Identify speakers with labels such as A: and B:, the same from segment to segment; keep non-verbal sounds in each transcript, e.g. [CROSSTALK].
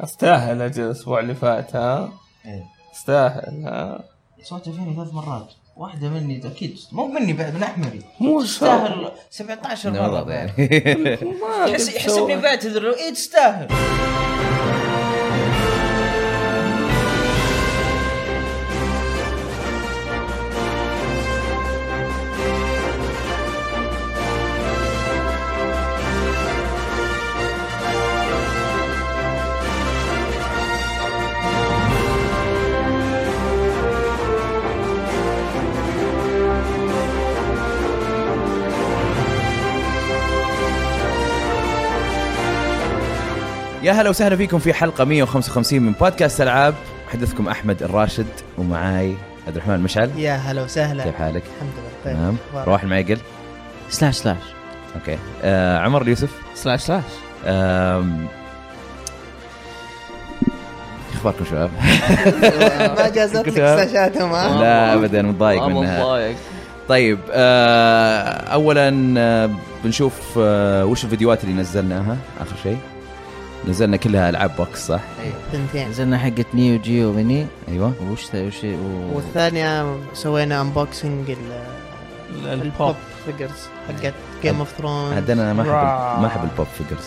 A: استاهل اجل الاسبوع اللي فات ها
B: إيه.
A: استاهل ها
B: صوته فيني ثلاث مرات واحدة مني اكيد مو مني بعد من احمري
A: مو شرط
B: تستاهل 17 مرة
C: نورض
B: بعد.
C: يعني
A: ما
B: يحس
A: قد
B: يحس اني
A: سوى.
B: بعتذر له ايه تستاهل
C: يا هلا وسهلا فيكم في حلقه 155 من بودكاست العاب حدثكم احمد الراشد ومعاي عبد الرحمن مشعل
D: يا هلا وسهلا
C: كيف حالك؟
D: الحمد لله طيب
C: تمام
D: أخبارك؟
C: روح المعقل
E: سلاش سلاش
C: اوكي آه عمر اليوسف
E: سلاش سلاش
C: آم، اخباركم شباب؟
E: آه،
D: ما جازت لك ساشاتهم ها
C: [LAUGHS] لا ابدا متضايق
E: آه،
C: منها
E: مضايق
C: طيب آه اولا آه بنشوف آه وش الفيديوهات اللي نزلناها اخر شيء نزلنا كلها العاب بوكس صح
D: إيه، ثنتين
E: نزلنا حقت نيو جيو ميني
C: ايوه
E: وش وش و...
D: والثانية سوينا انبوكسنج
A: البوب
D: البوب فيجرز حقت جيم اوف ثرونز
C: عاد انا ما احب
A: راح.
C: ما احب البوب فيجرز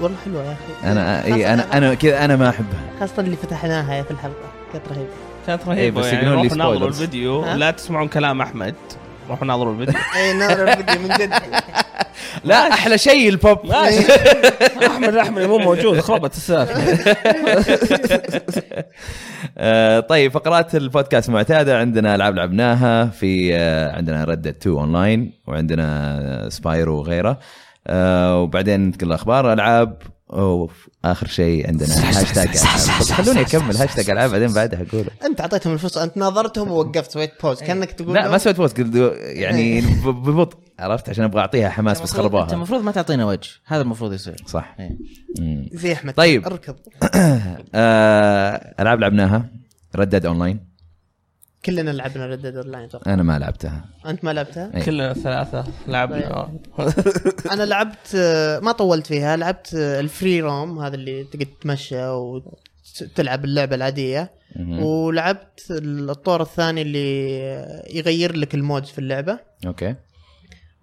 D: والله حلوة يا اخي
C: انا
D: خاصة-
C: اي انا انا إيه، كذا انا ما احبها
D: خاصة اللي فتحناها في الحلقة كانت رهيبة
A: كانت
C: إيه،
A: رهيبه
C: بس
A: يعني
C: يقولون لي
A: روحوا ناظروا
C: spoilers.
A: الفيديو
D: ها؟
A: لا تسمعون كلام احمد روحوا ناظروا الفيديو
D: اي نار إيه، الفيديو من جد [LAUGHS]
C: لا احلى شيء البوب [LAUGHS]
A: احمد احمد مو موجود خربت السالفه
C: آه طيب فقرات البودكاست معتاده عندنا العاب لعبناها في آه عندنا ردت 2 اونلاين وعندنا سبايرو وغيره آه وبعدين ننتقل لاخبار العاب واخر شيء عندنا هاشتاج العاب بس خلوني اكمل هاشتاج العاب بعدين بعدها اقوله
D: انت اعطيتهم الفرصة انت ناظرتهم ووقفت سويت بوز كانك تقول
C: إيه. لا
D: لهم
C: ما سويت بوست قلت يعني ب- ببطء عرفت عشان ابغى اعطيها حماس بس
E: انت
C: خربوها
E: إيه. المفروض ما تعطينا وجه هذا المفروض يصير
C: صح
E: إيه.
C: مم.
D: زي احمد
C: طيب.
D: اركض
C: آه، العاب لعبناها ردد اونلاين
D: كلنا لعبنا ريد ديد اون لاين
C: انا ما لعبتها
D: انت ما لعبتها؟
C: إيه.
A: كلنا ثلاثه لعبنا
D: انا لعبت آه، ما طولت فيها لعبت آه، الفري روم هذا اللي تقدر تتمشى وتلعب اللعبه العاديه
C: مهم.
D: ولعبت الطور الثاني اللي آه، يغير لك المود في اللعبه
C: اوكي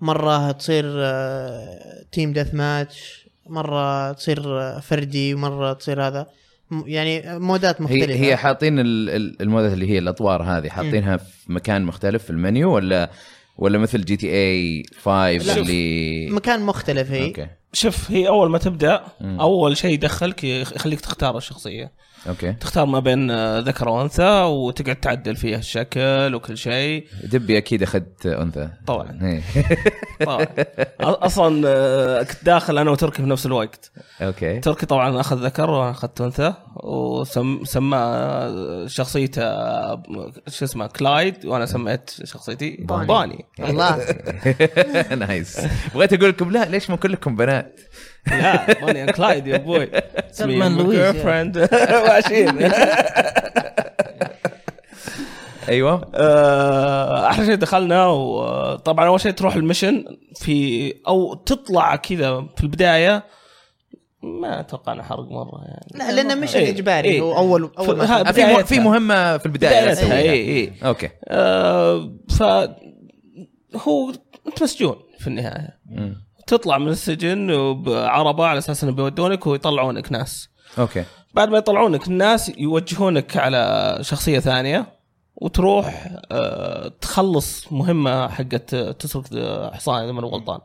D: مره تصير آه، تيم ديث ماتش مره تصير آه، فردي ومره تصير هذا م- يعني مودات مختلفه
C: هي هي حاطين ال- ال- المودة اللي هي الاطوار هذه حاطينها في مكان مختلف في المنيو ولا ولا مثل جي تي اي 5
A: لا.
C: اللي
D: مكان مختلف
E: إيه.
D: هي
C: اوكي
A: [LAUGHS] شوف هي اول ما تبدا
C: مم.
A: اول شيء يدخلك يخ- يخليك تختار الشخصيه
C: اوكي
A: تختار ما بين آه، ذكر وانثى وتقعد تعدل فيها الشكل وكل شيء
C: دبي اكيد اخذت انثى
A: طبعاً.
C: إيه. [LAUGHS]
A: طبعا طيب. أ- اصلا آه، كنت داخل انا وتركي في نفس الوقت
C: اوكي [LAUGHS]
A: تركي طبعا اخذ ذكر وانا اخذت انثى وسمى آه، شخصيته آه، شو اسمه كلايد وانا سميت شخصيتي
D: باني.
A: باني
C: [LAUGHS]
D: الله
C: نايس بغيت اقول لكم لا ليش مو كلكم بنات
A: لا ماني أنا كلايد يا ابوي
E: سلمان لويس يا.
A: فريند [LAUGHS] ماشيين
C: ايوه
A: آه، احلى شيء دخلنا وطبعا اول شيء تروح المشن في او تطلع كذا في البدايه ما اتوقع انه حرق مره يعني
D: لا لانه مش
A: إيه، إيه.
D: اجباري هو اول اول ما
A: فها-
D: تبدأ.
C: في مه-
A: بدايتها.
C: في مهمه في البدايه
A: بدايتها إيه،
C: أسويها.
A: اي اي
C: اوكي
A: آه، ف هو انت مسجون في النهايه
C: مم.
A: تطلع من السجن بعربه على اساس انه بيودونك ويطلعونك ناس
C: اوكي
A: بعد ما يطلعونك الناس يوجهونك على شخصيه ثانيه وتروح آه، تخلص مهمه حقت آه، تسرق آه، حصان اذا ماني غلطان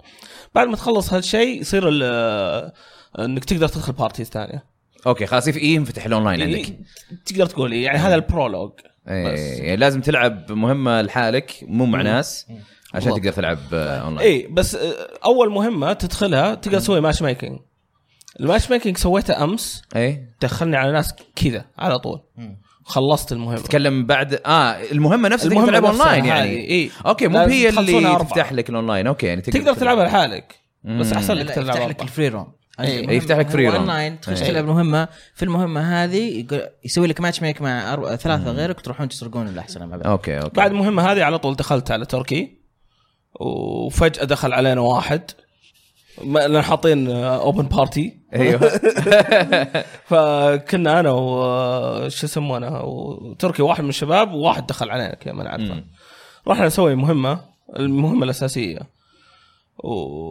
A: بعد ما تخلص هالشيء يصير ال- آه، انك تقدر تدخل بارتيز ثانيه
C: اوكي خلاص في ايه انفتح الاونلاين عندك
A: تقدر تقول إيه، يعني هذا البرولوج بس.
C: اي يعني لازم تلعب مهمه لحالك مو مع ناس عشان
A: بالضبط.
C: تقدر تلعب آه، اونلاين
A: اي بس آه، اول مهمه تدخلها تقدر تسوي ماتش ميكنج الماتش ميكنج سويته امس
C: اي
A: دخلني على ناس كذا على طول خلصت المهمه
C: تتكلم بعد اه المهمه نفسها تقدر
A: المهمة
C: تلعبها
A: نفسها
C: اونلاين يعني
A: هذه، إيه.
C: اوكي مو
A: لازم
C: هي اللي
A: تخلصونها أربعة.
C: تفتح لك الاونلاين اوكي يعني
A: تقدر تلعبها لحالك بس
C: مم.
A: احسن
E: لا،
A: لك
E: لا،
A: تلعب
E: يفتح لك
A: أربعة.
E: الفري روم
A: إيه،
E: المهمة-
C: يفتح لك
E: هو
C: free room.
E: اونلاين تخش
C: إيه.
E: تلعب المهمه في المهمه هذه يقول- يسوي لك ماتش ميك مع أربعة- ثلاثه غيرك تروحون تسرقون الاحسن مع بعض
C: اوكي اوكي
A: بعد المهمه هذه على طول دخلت على تركي وفجاه دخل علينا واحد ما- لان حاطين آه، اوبن بارتي [LAUGHS]
C: ايوه
A: فكنا انا وش يسمونه وتركي واحد من الشباب وواحد دخل علينا كذا ما نعرفه
C: مم.
A: رحنا نسوي مهمه المهمه الاساسيه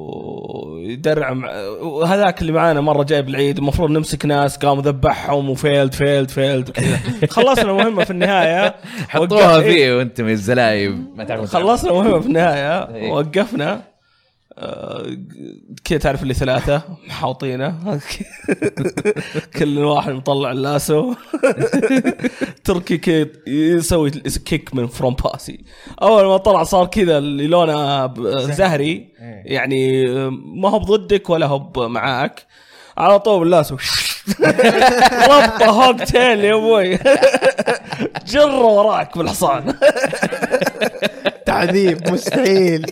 A: ويدرع مع... وهذاك اللي معانا مره جايب العيد المفروض نمسك ناس قام ذبحهم وفيلد فيلد فيلد وكذا خلصنا المهمه في النهايه
C: [LAUGHS] حطوها
A: وقف-
C: فيه وانتم يا الزلايب ما تعرفون
A: خلصنا المهمه في النهايه
C: إيه.
A: وقفنا آه، كذا تعرف اللي ثلاثه محاوطينه [LAUGHS] كل واحد مطلع اللاسو [LAUGHS] تركي كي يسوي كيك من فرون باسي اول ما طلع صار كذا اللي لونه ب- زهري يعني آه، ما هو بضدك ولا هو ب- معاك على طول اللاسو [LAUGHS] ربطه هوك تيل يا [LAUGHS] ابوي جره وراك بالحصان
D: تعذيب مستحيل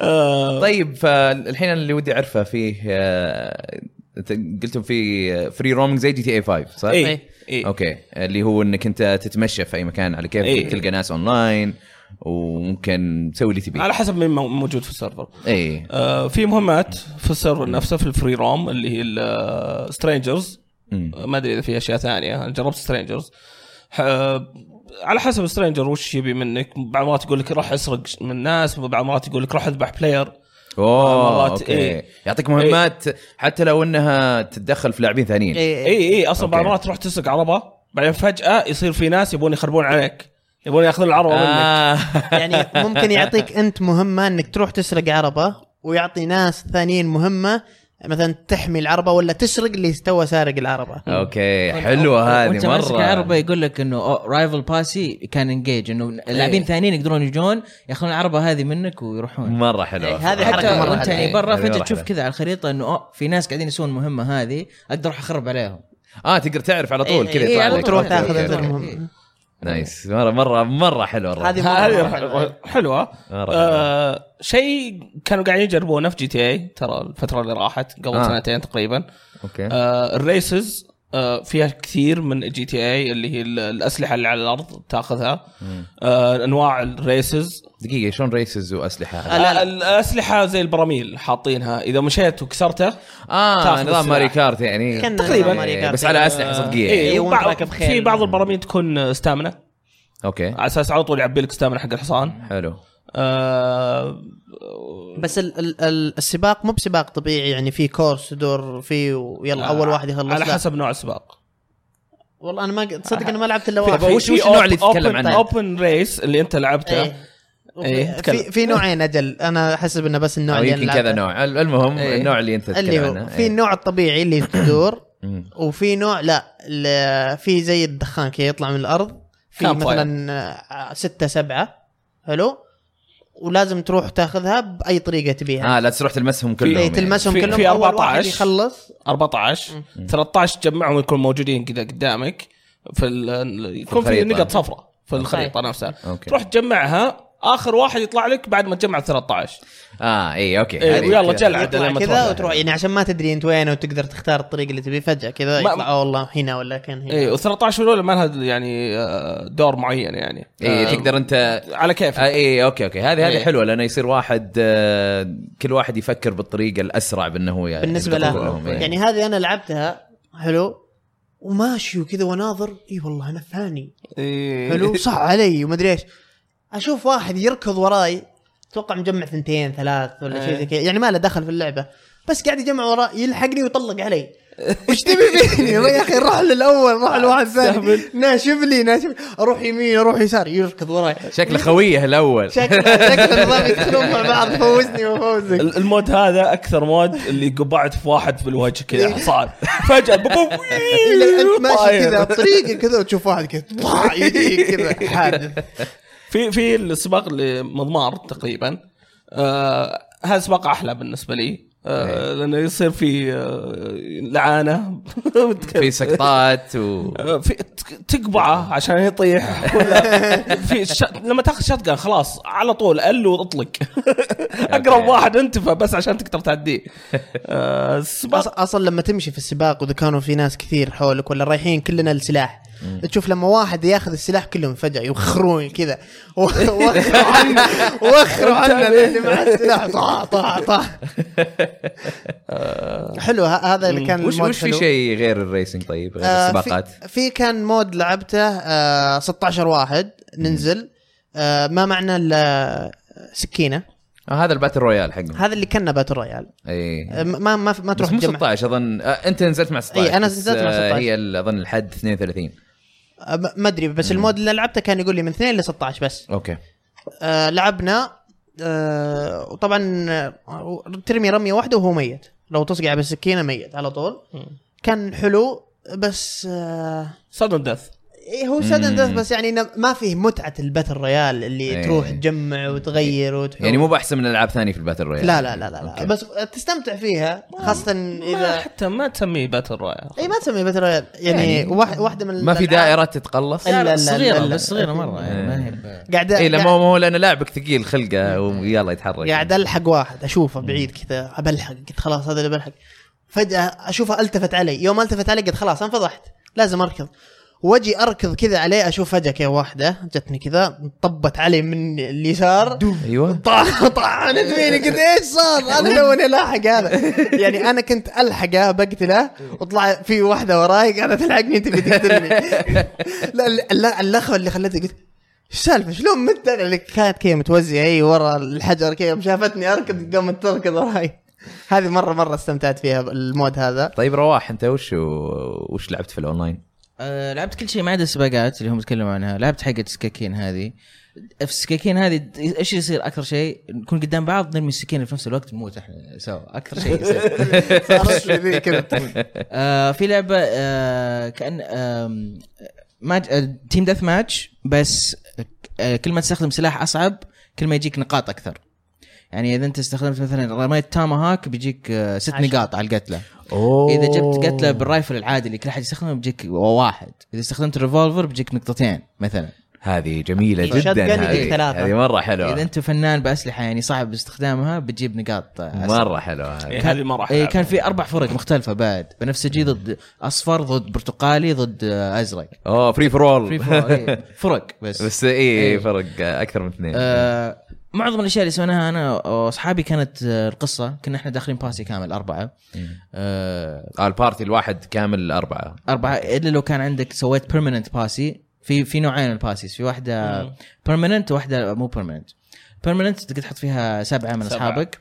A: آه،
C: طيب فالحين أنا اللي ودي اعرفه فيه آه، أنت قلتم في فري رومينج زي جي تي اي 5 صح؟
D: إيه.
A: اي اي
C: اوكي اللي هو انك انت تتمشى في اي مكان على كيفك
A: إيه.
C: تلقى ناس اونلاين وممكن تسوي اللي تبيه إيه.
A: على حسب مين مو- موجود في السيرفر
C: اي
A: آه في مهمات في السيرفر نفسه في الفري روم اللي هي السترينجرز
C: مم.
A: آه، ما ادري اذا في اشياء ثانيه انا جربت سترينجرز على حسب السترينجر وش يبي منك بعض مرات يقول لك روح اسرق ش- من الناس بعض مرات يقول لك روح اذبح بلاير
C: اوه
A: مرات
C: اوكي
A: إيه.
C: يعطيك مهمات حتى لو انها تتدخل في لاعبين ثانيين
A: اي
D: إيه، إيه.
A: اي اصلا بعض
C: أوكي.
A: مرات تروح تسرق عربه بعدين فجاه يصير في ناس يبون يخربون عليك يبون ياخذون العربه منك [LAUGHS]
C: آه.
D: يعني ممكن يعطيك
C: [LAUGHS]
D: انت مهمه انك تروح تسرق عربه ويعطي ناس ثانيين مهمه مثلا تحمي العربه ولا تسرق اللي تو سارق العربه
C: اوكي حلوه هذه
E: وانت ماسك العربه
C: مره
E: يقول لك انه رايفل باسي كان انجيج انه
D: إيه.
E: لاعبين ثانيين يقدرون يجون ياخذون العربه هذه منك ويروحون
C: مره حلوه
D: إيه،
E: حتى
D: هذه حركة مرة
E: وانت يعني
D: حلوة.
E: برا
C: هذه مرة
E: فجاه تشوف
C: حلوة.
E: كذا على الخريطه انه أوه، في ناس قاعدين يسوون المهمه هذه اقدر اروح اخرب عليهم
C: اه تقدر تعرف على طول
D: إيه،
C: كذا
D: إيه،
C: يطلع
E: على
C: لك. إيه.
E: طول.
D: وتروح
C: أوكي،
D: تاخذ
C: أوكي،
D: هذا
E: أوكي.
D: المهم
C: نايس مره مره مره حلوه الرقم.
D: هذه
A: هذه
D: مرة
A: آه، إيه. حلوة. حلوه
C: مرة
A: آه شيء كانوا قاعدين يجربونه في جي تي اي ترى الفتره اللي راحت قبل
C: آه.
A: آه. سنتين تقريبا
C: اوكي
A: آه الريسز آه فيها كثير من جي تي اي اللي هي ال- الاسلحه اللي على الارض تاخذها آه انواع الريسز
C: دقيقه شلون ريسز واسلحه
A: آه الاسلحه زي البراميل حاطينها اذا مشيت وكسرته
C: اه
A: تاخذ
C: نظام
A: السلاح.
C: ماري كارت يعني
D: كان
A: تقريباً.
D: نظام ماري
C: إيه،
D: كارت.
C: بس على يعني. اسلحه صدقيه
A: إيه،
D: إيه، وأنت
A: وبعض-
D: راكب خيل.
A: في بعض البراميل تكون ستامنا
C: اوكي
A: على اساس على طول يعبي لك ستامنا حق الحصان
C: حلو
A: آه
D: بس ال ال ال السباق مو بسباق طبيعي يعني في كورس دور فيه
C: آه،
D: ويلا اول واحد يخلص
A: على
D: لا.
A: حسب نوع السباق
D: والله انا ما ق- تصدق انا ما لعبت الا
C: طيب،
D: واحد
C: وش- وش النوع اللي تتكلم عنه؟
A: اوبن ريس اللي انت لعبته
D: إيه. وفي-
A: إيه، تكلم.
D: في في نوعين اجل انا احسب انه بس النوع
C: او
D: اللي
C: يمكن
D: أنا
C: كذا
D: لعبته.
C: نوع المهم
A: إيه.
C: النوع اللي انت
D: اللي
C: تتكلم
D: هو
C: عنه
D: في
C: إيه.
D: النوع الطبيعي اللي
C: [CLEARS THROAT]
D: تدور
C: مم.
D: وفي نوع لا ال- في زي الدخان كذا يطلع من الارض في
A: Campfire.
D: مثلا آه، ستة سبعة حلو ولازم تروح تاخذها باي طريقه تبيها
C: اه لا تروح تلمسهم
D: إيه،
C: كلهم يعني.
D: تلمسهم
A: آه، في-
D: كلهم
A: في
D: اول واحد
A: 14.
D: يخلص
A: 14 13 تجمعهم يكونوا موجودين كذا قدامك في ال... يكون في
C: الخريطة.
A: نقط صفراء في الخريطه نفسها
C: أوكي.
A: تروح تجمعها اخر واحد يطلع لك بعد ما تجمع 13
C: اه اي اوكي
A: إيه،
C: هذه
A: ويلا
C: كذا.
A: جلعة. بعد
D: يطلع
A: لما
D: كذا
A: تروح.
D: وتروح يعني عشان ما تدري انت وين وتقدر تختار الطريق اللي تبيه فجاه كذا
A: ما- إيه.
D: يطلع آه والله هنا ولا كان هنا
A: اي و13 الاولى ما لها يعني آه، دور معين يعني
C: اي
A: آه،
C: إيه، تقدر انت
A: على كيف
C: آه، اي اوكي اوكي هذه هذه
A: إيه.
C: حلوه لانه يصير واحد آه، كل واحد يفكر بالطريقه الاسرع بانه هو يعني
D: بالنسبه
C: يقدر
D: له
C: كلهم، إيه.
D: يعني هذه انا لعبتها حلو وماشي وكذا واناظر اي والله انا ثاني
A: إيه. [LAUGHS]
D: حلو صح علي ومدري ايش اشوف واحد يركض وراي اتوقع مجمع ثنتين ثلاث ولا شيء زي كذا يعني ما له دخل في اللعبه بس قاعد يجمع وراي يلحقني ويطلق علي وش تبي مني يا اخي روح للاول روح لواحد ثاني ناشف لي ناشف لي. اروح يمين اروح يسار يركض وراي
C: شكله خويه الاول
D: شكله شكله نظام يدخلون مع بعض فوزني وفوزك
A: ال- المود هذا اكثر مود اللي قبعت في واحد في الوجه كذا
D: [LAUGHS]
A: حصان فجاه بوم
D: إلا انت ماشي كذا بطريقه كذا وتشوف واحد كذا طاع يجيك كذا حادث
A: في في السباق لمضمار تقريبا آه هذا سباق احلى بالنسبه لي آه لانه يصير في آه لعانه
C: في سقطات و
D: [LAUGHS]
A: آه، في تك- تقبعه عشان يطيح ولا في ش... لما تاخذ شتقن خلاص على طول ال واطلق اقرب
C: أوكي.
A: واحد انتفى بس عشان تقدر تعديه آه
D: أص-
A: السباق
D: اصلا لما تمشي في السباق واذا كانوا في ناس كثير حولك ولا رايحين كلنا لسلاح تشوف لما واحد ياخذ السلاح كلهم فجاه يوخرون كذا [LAUGHS]
C: [LAUGHS]
D: وخروا عنا وخروا عنا اللي مع السلاح طع طع طع
C: [LAUGHS]
D: حلو ه- هذا اللي كان
C: وش
D: المود
C: وش في
D: حلو.
C: شيء غير الريسنج طيب غير
D: آه،
C: السباقات
D: في, في كان مود لعبته آه 16 واحد ننزل آه ما معنى الا سكينه
C: آه هذا الباتل رويال حقهم
D: هذا اللي كنا باتل رويال
C: اي
D: آه، ما ما ما
C: إيه. بس
D: تروح
C: مو
D: تجمع
C: 16 اظن آه انت نزلت مع 16
D: إي، أنا
C: بس،
D: نزلت مع
C: آه،
D: 16.
C: هي ال- اظن الحد 32
D: آه، ما ما ادري بس المود اللي لعبته كان يقول لي من 2 ل 16 بس
C: اوكي
D: آه لعبنا آه وطبعا آه، ترمي رميه واحده وهو ميت لو تصقع بالسكينه ميت على طول كان حلو بس آه
A: صدم دث
D: إيه هو سدن دث بس يعني إنه ما فيه متعه الباتل رويال اللي
C: إيه.
D: تروح تجمع وتغير وتحول
C: يعني مو باحسن من العاب ثانيه في الباتل رويال
D: لا لا لا لا, لا.
C: أوكي.
D: بس تستمتع فيها خاصه
A: ما
D: اذا
A: حتى ما تسميه باتل رويال
D: اي ما تسمي باتل رويال يعني,
C: يعني
D: واحد واحده من
C: ما في
D: الألعاب
C: دائرات تتقلص
D: لا، لا، لا،
E: صغيره
D: لا. إيه.
E: بس صغيره مره يعني ما هي ب-
D: قاعده
C: اي إيه، لا
D: قاعد-
C: ما هو ما هو لان لاعبك ثقيل خلقه ويلا يتحرك يعني.
D: قاعد يعني الحق واحد اشوفه بعيد كذا بلحق قلت خلاص هذا اللي بلحق فجاه اشوفه التفت علي يوم التفت علي قلت خلاص انفضحت لازم اركض واجي اركض كذا عليه اشوف فجاه كذا واحده جتني كذا طبت علي من اليسار
C: ايوه
D: طع- طعنت فيني قلت ايش صار؟
C: [LAUGHS]
D: انا توني لاحق هذا يعني انا كنت الحقه بقتله وطلع في واحده وراي قاعده تلحقني تبي تقتلني لا ال- لا اللخوه اللي خلتني قلت ايش السالفه شلون مت انا اللي كانت كذا متوزعه هي ورا الحجر كذا يوم شافتني اركض قامت تركض وراي هذه مره مره استمتعت فيها المود هذا
C: طيب رواح انت وش وش لعبت في الاونلاين؟
E: آه، لعبت كل شيء ما عدا السباقات اللي هم تكلموا عنها لعبت حقة السكاكين هذه في السكاكين هذه د- ايش يصير اكثر شيء نكون قدام بعض نرمي السكين في نفس الوقت نموت احنا سوا اكثر شيء
D: [LAUGHS]
E: يصير
D: صارت لي ذي كذا
E: آه في لعبه آه كان آم، ماج... آه، تيم دث ماتش بس آه كل ما تستخدم سلاح اصعب كل ما يجيك نقاط اكثر يعني اذا انت استخدمت مثلا رميت تاما هاك بيجيك آه، ست
D: عشرة.
E: نقاط على القتله
C: اوه
E: اذا جبت قتله بالرايفل العادي اللي كل احد يستخدمه بيجيك واحد اذا استخدمت الريفولفر بيجيك نقطتين مثلا
C: هذه جميله
D: الشوت جن
C: جدا
D: يجيك
C: هذه
D: ثلاثة.
C: هذه مره
E: اذا
C: حلوه
E: انت فنان باسلحه يعني صعب استخدامها بتجيب نقاط آه، أسرع.
C: مره حلوه هذه
A: إيه، هذه ما راح
E: إيه
A: ألعبها.
E: كان في اربع فرق مختلفه بعد بنفسجي ضد اصفر ضد برتقالي ضد آه، ازرق
C: اوه فري فور
A: [LAUGHS]
E: في
C: اول
E: فرق
C: [LAUGHS]
E: إيه، فرق بس, بس.
C: بس اي
E: إيه.
C: فرق اكثر من اثنين
E: آه معظم الاشياء اللي سويناها انا واصحابي كانت آه، القصه كنا احنا داخلين باسي كامل اربعه آه
C: آه البارتي الواحد كامل اربعه
E: اربعه الا لو كان عندك سويت بيرمننت باسي في في نوعين من الباسيز في واحده بيرمننت وواحده مو بيرمننت بيرمننت تقدر تحط فيها سبعه من
A: سبعة.
E: اصحابك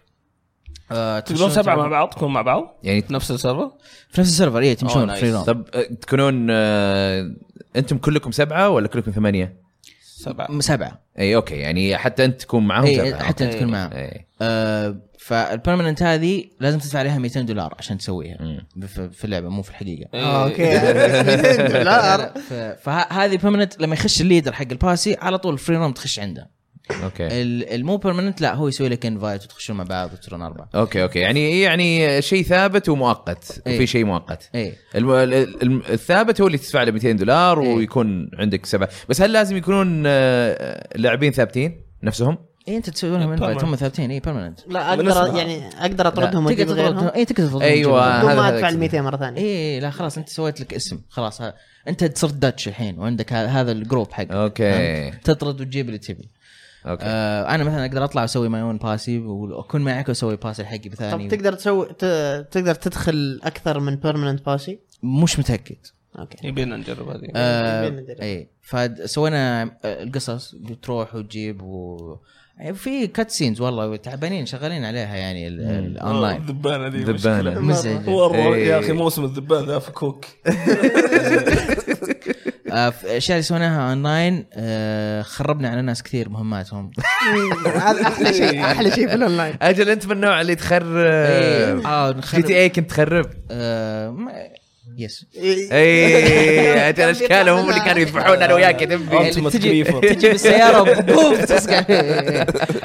E: آه
A: تقدرون
E: تخشون
A: سبعه مع
E: تلعبون-
A: بعض تكونون مع بعض
C: يعني
A: في نفس السيرفر
E: في نفس السيرفر اي تمشون
A: Oh, nice.
E: فري روم
C: طب آه، تكونون آه انتم كلكم سبعه ولا كلكم ثمانيه؟
A: سبعه
E: سبعه
C: اي اوكي يعني حتى انت تكون معاهم إيه.
E: اي
C: سبعه
E: إيه، حتى
A: أوكي. إيه.
E: تكون معهم
C: اي
E: آه فالبرمننت هذه لازم تدفع عليها 200 دولار عشان تسويها
C: مم.
E: ف- في اللعبه مو في الحقيقه
A: إيه،
D: [LAUGHS] اوكي 200 دولار
E: ف- فهذه البرمننت لما يخش الليدر حق الباسي على طول الفري روم تخش عنده
C: اوكي
E: ال- المو برمننت لا هو يسوي لك انفايت وتخشون مع بعض وتصيرون اربعه
C: اوكي اوكي يعني يعني شيء ثابت ومؤقت
E: إيه.
C: في شيء مؤقت
E: اي
C: الم... ال- ال- الثابت هو اللي تدفع له 200 دولار
E: إيه.
C: ويكون عندك سبعه بس هل لازم يكونون آه، لاعبين ثابتين نفسهم؟
E: اي انت تسوي إيه،
D: إيه،
E: لهم انفايت هم ثابتين اي برمننت
D: لا
A: بالنسبة-
D: اقدر يعني اقدر اطردهم
E: تقدر
D: واجيب
E: تضغطهم
D: غيرهم
E: اي تقدر تضغطهم
C: أيوة.
E: تجيبهم.
D: بدون
C: هذا-
D: ما
C: هذا
D: ادفع ال
C: قصدي.
D: 200 مره ثانيه
E: اي إيه، لا خلاص انت سويت لك اسم خلاص ها. انت صرت داتش الحين وعندك ه- هذا الجروب حقك
C: أوكي.
E: فهمت؟ تطرد وتجيب اللي تبي
C: اوكي آه.
E: آه انا مثلا اقدر اطلع واسوي ماي اون باسي واكون معك واسوي باسي حقي بثاني
D: طب تقدر تسوي ت- تقدر تدخل اكثر من بيرمننت باسي
E: مش متاكد
D: اوكي [LAUGHS]
A: يبينا نجرب هذه
E: آه [LAUGHS]
D: يبين ندري.
E: اي فسوينا آه، القصص تروح وتجيب و يعني في كات سينز والله تعبانين شغالين عليها يعني ال- الاونلاين
A: الذبانه دي
C: ذبانة.
A: مشكلة.
E: مزعج
A: [LAUGHS] والله يا اخي
C: إيه.
A: موسم الذبان ذا فكوك
E: آه، في الاشياء اللي سويناها اونلاين آه خربنا على ناس كثير مهماتهم
D: هذا احلى [LAUGHS] شيء احلى شيء في الاونلاين
C: اجل انت من النوع اللي تخرب
E: إيه، آه،
C: جي
E: نخرب-
C: تي اي كنت تخرب
E: آه، ما- يس إيه،
C: [LAUGHS] اي
D: كان
C: اجل اشكالهم هم اللي كانوا يذبحون انا وياك يا دبي
A: Ultimate
E: تجي-
A: Griefer.
E: تجي بالسياره [LAUGHS] بوم تسقع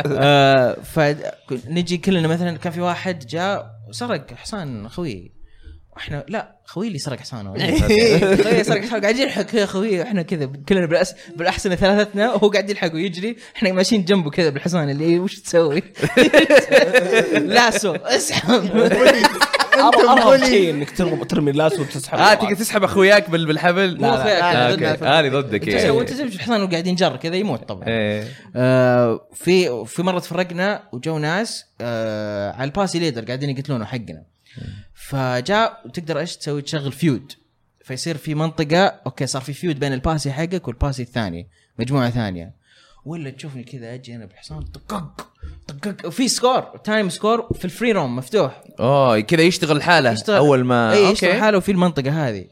E: آه، فنجي كلنا مثلا كان في واحد جاء سرق حصان خوي واحنا لا خوي اللي سرق [LAUGHS] حصانه خوي اللي سرق حصانه قاعد يلحق يا خوي احنا كذا كلنا بالأس... بالاحسنه ثلاثتنا وهو قاعد يلحق ويجري احنا ماشيين جنبه كذا بالحصان اللي وش تسوي؟ [LAUGHS] لاسو اسحب
A: ارهب شيء انك ترم- ترمي اللاس وتسحب
C: اه تقدر تسحب اخوياك بال- بالحبل
E: آه، لا، لا،
C: اوكي
E: لا،
C: آه، هذه ضدك
E: انت
C: يعني
E: وانت تمشي الحصان وقاعد ينجر كذا يموت طبعا
C: إيه.
E: آه، في في مره تفرقنا وجو ناس آه، على الباسي ليدر قاعدين يقتلونه حقنا فجاء وتقدر ايش تسوي تشغل فيود فيصير في منطقه اوكي صار في فيود بين الباسي حقك والباسي الثاني مجموعه ثانيه ولا تشوفني كذا اجي انا بالحصان طقق طقق وفي سكور تايم سكور في الفري روم مفتوح
C: اوه كذا يشتغل حاله
E: يشتغل-
C: اول ما
E: اي
C: أوكي.
E: إيه، يشتغل حاله في المنطقه هذه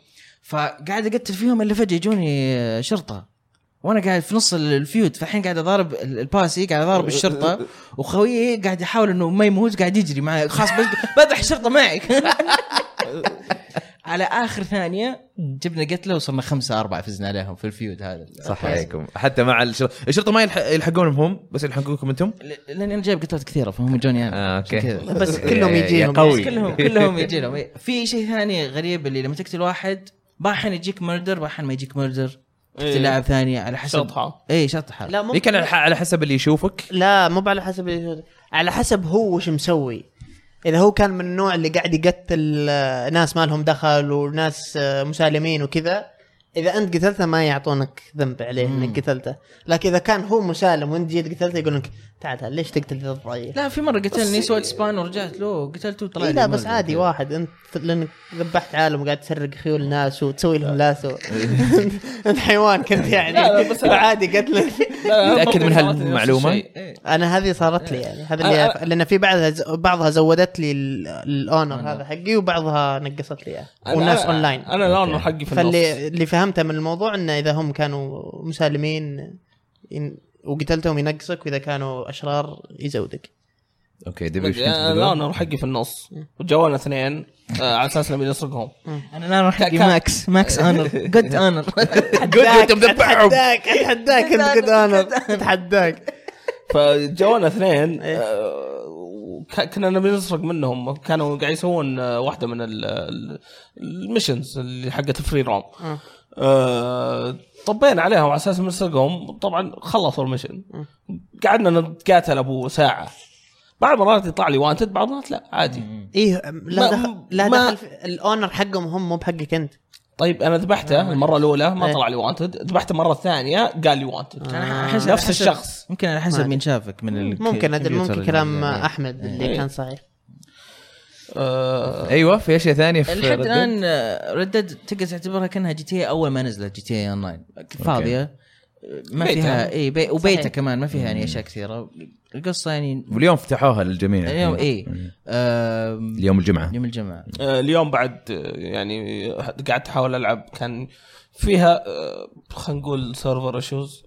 E: فقاعد اقتل فيهم الا فجاه يجوني آه، شرطه وانا قاعد في نص الفيود فالحين قاعد اضارب ال- الباسي قاعد اضارب الشرطه وخويي قاعد يحاول انه ما يموت قاعد يجري معي خلاص بس [LAUGHS] بذبح الشرطه معي على اخر ثانيه جبنا قتله وصرنا خمسه اربعه فزنا عليهم في الفيود هذا
C: صح عليكم حتى مع الشرطه الشرطه ما يلحق- يلحقونهم هم بس يلحقونكم انتم
E: ل- لاني انا جايب قتلات كثيره فهم يجوني انا
C: آه،
E: عشان
C: اوكي
E: كذا.
D: بس كلهم يجيهم.
C: يا قوي
E: كلهم
D: [LAUGHS]
C: [LAUGHS]
E: كلهم يجي لهم إيه. في شيء ثاني غريب اللي لما تقتل واحد باحن يجيك مردر باحن ما يجيك مردر
A: إيه.
E: تقتل لاعب ثاني على حسب إيه،
A: شطحة.
E: اي شطحه
D: لا مو
C: ذيك على على حسب اللي يشوفك
D: لا مو على حسب اللي- على حسب هو وش مسوي اذا هو كان من النوع اللي قاعد يقتل آه، ناس ما لهم دخل وناس آه، مسالمين وكذا اذا انت قتلته ما يعطونك ذنب عليه انك قتلته لكن اذا كان هو مسالم وانت جيت قتلته يقولون لك تعال تعال ليش تقتل ذا الضعيف
E: لا في مره قتلني سويت سبان ورجعت له وقتلته وطلع
D: إيه
E: لي
D: لا بس
E: مردر.
D: عادي واحد انت لانك ذبحت عالم وقاعد تسرق خيول ناس وتسوي لهم لاسو [LAUGHS] انت حيوان كنت
A: لا،
D: يعني
A: لا، بس-
D: عادي قتلك
C: متأكد من هالمعلومة؟
D: انا هذه صارت لي يعني هذا
A: أنا-
D: اللي أعرف- لان في بعضها ز- بعضها زودت لي ال- الاونر هذا حقي وبعضها نقصت لي اياه والناس اونلاين
A: انا الاونر حقي في النص
D: فاللي اللي فهمته من الموضوع انه اذا هم كانوا مسالمين ين- وقتلتهم ينقصك واذا كانوا اشرار يزودك
C: اوكي دبي وش كنت
A: أنا
C: بتقول؟
A: الاونر حقي في النص وجوانا اثنين آه، على اساس نبي نسرقهم
E: انا لا راح
A: كان-
E: ماكس ماكس
D: [LAUGHS]
E: انر جود انر
D: اتحداك
C: مذبحهم.
D: اتحداك اتحداك انت قد انا اتحداك
A: فجوانا اثنين آه، وك- كنا نبي نسرق منهم كانوا قاعد يسوون آه، واحده من ال- ال- المشنز اللي حقت الفري روم آه، طبينا عليهم على اساس بنسرقهم طبعا خلصوا المشن قعدنا نتقاتل ابو ساعه بعض المرات يطلع لي وانتد بعض المرات لا عادي
D: ايه
A: ما-
D: لا دخل لا
A: ما-
D: دخل في- الاونر حقهم هم مو بحقك انت
A: طيب انا ذبحته المره الاولى ما
D: إيه.
A: طلع لي وانتد ذبحته مره ثانيه قال لي وانتد
E: آه.
A: نفس الشخص
E: يمكن على حسب مين شافك من ال-
D: ممكن
E: الكمبيوتر
D: أدري
E: يعني.
D: ممكن
E: اللي
D: كلام
E: عندك.
D: احمد اللي
A: إيه.
D: كان صحيح
A: آه،
C: ايوه في اشياء ثانيه في
E: لحد
C: Red Dead؟
E: الان ردد تقدر تعتبرها كانها جي تي اول ما نزلت جي تي اون لاين فاضيه ما
A: بيتها.
E: فيها اي بي وبيتها
D: صحيح.
E: كمان ما فيها يعني اشياء كثيره القصه يعني
C: واليوم فتحوها للجميع
E: اليوم إيه. اي
C: اليوم الجمعه
E: يوم الجمعه
A: آه، اليوم بعد آه، يعني قعدت احاول العب كان فيها آه، خلينا نقول سيرفر ايشوز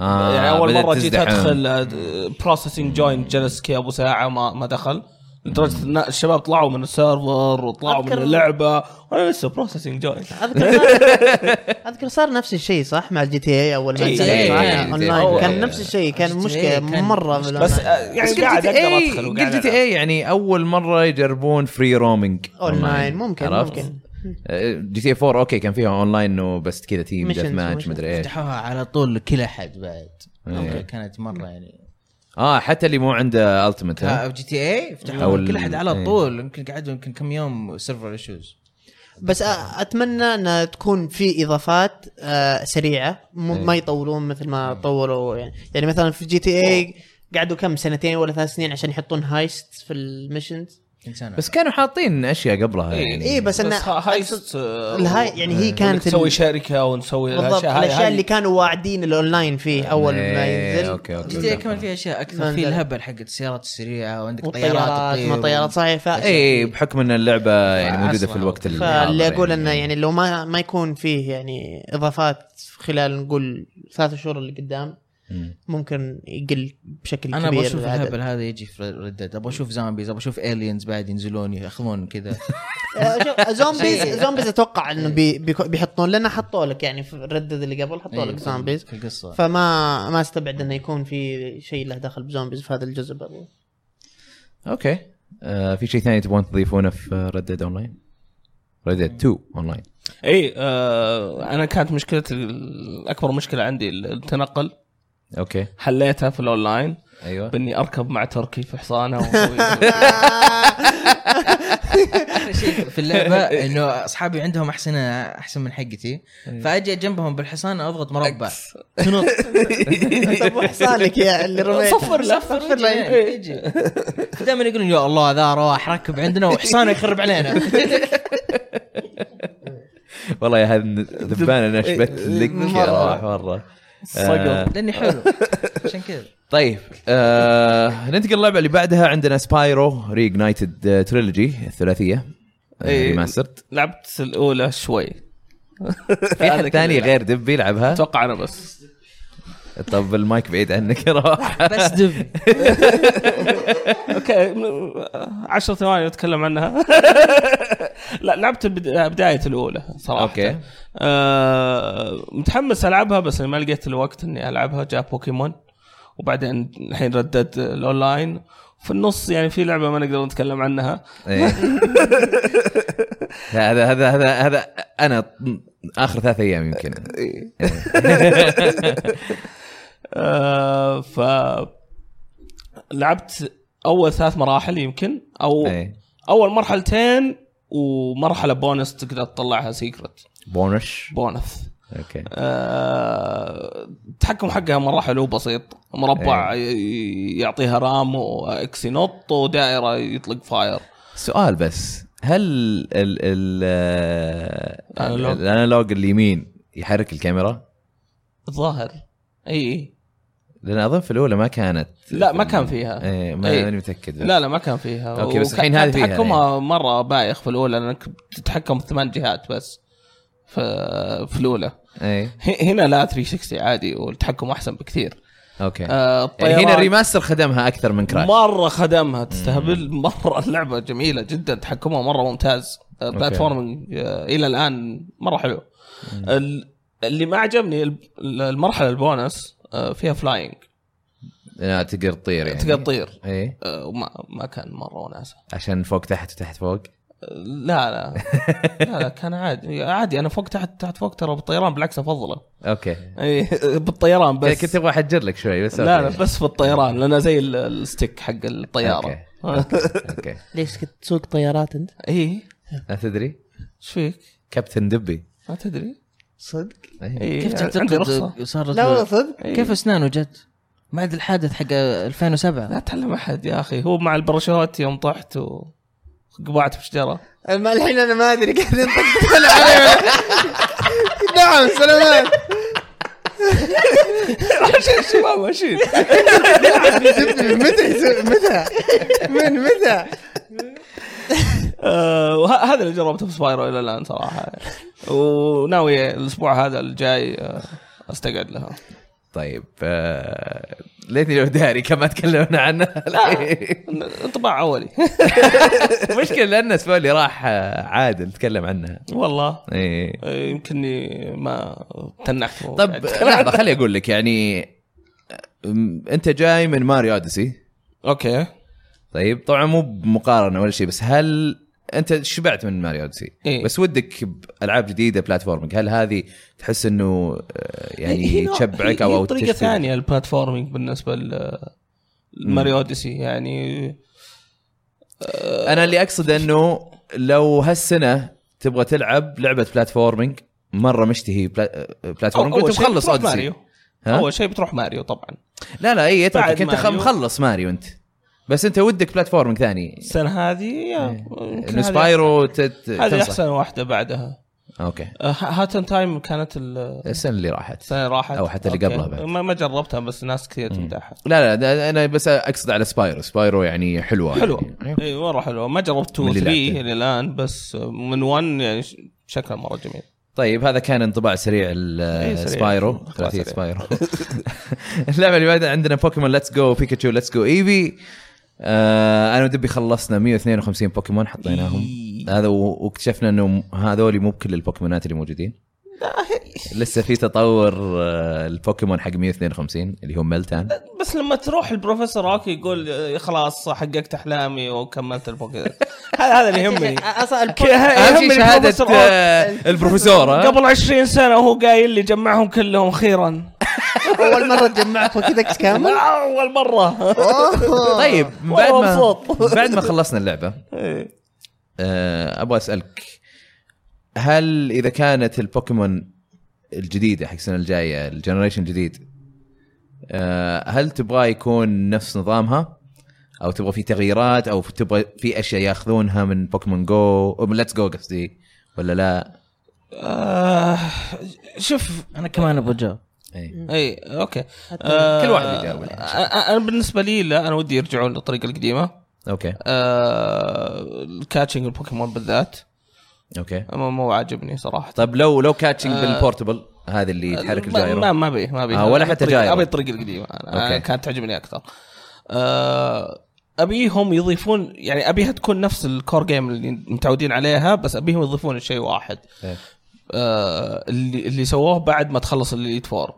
C: آه
A: يعني اول
C: بدأت
A: مره جيت
C: تزدحم.
A: ادخل بروسيسنج جوينت جلس كي ابو ساعه ما ما دخل لدرجه ان الشباب طلعوا من السيرفر وطلعوا من
D: أذكر-
A: اللعبه وانا لسه بروسيسنج جوينت
D: اذكر
A: [LAUGHS]
D: اذكر صار نفس الشيء صح مع الجي تي اي اول ما
A: إيه،
D: نزل
A: إيه،
D: معنا
C: إيه،
D: اونلاين
C: إيه.
D: كان نفس الشيء كان
E: GTA
D: مشكله
E: كان
D: مره
E: مشكلة.
A: بس
D: بالأونلاين.
A: آه، يعني
C: بس قلت
A: قاعد
C: GTA
A: اقدر
D: إيه،
A: ادخل وقاعد
C: قلت جي تي اي يعني اول مره يجربون فري رومينج
D: اونلاين ممكن
C: عرفت؟ آه،
D: ممكن
C: جي تي اي 4 اوكي كان فيها اونلاين انه بس كذا تيم
D: Missions
C: ديث ماتش
D: وmissions.
C: مدري ايش
E: فتحوها على طول لكل احد بعد
C: إيه.
E: أوكي، كانت مره يعني
C: اه حتى اللي مو عنده التيمت
E: جي تي اي
C: أو
E: فتحوها لكل
C: ال-
E: احد
C: طيب. إيه.
E: على طول يمكن قعدوا يمكن كم يوم سيرفر ايشوز
D: بس آه، اتمنى ان تكون في اضافات آه، سريعه مو-
E: إيه.
D: ما يطولون مثل ما طولوا يعني يعني مثلا في جي تي اي قعدوا كم سنتين ولا ثلاث سنين عشان يحطون هايست في المشنز
C: بس كانوا حاطين اشياء قبلها
A: إيه.
C: يعني
D: اي بس
A: بس
D: انه
A: هايست آه،
D: الهاي يعني
A: إيه.
D: هي كانت ال-
A: نسوي شركه ونسوي
D: بالضبط
A: هاي-
D: الاشياء
A: هاي-
D: اللي كانوا واعدين الاونلاين فيه اول ما
C: إيه،
D: ينزل
C: اوكي
E: جي تي
C: اوكي
E: اي كمان فيها اشياء اكثر
D: ما
E: في
D: نزل.
E: الهبل حق السيارات السريعه وعندك طيارات
D: والطيارات
E: تطير
D: ما
E: و- إيه،
D: طيارات صحيح ف...
C: اي إيه، بحكم ان اللعبه يعني موجوده
E: أصلاً.
C: في الوقت الحاضر
D: فاللي اقول انه يعني لو ما ما يكون فيه يعني اضافات خلال نقول ثلاث شهور اللي قدام
C: مم.
D: ممكن يقل بشكل
E: انا
D: كبير
E: ابغى اشوف
D: العدد.
E: الهبل هذا يجي في ردد ابغى اشوف زومبيز ابغى اشوف الينز بعد ينزلون ياخذون كذا
D: آه،
E: [LAUGHS]
D: شوف، زومبيز
E: إيه.
D: زومبيز اتوقع انه بي بيكو- بيحطون لنا حطوا لك يعني في ردد اللي قبل حطوا
E: إيه،
D: لك
E: في-
D: زومبيز
E: في القصه
D: فما ما استبعد انه يكون في شيء له دخل بزومبيز في هذا الجزء برضو
E: [LAUGHS]
D: [LAUGHS]
C: اوكي آه، في شيء ثاني تبغون تضيفونه في ردد اونلاين؟ ريدد 2 اونلاين
A: اي إيه، آه انا كانت مشكلتي ال- اكبر مشكله عندي التنقل
C: اوكي
A: حليتها في الاونلاين
C: ايوه
A: باني اركب مع تركي في حصانه وأسوي-
E: احلى شيء [LAUGHS] في اللعبه انه اصحابي عندهم احسن احسن من حقتي فاجي جنبهم بالحصان اضغط مربع [LAUGHS] تنط
D: طب حصانك يا اللي رميته
A: صفر له
E: صفر لين يجي دائما يقولون يا الله ذا راح ركب عندنا وحصانه يخرب علينا [LAUGHS]
C: والله يا هذا الذبان انا شبت لك يا راح مره
A: صقر
E: لاني حلو عشان كذا
C: طيب آه ننتقل للعبه اللي بعدها عندنا آه، سبايرو ريجنايتد تريلوجي الثلاثيه آه،
A: إيه. [LAUGHS]
C: ريماسترد
A: لعبت الاولى شوي
C: في حد ثاني غير دب بيلعبها
A: اتوقع انا بس
C: طب المايك بعيد عنك يا
E: [LAUGHS]
C: راح
E: بس دب
A: اوكي م- عشر ثواني اتكلم عنها [LAUGHS] لا لعبت البد- بدايه الاولى صراحه
C: أوكي.
A: آه متحمس العبها بس ما لقيت الوقت اني العبها جاء بوكيمون وبعدين الحين ردت الاونلاين في النص يعني في لعبه ما نقدر نتكلم عنها
C: إيه. هذا هذا هذا هذا انا اخر ثلاث ايام يمكن إيه.
A: آه ف لعبت اول ثلاث مراحل يمكن او
C: إيه.
A: اول مرحلتين ومرحله بونس تقدر تطلعها سيكرت
C: بونش
A: بونس
C: اوكي
A: آه، التحكم حقها مره حلو بسيط مربع ي- يعطيها رام واكس ينط ودائره يطلق فاير
C: سؤال بس هل ال ال
A: الأنالوج.
C: الانالوج الانالوج اليمين يحرك الكاميرا؟
A: الظاهر اي اي
C: لان اظن في الاولى ما كانت
A: لا ما كان فيها
C: ايه ما
A: إيه.
C: ماني متاكد
A: لا لا ما كان فيها
C: أوكي، بس
A: وكان-
C: الحين
A: كان
C: هذه فيها يعني.
A: تحكمها مره بايخ في الاولى لانك تتحكم بثمان جهات بس في في الاولى
C: ايه
A: ه- هنا لا 360 عادي والتحكم احسن بكثير
C: اوكي
A: آه،
C: يعني هنا
A: الطيران-
C: الريماستر خدمها اكثر من كراش
A: مره خدمها تستهبل مره [LAUGHS] اللعبه جميله جدا تحكمها مره ممتاز بلاتفورمينج آه، الى الان مره حلو ال- اللي ما عجبني الب- المرحله البونس آه، فيها فلاينج
C: لا، تقدر تطير يعني
A: تقدر تطير
C: ايه
A: آه، وما ما كان مره وناسه
C: عشان فوق تحت وتحت فوق
A: آه، لا لا لا لا كان عادي عادي انا فوق تحت تحت فوق ترى بالطيران بالعكس افضله
C: اوكي
A: اي بالطيران بس
C: إيه، كنت ابغى احجر لك شوي بس
A: لا لا
C: أوكي.
A: بس في الطيران لانه زي ال- الستيك حق الطياره [LAUGHS]
C: اوكي
D: ليش كنت تسوق طيارات انت؟
A: اي
C: ما تدري
A: ايش فيك؟
C: كابتن دبي
A: ما تدري
D: صدق؟
C: إيه.
A: إيه،
E: كيف
A: عندي رخصه
E: تعتقد صارت
D: لا والله صدق
E: كيف اسنانه جت بعد الحادث حق 2007
A: لا تعلم احد يا اخي هو مع الباراشوت يوم طحت وقبعت في شجره
D: ما الحين انا ما ادري [LAUGHS] قاعد ينطق طلع علي نعم سلامات
A: عشان الشباب ماشيين
D: جبتني من متى يسوي- متى؟ من متى؟
A: آه، وه- هذا اللي جربته في سبايرو الى الان صراحه وناوي الاسبوع هذا الجاي آه، استقعد لها
C: طيب آه... ليتني لو داري كم ما تكلمنا عنها
A: آه. انطباع اولي
C: المشكله لان الاسبوع اللي راح آه، عادل تكلم عنها
A: والله
C: إيه.
A: آه، يمكنني ما تنحت [LAUGHS]
C: طب لحظه خليني اقول لك يعني أم، انت جاي من ماريو اوديسي
A: اوكي
C: طيب طبعا مو بمقارنه ولا شيء بس هل انت شبعت من ماريو اوديسي
A: إيه.
C: بس ودك بالعاب جديده بلاتفورمينج هل هذه تحس انه آه، يعني
A: هي- هي-
C: تشبعك
A: هي
C: او
A: طريقه
C: تشبع-
A: ثانيه البلاتفورمينج بالنسبه لماريو اوديسي يعني
C: انا اللي اقصد انه لو هالسنه تبغى تلعب لعبه بلاتفورمينج مره مشتهي بلا... آه، بلاتفورمينج
A: أول
C: وانت
A: شيء
C: مخلص
A: بتروح
C: اوديسي
A: ماريو.
C: ها؟
A: اول شيء بتروح ماريو طبعا
C: لا لا اي
A: بعد
C: اتركك انت خ-
A: ماريو.
C: مخلص ماريو انت بس انت ودك بلاتفورمينج ثاني
A: السنه هذه يا- يمكن
C: انه
A: هذه-
C: سبايرو تت...
A: هذه
C: إيه. تنصح.
A: احسن واحده بعدها
C: اوكي
A: آه، هاتن تايم كانت ال-
C: السنه اللي راحت
A: السنه اللي راحت
C: أو حتى اللي
A: أوكي.
C: قبلها بعد.
A: ما ما جربتها بس ناس كثير تمدحها
C: لا لا ده انا بس اقصد على سبايرو سبايرو يعني حلوه
A: حلوه
C: يعني.
A: اي مره حلوه إيه، ما جربت 2
C: من اللي
A: 3
C: لعبته.
A: الى الان بس من 1 يعني ش- شكلها مره جميل
C: طيب هذا كان انطباع سريع
A: إيه، سريع.
C: سبايرو
A: انطباع
C: ثلاثيه
A: سريع. [LAUGHS]
C: سبايرو [LAUGHS] اللعبه اللي بعدها عندنا بوكيمون ليتس جو بيكاتشو ليتس جو ايفي آه انا ودبي خلصنا
A: إيه،
C: 152 بوكيمون حطيناهم هذا و- واكتشفنا انه م- هذول مو بكل البوكيمونات اللي موجودين لسه في تطور آه، البوكيمون حق 152 اللي هو ملتان
A: بس لما تروح البروفيسور اوكي يقول آه، خلاص حققت احلامي وكملت البوكيمون [LAUGHS] هذا هذا اللي يهمني
D: اصلا البو- [LAUGHS]
A: كي- ه-
C: اهم
A: يهمني
C: شيء شهاده
A: البروفيسور أوك.
C: آه، البروفيسور ها؟
A: قبل 20 سنه وهو قايل لي جمعهم كلهم خيرا
D: اول مره تجمعكم كذا كامل
A: اول مره
D: أوه.
C: طيب من بعد
A: والله
C: ما
A: مبسوط.
C: من بعد ما خلصنا اللعبه
A: إيه.
C: آه، ابغى اسالك هل اذا كانت البوكيمون الجديده حق السنه الجايه الجنريشن الجديد آه، هل تبغاه يكون نفس نظامها او تبغى في تغييرات او تبغى في اشياء ياخذونها من بوكيمون جو او من ليتس جو قصدي ولا لا
A: آه، شوف
E: انا كمان ابغى اجاوب
C: إيه.
A: اي اوكي آه،
C: كل واحد يجاوب الحين.
A: آه، انا بالنسبه لي لا انا ودي يرجعون للطريقه القديمه
C: اوكي
A: آه، الكاتشنج البوكيمون بالذات
C: اوكي
A: ما مو عاجبني صراحه
C: طيب لو لو كاتشنج بالبورتبل هذا اللي يتحرك الجايرو
A: آه. ما ما بي ما بي
C: آه، ولا
A: أبي
C: حتى
A: الطريقة-
C: جايرو.
A: ابي الطريقه القديمه انا أنا
C: أوكي.
A: كانت تعجبني اكثر آه، ابيهم يضيفون يعني ابيها تكون نفس الكور جيم اللي متعودين عليها بس ابيهم يضيفون شيء واحد
C: إيه.
A: آه، اللي اللي سووه بعد ما تخلص الليد فور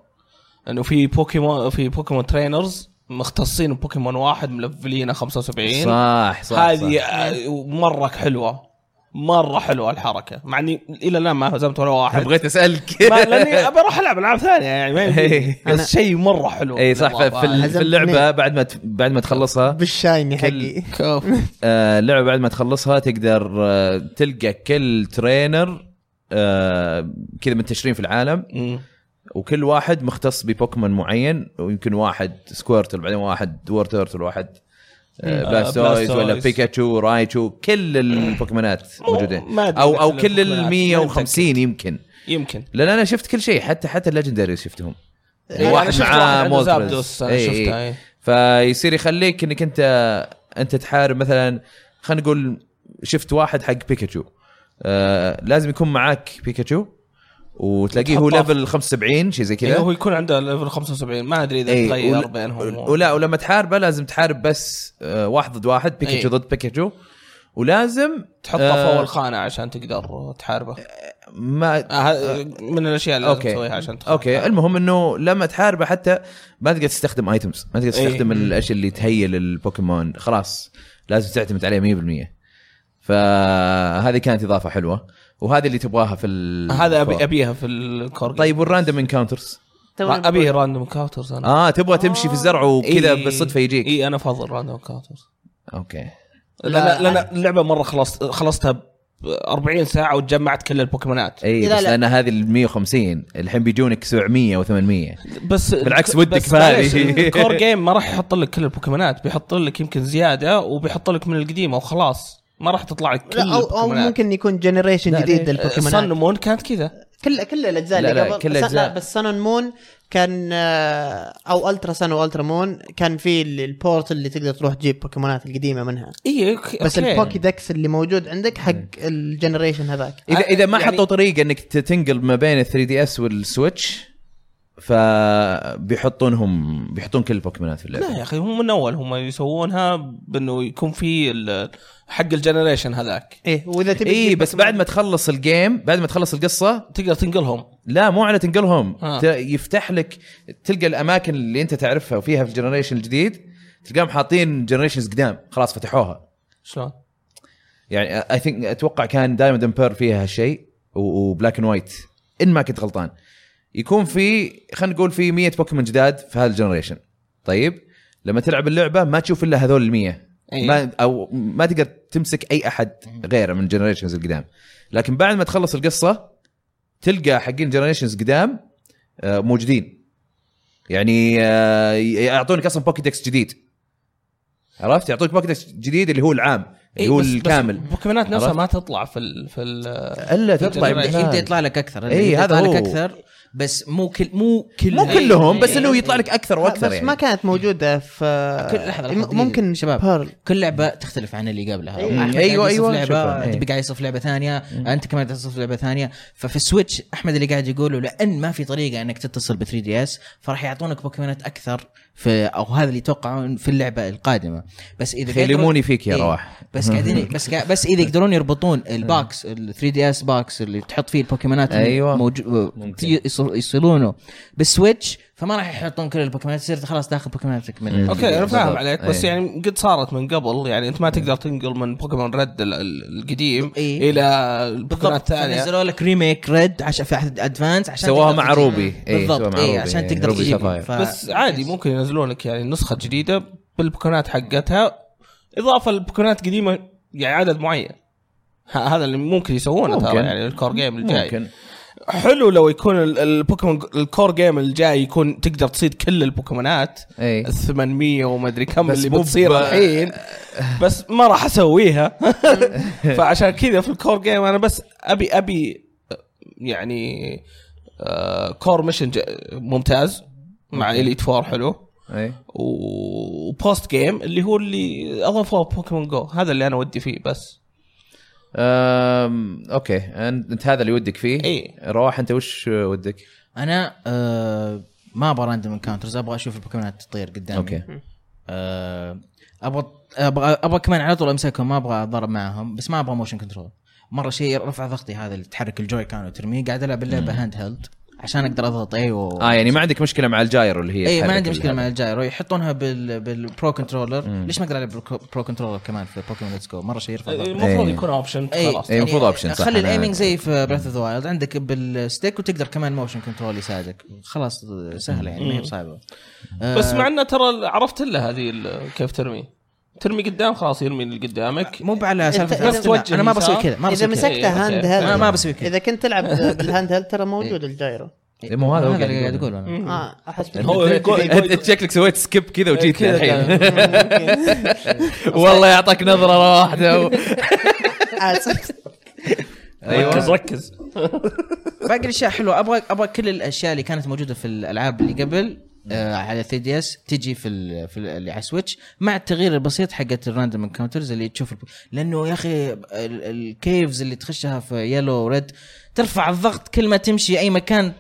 A: انه في بوكيمون في بوكيمون ترينرز مختصين بوكيمون واحد ملفلينه 75
C: صح صح
A: إيه. هذه
C: صح.
A: آه، مره حلوه مره حلوه الحركه مع اني الى الان ما هزمت ولا واحد
C: بغيت اسالك
A: ما لاني
C: [LAUGHS]
A: ابى اروح العب العاب ثانيه يعني ما يمديني. بس شيء مره حلو
C: اي إيه، صح ف- في ال- في
D: هزمت
C: اللعبه
D: اثنين.
C: بعد ما ت- بعد ما تخلصها
D: [LAUGHS] بالشايني
C: كل-
D: حقي
A: كوف
C: آه، اللعبه بعد ما تخلصها تقدر آه، تلقى كل ترينر آه، كذا منتشرين في العالم وكل واحد مختص ببوكيمون معين ويمكن واحد سكويرتل بعدين واحد وورترتل واحد آه،
A: آه،
C: بلاستويز ولا
A: بلاستويز.
C: بيكاتشو رايتشو كل البوكيمونات
A: مو-
C: موجودين
A: ما أدري
C: او او
A: كل
C: كل ال
A: البوكيمونات،
C: 150 يمكن
A: يمكن
C: لان انا شفت كل شيء حتى حتى الليجندري شفتهم إيه،
A: أنا شفت واحد عنده زابدوس، أنا إيه.
C: إي إي.
A: شفتها، إي.
C: إيه، فيصير يخليك انك انت انت تحارب مثلا خلينا نقول شفت واحد حق بيكاتشو آه لازم يكون معاك بيكاتشو وتلاقيه هو
A: وتحطه في-
C: ليفل 75 شيء زي
A: يعني
C: كذا إيه،
A: هو يكون عنده ليفل 75 ما ادري اذا
C: إي،
A: يتغير
C: ول-
A: بينهم
C: ول- ولا ولما تحاربه لازم تحارب بس آه واحد ضد واحد بيكاتشو
A: إي.
C: ضد بيكاتشو ولازم
A: تحطه
C: آه،
A: فوق الخانه عشان تقدر تحاربه
C: ما
A: آه، ه- من الاشياء اللي لازم
C: اوكي
A: تسويها عشان تحارب
C: اوكي المهم انه لما تحاربه حتى ما تقدر تستخدم ايتمز ما تقدر تستخدم الاشياء اللي تهيئ للبوكيمون خلاص لازم تعتمد عليه 100% فهذه كانت اضافه حلوه وهذه اللي تبغاها في ال
A: هذا ابي ابيها في الكور
C: طيب والراندوم انكاونترز
A: را- ابي راندوم كاوترز انا
C: اه تبغى تمشي في الزرع وكذا
A: إي.
C: بالصدفه يجيك
A: اي انا فاضل راندوم كاوترز
C: اوكي
A: لان لان اللعبه مره خلصت خلصتها ب 40 ساعه وجمعت كل البوكيمونات
C: اي
D: لا،
C: إيه، بس
D: لا.
C: لان هذه ال 150 الحين بيجونك 700 و800
A: بس
C: بالعكس ودك
A: بس
C: في هذه. [LAUGHS]
A: معليش، الكور جيم ما راح يحط لك كل البوكيمونات بيحط لك يمكن زياده وبيحط لك من القديمه وخلاص ما راح تطلع لك كل
D: لا او او
A: البوكيمونات
D: ممكن يكون جنريشن
C: لا،
D: جديد
C: ليش؟
A: سن
D: للبوكيمونات
A: مون كانت كذا
D: كل كل الاجزاء
C: لا،
D: اللي
C: لا،
D: قبل
C: كل
D: بس- لا
C: الأجزاء.
D: بس سن مون كان آه، او الترا سن والترا مون كان في ال- البورت اللي تقدر تروح تجيب بوكيمونات القديمه منها
A: اي اوكي
D: بس
A: أوكي.
D: البوكي دكس اللي موجود عندك حق الجنريشن هذاك
C: اذا اذا ما
A: يعني-
C: حطوا طريقه انك ت- تنقل ما بين ال 3 دي اس والسويتش فبيحطونهم بيحطون كل البوكيمونات في
A: لا
C: اللعبه
A: يا اخي هم من اول هم يسوونها بانه يكون في ال- حق الجنريشن هذاك
D: ايه واذا تبي
C: اي
D: تجيب
C: إيه، بس بعد ما تخلص الجيم بعد ما تخلص القصه
A: تقدر تنقلهم
C: لا مو على تنقلهم
A: آه.
C: ت- يفتح لك تلقى الاماكن اللي انت تعرفها وفيها في الجنريشن الجديد تلقاهم حاطين جنريشنز قدام خلاص فتحوها
A: شلون؟
C: يعني اي ثينك اتوقع كان دايموند امبير فيها هالشيء وبلاك اند وايت ان ما كنت غلطان يكون في خلينا نقول في 100 بوكيمون جداد في هذا الجنريشن طيب لما تلعب اللعبه ما تشوف الا هذول ال 100
A: أي.
C: ما او ما تقدر تمسك اي احد غيره من الجنريشنز القدام لكن بعد ما تخلص القصه تلقى حقين جنريشنز قدام آه، موجودين يعني آه، يعطونك اصلا بوكيدكس جديد عرفت يعطوك بوكيدكس جديد اللي هو العام اللي هو
A: إيه، بس- بس
C: الكامل
A: البوكيمونات نفسها
C: عرفت؟ إيه،
A: ما تطلع في ال في ال
C: الا تطلع
A: طيب،
E: يبدا يبدأ
C: بالبلان.
E: يطلع لك اكثر
C: إي،
E: يبدأ
C: إيه، هذا
E: يطلع لك
C: هو.
E: اكثر بس مو كل مو كل
C: مو كلهم بس
E: إي،
C: انه
E: إي.
C: يطلع لك اكثر واكثر
D: بس
C: يعني
D: ما كانت موجوده في
E: كل- لحظة، لحظة،
D: م- ممكن
E: دقيقة. شباب.
D: بيرل
E: كل لعبه تختلف عن اللي قبلها
D: أيوة.
E: أحمد قاعد
C: أيوة،
E: يصف
C: أيوة، شكراً.
E: لعبه
C: أيوة.
E: تبي قاعد يصف لعبه ثانيه انت كمان قاعد تصف لعبه ثانيه ففي السويتش احمد اللي قاعد يقوله لان ما في طريقه انك تتصل ب 3 دي اس فراح يعطونك بوكيمونات اكثر في او هذا اللي يتوقعه في اللعبه القادمه بس اذا قدروا-
C: يلموني فيك يا
E: إيه.
C: رواح إيه.
E: بس
C: [LAUGHS]
E: قاعدين بس قا... بس اذا يقدرون يربطون الباكس ال 3 دي اس باكس اللي تحط فيه البوكيمونات اللي
C: أيوة.
E: موجو...
C: ممكن.
E: يص- يصلونه بالسويتش فما راح يحطون كل البوكيمونات تصير خلاص داخل بوكيموناتك
C: إيه.
E: من ال
A: اوكي انا فاهم
C: بالضبط. إيه.
A: عليك بس
C: أي.
A: يعني قد صارت من قبل يعني انت ما تقدر تنقل من بوكيمون ريد ال- ال- القديم
E: إيه.
A: الى البوكيمونات
E: بالضبط
A: الثانيه
E: نزلوا لك ريميك ريد عشان في أحد- ادفانس عشان
C: سواها
E: تقدر
C: مع
E: تجيب-
C: روبي إيه، سواها
E: بالضبط
C: مع
E: اي
C: روبي.
E: عشان
C: إيه،
E: تقدر
C: روبي
E: تجيب
C: سفاير.
E: ف...
A: بس عادي ممكن ينزلون لك يعني نسخه جديده بالبوكيمونات حقتها اضافه لبوكيمونات قديمه يعني عدد معين ه- هذا اللي ممكن يسوونه ترى
C: ممكن.
A: يعني الكور جيم الجاي
C: ممكن
A: حلو لو يكون ال- البوكيمون الكور جيم الجاي يكون تقدر تصيد كل البوكيمونات
C: اي
A: ال 800 وما ادري كم
C: إيه. بس
A: اللي
C: مو ب-
A: بتصير الحين بس ما راح
C: [LAUGHS]
A: اسويها [LAUGHS] فعشان كذا في الكور جيم انا بس ابي ابي يعني آه، كور ميشن ج- ممتاز مع اليت فور حلو
C: اي
A: و- وبوست جيم اللي هو اللي اضافوه بوكيمون جو هذا اللي انا ودي فيه بس
C: أم، اوكي انت أنت هذا اللي ودك فيه
A: إي.
C: رواح انت وش ودك؟
E: انا آه ما ابغى راندوم انكاونترز ابغى اشوف البوكيمونات تطير قدامي
C: اوكي
E: آه، ابغى ابغى ابغى كمان على طول امسكهم ما ابغى اتضارب معهم بس ما ابغى موشن كنترول مره شيء رفع ضغطي هذا اللي تحرك الجوي كان وترميه قاعد العب اللعبه هاند هيلد عشان اقدر اضغط اي و...
C: اه يعني ما عندك مشكله مع الجاير اللي
E: اي
C: هي
E: إيه، ما
C: تحرك
E: عندي مشكله
C: ال- [LAUGHS]
E: مع الجايرو يحطونها بال بالبرو كنترولر ليش ما اقدر العب برو كنترولر كمان في بوكيمون ليتس جو مره شيء يرفع ضغطي
A: المفروض
C: إيه.
A: يكون اوبشن
E: اي
A: خلاص
C: إيه، المفروض option، صح،
E: يعني خلي
C: أنا-
E: الايمنج زي في براث اوف ذا وايلد عندك بالستيك وتقدر كمان موشن كنترول يساعدك خلاص سهله يعني ما هي بصعبه آه،
A: بس مع انه ترى عرفت الا هذه ال- كيف ترمي ترمي قدام خلاص يرمي اللي قدامك
E: مو على
D: أنت-
E: سالفه
D: بس
E: بس
A: توجه
E: انا ما بسوي
A: يسار.
E: كذا ما
D: اذا
E: بسوي كذا
A: إيه،
D: مسكته هاند
A: أوكي.
D: هيلد
E: ما- ما بسوي كذا.
D: اذا كنت تلعب بالهاند هيلد ترى موجود الجايرو
C: إيه، مو هذا هو
E: هذا اللي
C: قاعد
E: قاعد
C: يقول
E: اقوله انا
D: اه احس
A: هو يقول-
D: [LAUGHS]
C: انت أنت شكلك سويت سكيب
E: إيه،
C: كذا وجيت
A: كذا
C: [LAUGHS] الحين
D: ممكن.
C: والله يعطيك نظره
E: [LAUGHS]
C: واحده و-
D: اسف أيوة.
C: أيوة.
A: ركز ركز
E: باقي الاشياء حلوه ابغى ابغى كل الاشياء اللي كانت موجوده في الالعاب اللي قبل آه على 3 دي اس تجي في ال في ال اللي على السويتش مع التغيير البسيط حقت الراندوم انكاونترز اللي تشوف الب- لانه يا اخي ال- الكيفز اللي تخشها في يلو ريد ترفع الضغط كل ما تمشي اي مكان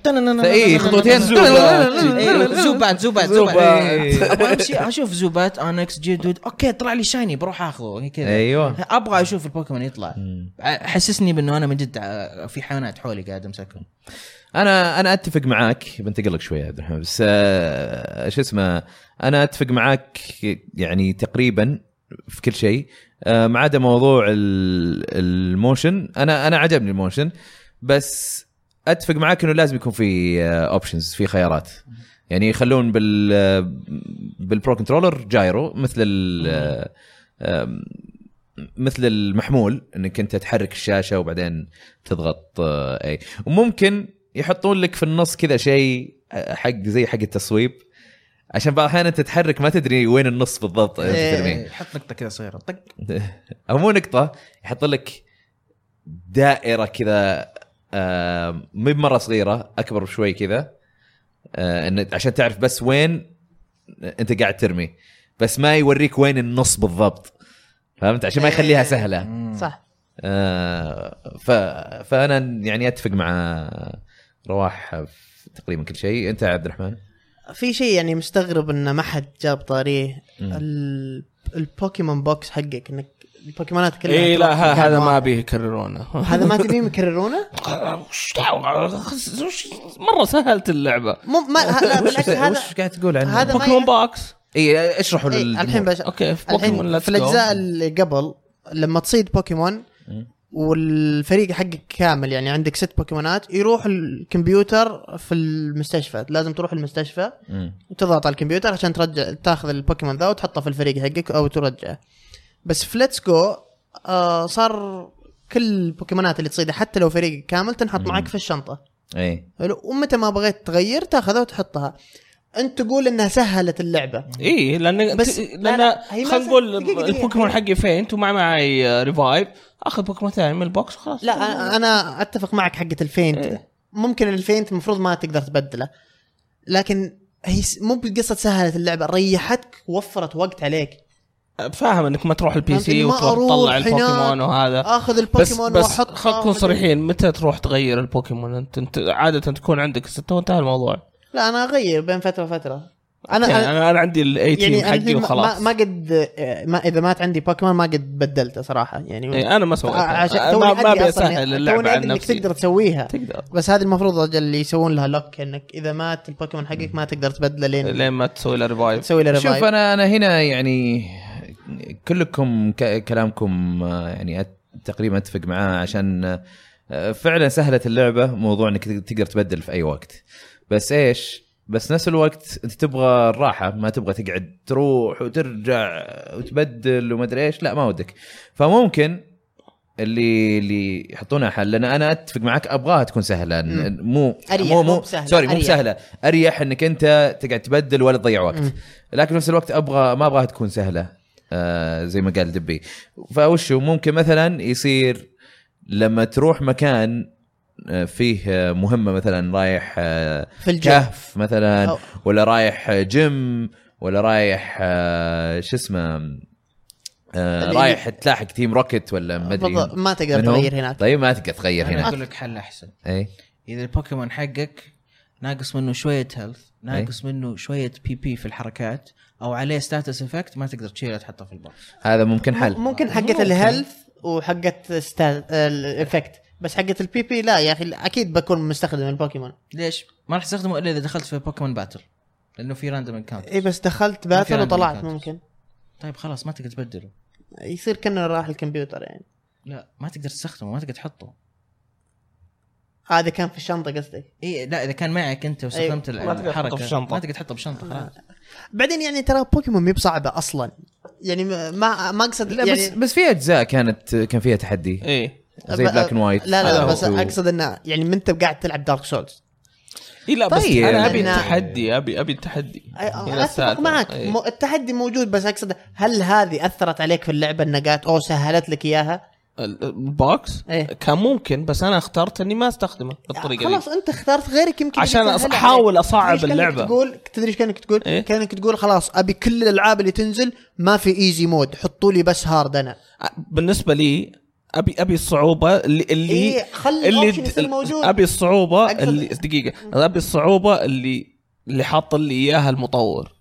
C: إيه، خطوتين.
E: إيه، زوبات زوبات زوبات
C: زوبات.
E: ابغى امشي اشوف زوبات انكس جدود اوكي طلع لي شايني بروح اخذه كذا
C: ايوه
E: ابغى اشوف البوكيمون يطلع حسسني بانه انا من جد آه، في حيوانات حولي قاعد امسكهم
C: انا انا اتفق معاك بنتقل لك شويه يا عبد الرحمن بس آه، شو اسمه انا اتفق معاك يعني تقريبا في كل شيء آه، ما عدا موضوع ال- الموشن انا انا عجبني الموشن بس اتفق معاك انه لازم يكون في اوبشنز في خيارات يعني يخلون بال بالبرو كنترولر جايرو مثل ال آه، آم، مثل المحمول انك انت تحرك الشاشه وبعدين تضغط آه، اي وممكن يحطون لك في النص كذا شيء آه، حق زي حق التصويب عشان بعض الاحيان انت تتحرك ما تدري وين النص بالضبط طيب، أنت
E: إيه.
C: ترميه.
E: حط نقطه كذا صغيره طق
C: او مو نقطه يحط لك دائره كذا آه، مو مره صغيره اكبر بشوي كذا آه، إن- عشان تعرف بس وين انت قاعد ترمي بس ما يوريك وين النص بالضبط فهمت عشان ما
D: إيه.
C: يخليها سهله
D: صح
C: آه، ف... فانا يعني اتفق مع رواح في تقريبا كل شيء انت يا عبد الرحمن
D: في شيء يعني مستغرب انه ما حد جاب طاريه
C: مم.
D: ال- البوكيمون بوكس حقك انك البوكيمونات كلها
A: اي إيه، لا
D: تروح
A: ه-
D: مكان
A: هذا ما
D: واحد.
A: ابيه يكررونه [LAUGHS]
D: هذا ما تبيهم يكررونه؟
A: وش دعوة؟ وش- مره سهلت اللعبه
D: مو ما ه- لا بالعكس هذا
C: وش قاعد تقول عنه؟
D: هذا ما
A: بوكيمون
D: ي-
A: باكس
C: اي اشرحوا
D: إيه،
C: للجمهور.
D: الحين بش...
A: اوكي في بوكيمون
D: الحين
A: ليتس
D: في الاجزاء اللي قبل لما تصيد بوكيمون
C: مم.
D: والفريق حقك كامل يعني عندك ست بوكيمونات يروح الكمبيوتر في المستشفى لازم تروح المستشفى
C: مم.
D: وتضغط على الكمبيوتر عشان ترجع تاخذ البوكيمون ذا وتحطه في الفريق حقك او ترجعه بس في ليتس جو آه صار كل البوكيمونات اللي تصيدها حتى لو فريقك كامل تنحط معك في الشنطه
C: اي
D: حلو ومتى ما بغيت تغير تاخذها وتحطها انت تقول انها سهلت اللعبه
A: اي لان
D: بس-
A: بس
D: لا،
A: لان
D: لا، هي ما
A: خلينا نقول
D: دقيقة، دقيقة.
A: البوكيمون حقي فين ومع معي ريفايف اخذ بوكيمون ثاني من البوكس خلاص
D: لا أنا- انا اتفق معك حقه الفينت
A: إيه.
D: ممكن الفينت المفروض ما تقدر تبدله لكن هي س- مو بقصه سهلت اللعبه ريحتك ووفرت وقت عليك
A: فاهم انك ما تروح البي
D: فهمت إني
A: سي
D: ما
A: وتروح
D: أروح
A: تطلع
D: هناك.
A: البوكيمون وهذا
D: اخذ
A: بس
D: البوكيمون
A: بس
D: واحطه
A: خلينا نكون صريحين متى تروح تغير البوكيمون انت, انت عاده تكون عندك سته وانتهى الموضوع
D: لا انا اغير بين فتره وفتره انا
A: يعني
D: انا
A: انا انا عندي الاي تيم
D: يعني أنا
A: حقي
D: الحين ما-
A: وخلاص
D: ما, ما قد آه، ما اذا مات عندي بوكيمون ما قد بدلته صراحه يعني
A: إيه، انا ما سويت
D: عشان
A: ما, ما
D: أدري أصلاً-
A: بيسهل
D: توني
A: اللعبه
D: أدري
A: عن
D: انك
A: نفسي
D: تقدر تسويها
A: تقدر
D: بس هذه المفروض أجل اللي يسوون لها لوك انك اذا مات البوكيمون حقك ما تقدر تبدله لين
A: لين ما تسوي له ريفايف
D: تسوي له
C: شوف
D: ريفايف
C: انا انا هنا يعني كلكم ك- كلامكم آه، يعني أت- تقريبا اتفق معاه عشان آه، فعلا سهلت اللعبه موضوع انك تق- تقدر تبدل في اي وقت بس ايش بس نفس الوقت انت تبغى الراحه ما تبغى تقعد تروح وترجع وتبدل وما ادري ايش لا ما ودك فممكن اللي اللي يحطونها حل لان انا اتفق معك ابغاها تكون سهله
D: مم.
C: مو
D: أريح،
C: مو
D: مو
C: مو
D: بسهلة،
C: سوري مو
D: أريح.
C: سهله اريح انك انت تقعد تبدل ولا تضيع وقت
D: مم.
C: لكن في نفس الوقت ابغى ما ابغاها تكون سهله آه زي ما قال دبي فوش هو؟ ممكن مثلا يصير لما تروح مكان آه، فيه آه، مهمه مثلا رايح آه،
D: في الجيم
C: كهف مثلا
D: أو-
C: ولا رايح آه، جيم ولا رايح آه، شو اسمه آه،
D: اللي-
C: رايح تلاحق تيم روكت ولا ما ادري
D: بالضبط، إيه؟ ما تقدر
C: من هو؟
D: تغير هناك
C: طيب ما تقدر تغير إيه،
E: انا
C: هنا
E: اقول لك حل احسن
C: اي
E: اذا البوكيمون حقك ناقص منه شويه هيلث ناقص منه شويه بي بي في الحركات او عليه ستاتس افكت ما تقدر تشيله تحطه في البوكس
C: هذا ممكن حل
D: ممكن حقت الهيلث وحقت ستال الافكت بس حقت البي بي لا يا اخي اكيد بكون مستخدم البوكيمون
E: ليش؟ ما راح تستخدمه الا اذا دخلت في بوكيمون باتل لانه في راندوم انكاونتر
A: إيه.
D: اي إيه، بس دخلت
E: ما في
D: باتل
E: عندي
D: وطلعت
E: مكان.
D: ممكن
E: طيب خلاص ما تقدر تبدله
D: يصير كنا راح الكمبيوتر يعني
E: لا ما تقدر تستخدمه ما تقدر تحطه
D: هذا كان في الشنطه قصدك
E: اي إيه، لا اذا كان معك انت واستخدمت
A: إيه، ما تقدر
E: أيوه.
A: تحطه
E: الحركه
A: في شنطة.
E: ما تقدر تحطه في شنطه خلاص
D: بعدين يعني ترى بوكيمون مي بصعبه اصلا يعني ما- ما ما اقصد
C: لا بس
D: يعني
C: بس في اجزاء كانت كان فيها تحدي
A: ايه
C: زي
D: ب-
C: بلاك اند وايت
D: لا لا, لا بس اقصد انه يعني ما انت قاعد تلعب دارك سولز
A: إيه لا بس
C: طيب.
A: انا ابي
D: أنا-
A: التحدي ابي ابي التحدي هنا
D: اتفق
A: السالفة.
D: معك
A: إيه.
D: مو- التحدي موجود بس اقصد هل هذه اثرت عليك في اللعبه انها قالت او سهلت لك اياها؟
A: ال- البوكس
D: إيه.
A: كان ممكن بس انا اخترت اني ما استخدمه بالطريقه دي
D: آه، خلاص انت اخترت غيرك يمكن
A: عشان
D: يسهلها
A: أص-
D: عليك.
A: أحاول أصعب
D: تدري إيش كأنك
A: اللعبة.
D: تقول تدري ايش كانك تقول؟
A: إيه؟
D: كانك تقول خلاص ابي كل الالعاب اللي تنزل ما في ايزي مود حطوا لي بس هارد انا
A: بالنسبه لي ابي ابي الصعوبه اللي اللي
D: إيه،
A: اللي
D: خلي الأوبشن يصير موجود.
A: ابي الصعوبه
D: أقصد-
A: اللي دقيقه ابي الصعوبه اللي اللي حاط لي اياها المطور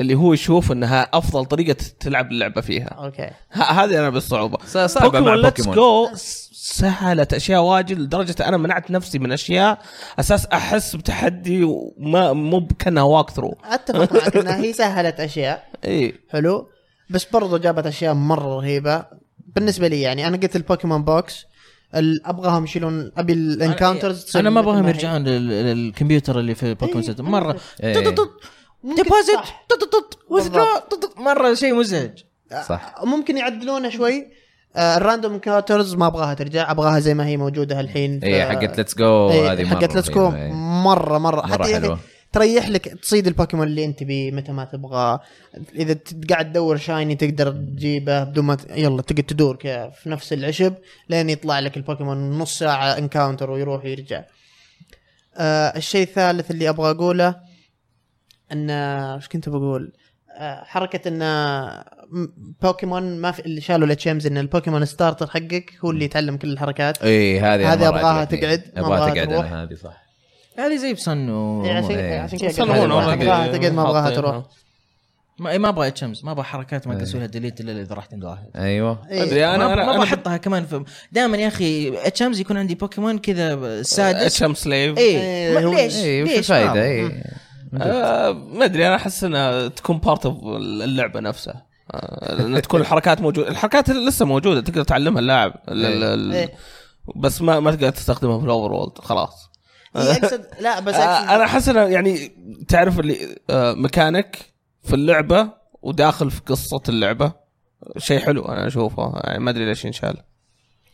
A: اللي هو يشوف انها افضل طريقه تلعب اللعبه فيها
D: اوكي
A: ه- هذه انا بالصعوبه
C: صعبه مع
A: ليتس
C: بوكيمون
A: جو سهلت اشياء واجد لدرجه انا منعت نفسي من اشياء اساس احس بتحدي وما مو كانها واك ثرو
D: اتفق معك انها
E: [LAUGHS]
D: هي سهلت اشياء
A: اي
D: حلو بس برضو جابت اشياء مره رهيبه بالنسبه لي يعني انا قلت البوكيمون بوكس ال- ابغاهم يشيلون ابي الانكاونترز تصير
E: انا إيه، ما ابغاهم
D: مثل هي.
E: يرجعون لل- للكمبيوتر اللي في بوكيمون سنتر مره
C: إيه.
E: تط- تط-
D: ممكن
E: ديبوزيت
D: صح.
E: تط- تط- withdraw، تط- تط- مره شيء مزعج
C: صح
D: ممكن يعدلونه شوي آه، الراندوم انكاونترز ما ابغاها ترجع ابغاها زي ما هي موجوده الحين ف-
C: اي إيه، حقت ليتس جو
D: إيه،
C: هذه
D: حقت ليتس جو
C: مرة
D: مره مره حتى يا أخي
C: حلوه
D: تريح لك تصيد البوكيمون اللي انت بيه متى ما تبغى اذا ت- قاعد تدور شايني تقدر تجيبه بدون ما ت- يلا تقعد تدور كذا في نفس العشب لين يطلع لك البوكيمون نص ساعه انكاونتر ويروح ويرجع. آه الشيء الثالث اللي ابغى اقوله ان ايش كنت بقول؟ آه حركه ان م- بوكيمون ما في اللي شالوا الاتشيمز ان البوكيمون ستارتر حقك هو اللي يتعلم كل الحركات
C: اي إيه، هذه
D: هذه
C: مرة
D: أبغاها
C: عجبتني.
D: تقعد، ما
C: ابغاها
D: أبغاها
C: تقعد
D: تروح.
C: انا هذه صح
E: هذه يعني زي بسن و
D: إيه، عشان
C: إيه.
D: عشان كذا قلت
A: يصلحون
D: ما
A: already.
D: أبغاها تقعد، ما ابغاها
A: حاطينها.
D: تروح
E: ما ما ابغى اتشمس ما ابغى حركات ما اسوي لها ديليت الا اذا رحت عند واحد
C: ايوه
D: إيه.
A: ادري انا
E: ما
A: انا
E: ابغى
A: انا
E: احطها كمان في دائما يا اخي اتشمس يكون عندي بوكيمون كذا السادس
A: اتشم سليف
E: اي
D: إيه، هو-
E: ليش؟
C: اي وش إيه.
E: ليش؟
C: الفائده
E: ما-
C: اي
A: آه، ما ادري انا احس انها تكون بارت اوف اللعبه نفسها آه، ان تكون الحركات موجوده الحركات لسه موجوده تقدر تعلمها اللاعب ال- ال- ال-
D: إيه.
A: بس ما ما تقدر تستخدمها في الاوفر وولد خلاص
D: إيه، اقصد لا بس أقصد-
A: آه، انا احس انها يعني تعرف اللي آه، مكانك في اللعبه وداخل في قصه اللعبه شيء حلو انا اشوفه يعني ما ادري ليش ينشال
C: إيه.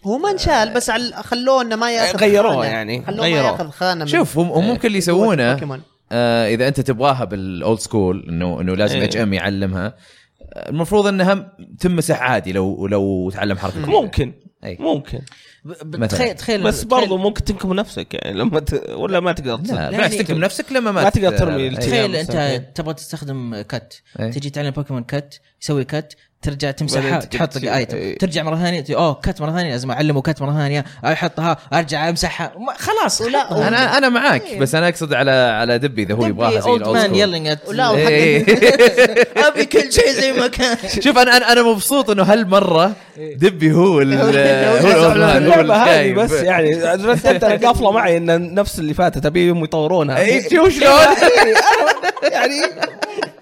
D: هو ما انشال بس عل... خلوه انه ما ياخذ
A: غيروه
D: خانة.
A: يعني،
D: خلوه
A: غيروه.
D: ما إيه، ياخذ خانه من
C: شوف هم هم ممكن اللي
D: قوة
C: يسوونه
D: بوكيمون.
C: آه، اذا انت تبغاها بالاولد سكول انه انه لازم
A: إيه.
C: اتش ام يعلمها آه، المفروض انها تمسح عادي لو لو تعلم إيه. حركه
A: ممكن
C: أي.
A: ممكن
E: ب-
C: مثلاً.
E: ب- تخيل تخيل
A: بس برضو ممكن تنكم نفسك يعني لما ت... ولا ما تقدر
C: لا
A: تصير.
C: بالعكس
E: يعني-
C: تكتم نفسك لما
A: ما
C: ما إيه.
A: تقدر ترمي
C: أي.
A: التيم.
E: تخيل
A: أيام
E: انت
A: سنتين.
E: تبغى تستخدم كت
C: إيه.
E: تجي تعلم بوكيمون كت يسوي كت ترجع تمسحها
A: بعدين
E: تحط
A: تكتب-
E: ايتم
A: إيه.
E: ترجع مره ثانيه تي- اوه كت مره ثانيه لازم اعلمه كت مره ثانيه احطها ارجع امسحها ما- خلاص
D: ولا
C: انا انا معاك بس انا اقصد على على دبي اذا هو يبغاها زي
E: اولد مان
C: الاولد
E: يلينج ات
D: ولا
C: إيه.
D: وحق ابي كل شيء زي ما كان
C: [LAUGHS] شوف انا انا انا مبسوط انه هالمره دبي هو ال هو الأولد مان، هو
A: اللعبه هذه
C: الجايب.
A: بس يعني رتبت
C: [LAUGHS]
A: انا قافله معي ان نفس اللي فاتت ابيهم يطورونها إيه،
C: اي إيه، شوف شلون
A: يعني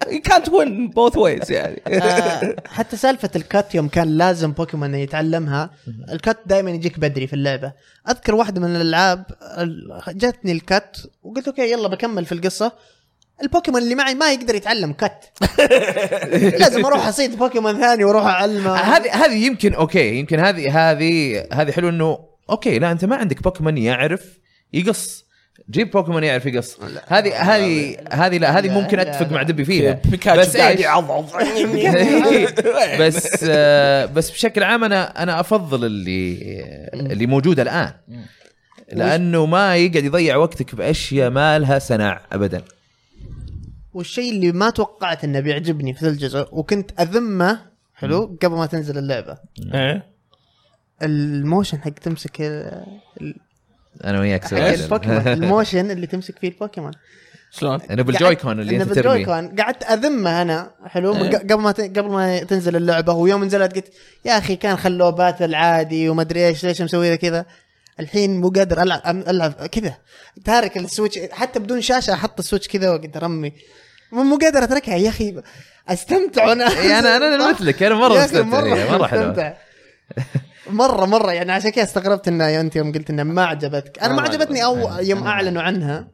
A: you can't win both ways يعني
D: آه، حتى سالفه الكات يوم كان لازم بوكيمون يتعلمها الكات دائما يجيك بدري في اللعبه اذكر واحده من الالعاب ال- جتني الكات وقلت اوكي يلا بكمل في القصه البوكيمون اللي معي ما يقدر يتعلم كات لازم اروح اصيد بوكيمون ثاني واروح اعلمه
C: هذه هذه يمكن اوكي يمكن هذه هذه هذه حلو انه اوكي لا انت ما عندك بوكيمون يعرف يقص جيب بوكيمون يعرف يقص هذه هذه هذه لا هذه
D: لا،
C: ممكن
D: لا،
C: اتفق
D: لا.
C: مع دبي فيها
A: بيكاتشو
C: بس
A: قاعد
C: إيش؟ [LAUGHS]
A: يعضعض
C: يعني.
D: [LAUGHS]
C: بس آه، بس بشكل عام انا انا افضل اللي اللي موجود الان لانه ما يقعد يضيع وقتك باشياء ما لها سنع ابدا
D: والشيء اللي ما توقعت انه بيعجبني في ذا الجزء وكنت اذمه حلو قبل ما تنزل اللعبه
A: إيه.
D: الموشن حق تمسك ال- ال-
C: انا وياك سوينا [LAUGHS]
D: البوكيمون الموشن اللي تمسك فيه البوكيمون
A: شلون؟
C: انا
D: يعني
C: بالجويكون اللي
D: إنه
C: انت ترميه إيه.
D: بالجويكون قعدت اذمه انا حلو من ق- قبل ما ت- قبل ما تنزل اللعبه ويوم نزلت قلت يا اخي كان خلوه باتل عادي وما ادري ايش ليش مسوي له كذا الحين مو قادر العب أم- العب كذا تارك السويتش حتى بدون شاشه احط السويتش كذا واقعد ارمي مو مو قادر اتركها يا اخي استمتع وانا
C: إيه، أنا- أنا مثلك، أنا مرة
D: يا أخي
C: مستمتع، إيه، مرة حلوة.
D: مستمتع. مره مره يعني عشان كذا استغربت ان انت يوم قلت انها ما عجبتك انا
E: أنا
D: ما
E: ما
D: عجبتني
E: عجبتني.
D: او يوم اعلنوا عنها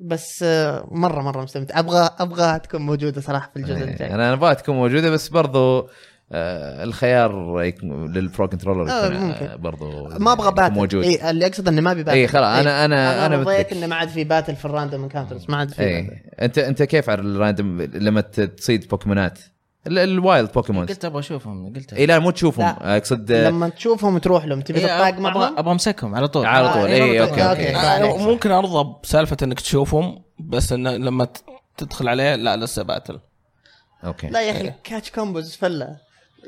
D: بس آه، مره مره مستمتع ابغى ابغاها تكون موجوده صراحه في الجزء
C: إيه،
D: الجاي
C: انا ابغاها تكون موجوده بس برضو آه، الخيار يكون- للبرو كنترولر
D: آه،
C: يكون آه،
D: ممكن.
C: برضو
D: ما ابغى
C: يكون
D: باتل
C: موجود
D: إيه اللي اقصد انه ما ابي باتل
C: إيه، خلاص، أنا- أنا- أنا
D: رضيت
C: مثلك.
D: انه ما عاد في باتل في الراندوم انكاونترز ما عاد في باتل.
C: اي انت انت إيه. كيف على الراندوم لما ت- تصيد بوكيمونات ال- الوايلد بوكيمونز
E: قلت ابغى اشوفهم قلت
C: اي لا مو تشوفهم
D: لا.
C: اقصد آه،
D: لما تشوفهم تروح لهم تبي
E: إيه،
D: تطاق
E: أبغى-
D: معهم
E: ابغى امسكهم على طول
C: على طول
D: آه،
C: اي
D: إيه،
C: اوكي
D: أوكي.
C: اوكي
A: أنا
D: عليك.
A: ممكن ارضى بسالفه انك تشوفهم بس انه لما ت- تدخل عليه لا لسه باتل
C: اوكي
D: لا يا اخي كاتش كومبوز فله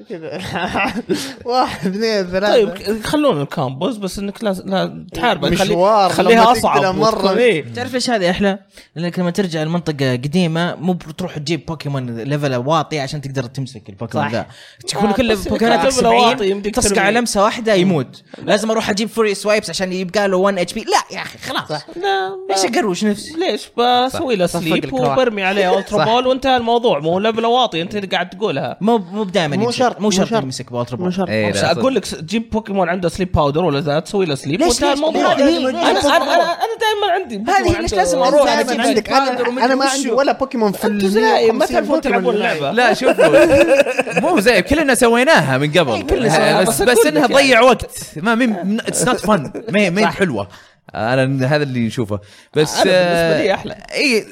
D: كذا. [LAUGHS] واحد اثنين ثلاثه
A: طيب ك- خلونا الكامبوز بس انك لا, لا تحارب
D: مشوار
A: خليها
D: لما تقتله
A: اصعب
D: مرة.
A: وتكون- إيه.
E: تعرف ايش هذه احلى؟ لانك لما ترجع المنطقه قديمه مو بتروح تجيب بوكيمون ليفل واطي عشان تقدر تمسك البوكيمون
D: صح.
E: ذا تكون
A: آه،
E: كل
A: بس إنك
E: بوكيمونات
A: ليفل واطي
E: 70
A: يمديك
E: تصقع
A: ترمي.
E: لمسه واحده يموت لازم اروح اجيب فوري سوايبس عشان يبقى له 1 اتش بي لا يا اخي خلاص
D: صح.
A: لا
E: ليش
A: ما-
E: اقروش نفسي؟
A: ليش بسوي له
D: صفق
A: سليب
D: الكواكب.
A: وبرمي عليه الترا
C: صح.
A: بول وانتهى الموضوع مو هو ليفل واطي انت قاعد تقولها
E: مو مو دائما
D: مو شرط-
E: مو
D: مو
E: شرط
D: شرط.
E: يمسك بالترا
D: مو
E: بول
D: شرط
C: إيه، لا،
A: بس
C: صدق.
A: اقول لك س- جيب بوكيمون عنده سليب باودر ولا ذا تسوي له سليب
E: ليش-
A: وانتهى
E: ليش-
A: الموضوع
E: ليه- ليه-
A: انا
E: ليش-
A: انا
E: ليش-
A: انا انا دايما عندي
E: هذه ليش لازم أروح
D: دائماً
E: أجيب
D: عندك
E: الكادر
D: انا
E: ومدري
D: انا ما
E: وشو.
D: عندي ولا بوكيمون في
A: انتم
D: ال
A: زي- ما
D: 150
A: تعرفون تلعبون
D: بوكيمون
A: اللعبه
C: لا شوفوا
A: [LAUGHS]
C: مو زي كلنا سويناها من قبل
A: إيه، كلنا
C: آه،
A: سويناها،
C: بس
A: بس
C: بس
A: أقول
C: انها
A: لك يعني.
C: تضيع وقت ما مين اتس نوت فن
A: [LAUGHS]
C: ما ما هي حلوه انا هذا اللي نشوفه بس
A: أنا بالنسبة
C: آه،
A: لي أحلى.
C: اي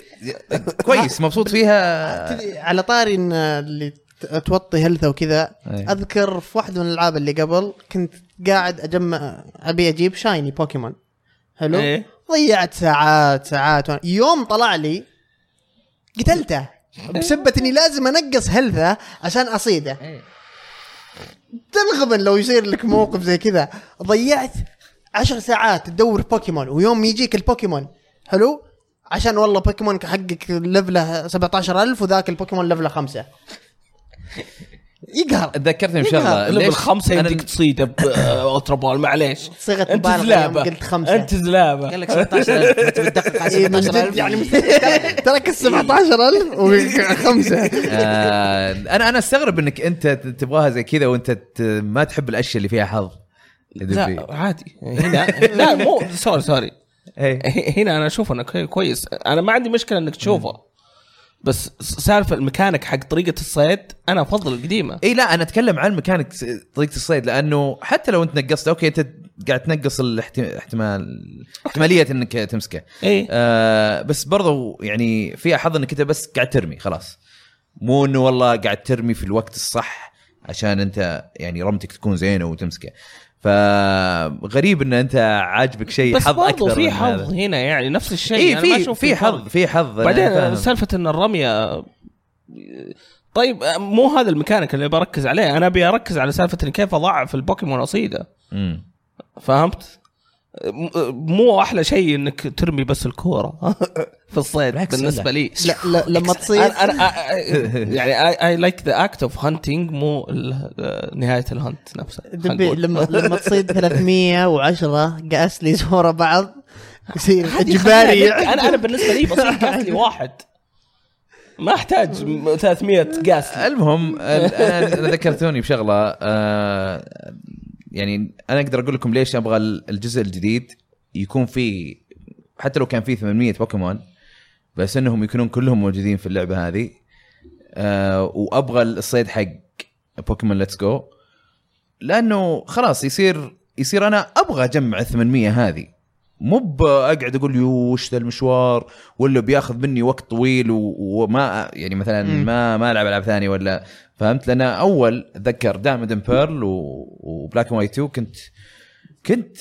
C: كويس مبسوط فيها
D: تدري، على طاري ان اللي ت- توطي هلثه وكذا
C: أي.
D: اذكر في واحده من الالعاب اللي قبل كنت قاعد اجمع ابي اجيب شايني بوكيمون حلو
A: إيه.
D: ضيعت ساعات ساعات وأنا- يوم طلع لي قتلته بسبة اني لازم انقص هلثه عشان اصيده تنغبن لو يصير لك موقف زي كذا ضيعت عشر ساعات تدور بوكيمون ويوم يجيك البوكيمون حلو عشان والله بوكيمون حقك لفله 17000 وذاك البوكيمون لفله 5 يقهر
C: تذكرتني بشغله
D: يقهر.
A: ليفل
C: ليش
A: خمسه
C: أنا-
A: يمديك تصيده بالترا بول آه، معليش
D: صيغة
A: انت
D: مبالغة
A: زلابه
D: يوم قلت خمسة.
A: انت زلابه
E: قال لك 17000
D: [LAUGHS]
E: أنت بتدقق على
D: إيه، من جد
E: 17000
D: يعني ترك ال 17000 وخمسه
C: آه، انا انا استغرب انك انت تبغاها زي كذا وانت ت- ما تحب الاشياء اللي فيها حظ
A: لا عادي هنا لا مو سوري سوري
C: إيه.
A: هنا انا اشوف انه كوي- كويس انا ما عندي مشكله انك تشوفه بس سالفه المكانك حق طريقه الصيد انا افضل القديمه
C: اي لا انا اتكلم عن مكانك طريقه الصيد لانه حتى لو انت نقصت اوكي انت قاعد تنقص الاحتمال احتماليه انك تمسكه
A: إيه.
C: آه بس برضو يعني فيها حظ انك انت بس قاعد ترمي خلاص مو انه والله قاعد ترمي في الوقت الصح عشان انت يعني رمتك تكون زينه وتمسكه فغريب ان انت عاجبك شيء
A: بس
C: حظ
A: برضو
C: اكثر
A: في
C: من هذا.
A: حظ هنا يعني نفس الشيء
C: اي
A: أنا ما
C: في
A: أشوف
C: في
A: فرق.
C: حظ في حظ أنا
A: بعدين
C: فاهم.
A: سالفه ان الرميه طيب آه، مو هذا الميكانيك اللي بركز عليه انا ابي اركز على سالفه إني كيف اضعف البوكيمون اصيده
C: مم.
A: فهمت م- مو احلى شيء انك ترمي بس الكوره [LAUGHS] في الصيد بالنسبه لي
D: لا, لا لما تصير
A: انا انا أ- يعني اي لايك ذا اكت اوف هانتنج مو ال- آه، نهايه الهنت نفسها خلينا
D: دبي
A: نقول.
D: لما لما تصيد 310 قاس لي ورا بعض يصير
A: هذه خليها
D: اجباري
A: لك. انا انا بالنسبه لي
D: [LAUGHS]
A: بصير قاتلي واحد ما احتاج م- 300 قاسلي
C: المهم ال- أنا- انا ذكرتوني بشغله آه، يعني انا اقدر اقول لكم ليش ابغى ال- الجزء الجديد يكون فيه حتى لو كان فيه 800 بوكيمون بس انهم يكونون كلهم موجودين في اللعبه هذه آه، وابغى الصيد حق بوكيمون ليتس جو لانه خلاص يصير يصير انا ابغى اجمع 800 هذه مو باقعد اقول يو وش ذا المشوار ولا بياخذ مني وقت طويل و- وما يعني مثلا
D: مم.
C: ما ما العب العاب ثانيه ولا فهمت لان اول اتذكر دايموند اند بيرل و- وبلاك اند وايت 2 كنت كنت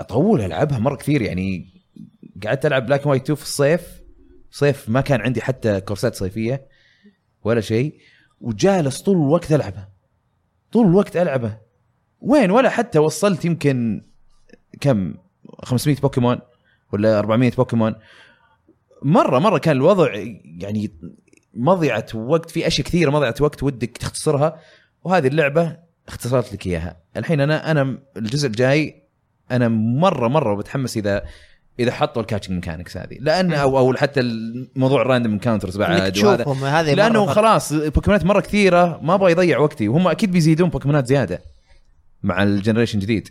C: اطول العبها مره كثير يعني قعدت العب بلاك اند وايت 2 في الصيف صيف ما كان عندي حتى كورسات صيفيه ولا شيء وجالس طول الوقت العبها طول الوقت العبها وين ولا حتى وصلت يمكن كم 500 بوكيمون ولا 400 بوكيمون مره مره كان الوضع يعني مضيعه وقت في اشياء كثيره مضيعه وقت ودك تختصرها وهذه اللعبه اختصرت لك اياها الحين انا انا الجزء الجاي انا مره مره متحمس اذا اذا حطوا الكاتشنج ميكانكس هذه لان او او حتى الموضوع الراندوم انكاونترز
D: انك
C: بعد وهذا
D: تشوفهم هذه
C: لانه
D: إيه، مرة فرق.
C: خلاص بوكيمونات مره كثيره ما ابغى يضيع وقتي وهم اكيد بيزيدون بوكيمونات زياده مع الجنريشن جديد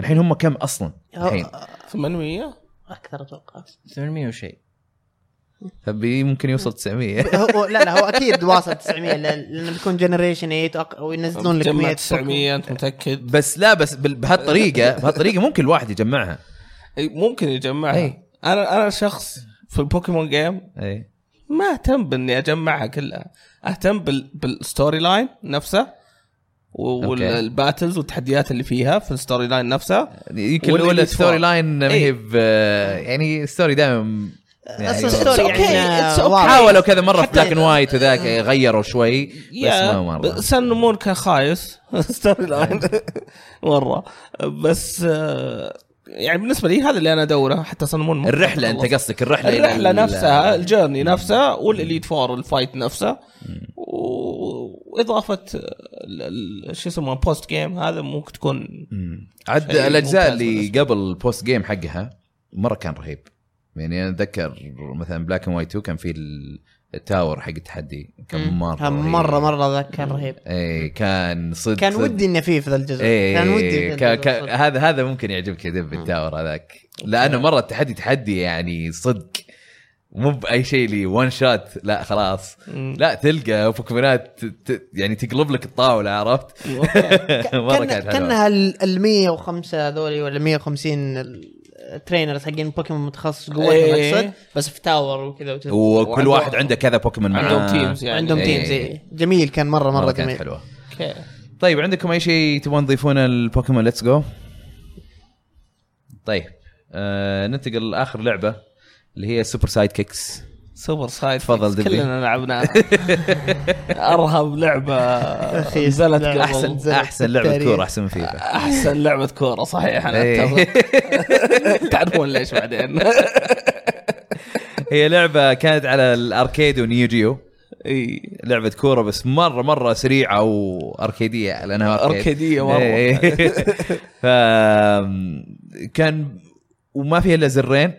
C: الحين هم كم اصلا الحين
D: أو- أو-
A: 800
D: اكثر اتوقع
E: 800 وشيء
C: فبي ممكن يوصل 900
D: هو لا لا هو اكيد واصل 900 لأن- لانه بيكون جنريشن 8 وينزلون لك
A: جمع
D: 100
A: 900 انت متاكد
C: بس لا بس بال- بهالطريقه بهالطريقه ممكن الواحد يجمعها
A: أي، ممكن يجمعها
C: أي.
A: انا انا شخص في البوكيمون جيم
C: اي
A: ما اهتم باني اجمعها كلها اهتم بال... بالستوري لاين نفسه و-
C: أوكي.
A: والباتلز والتحديات اللي فيها في الستوري لاين نفسها
C: يمكن
A: ولا
C: ولا
A: يدفع.
C: الستوري لاين ما هي
A: إي.
C: ب- يعني الستوري دائما
D: اصلا ستوري
A: It's okay, it's
D: يعني
A: okay.
D: واضح.
C: حاولوا كذا مره في
D: حتى-
C: بلاك اند وايت وذاك غيروا شوي بس ما مره
A: سن مون كان خايس [LAUGHS] ستوري لاين مره بس آه، يعني بالنسبه لي هذا اللي انا ادوره حتى سن مون ما
C: الرحله انت
A: خلصت.
C: قصدك الرحله إلى
A: الرحله
C: ال-
A: نفسها الجيرني نفسها والاليت فور الفايت نفسها و- واضافه ال- ال- شو يسمونه بوست جيم هذا ممكن تكون
C: مم. عد
A: شيء
C: الاجزاء
A: ممتاز
C: اللي
A: بالنسبة
C: قبل البوست جيم حقها مره كان رهيب يعني انا اتذكر مثلا بلاك اند وايت 2 كان في ال- التاور حق التحدي كان
E: مم.
C: مره
D: كان
C: رهيب.
D: مره مره ذاك كان رهيب
C: اي كان صدق
D: كان
C: صدق. إيه،
D: ودي اني فيه في ذا الجزء
C: اي
D: كان ودي في ذا
C: كان
D: الجزء
C: كان
D: صدق.
C: هذا هذا ممكن يعجبك يا دب التاور هذاك لانه مره التحدي تحدي يعني صدق مو باي شيء لي ون شوت لا خلاص
A: مم.
C: لا تلقى بوكيمونات ت- ت- يعني تقلب لك الطاوله عرفت؟
A: أوكي.
C: [LAUGHS] مره
D: كان
C: كانت حلوة.
D: كانها ال ال 105 هذول ولا 150 الترينرز حقين بوكيمون متخصص قوتهم
A: إيه.
D: اقصد بس في تاور وكذا وكذا.
C: وكل
A: وعنده-
C: واحد عنده كذا بوكيمون معاه
A: عندهم teams يعني.
D: عندهم
C: إيه.
D: تيم زي جميل كان مره مره,
C: مره كانت
D: جميل
C: حلوه
A: اوكي
C: طيب عندكم اي شيء تبون تضيفونه البوكيمون ليتس جو طيب آه ننتقل لاخر لعبه اللي هي سوبر سايد كيكس
A: سوبر سايد
C: تفضل
A: فيكس
C: دبي.
A: كلنا
C: [LAUGHS]
A: لعبناها ارهب لعبه
D: أخي،
A: نزلت
D: لا،
A: قبل
D: أحسن
A: احسن
D: نزلت.
C: احسن لعبه
D: بالتاريخ.
C: كوره احسن من فيفا
A: احسن لعبه كوره صحيح انا
C: إيه. [LAUGHS]
A: أتفق. تعرفون ليش بعدين
C: هي لعبه كانت على الاركيد ونيو جيو
A: اي
C: لعبه كوره بس مره مره سريعه واركيديه لانها أركيد.
A: أركيدية مرة. [LAUGHS]
C: إيه. ف كان وما فيها الا زرين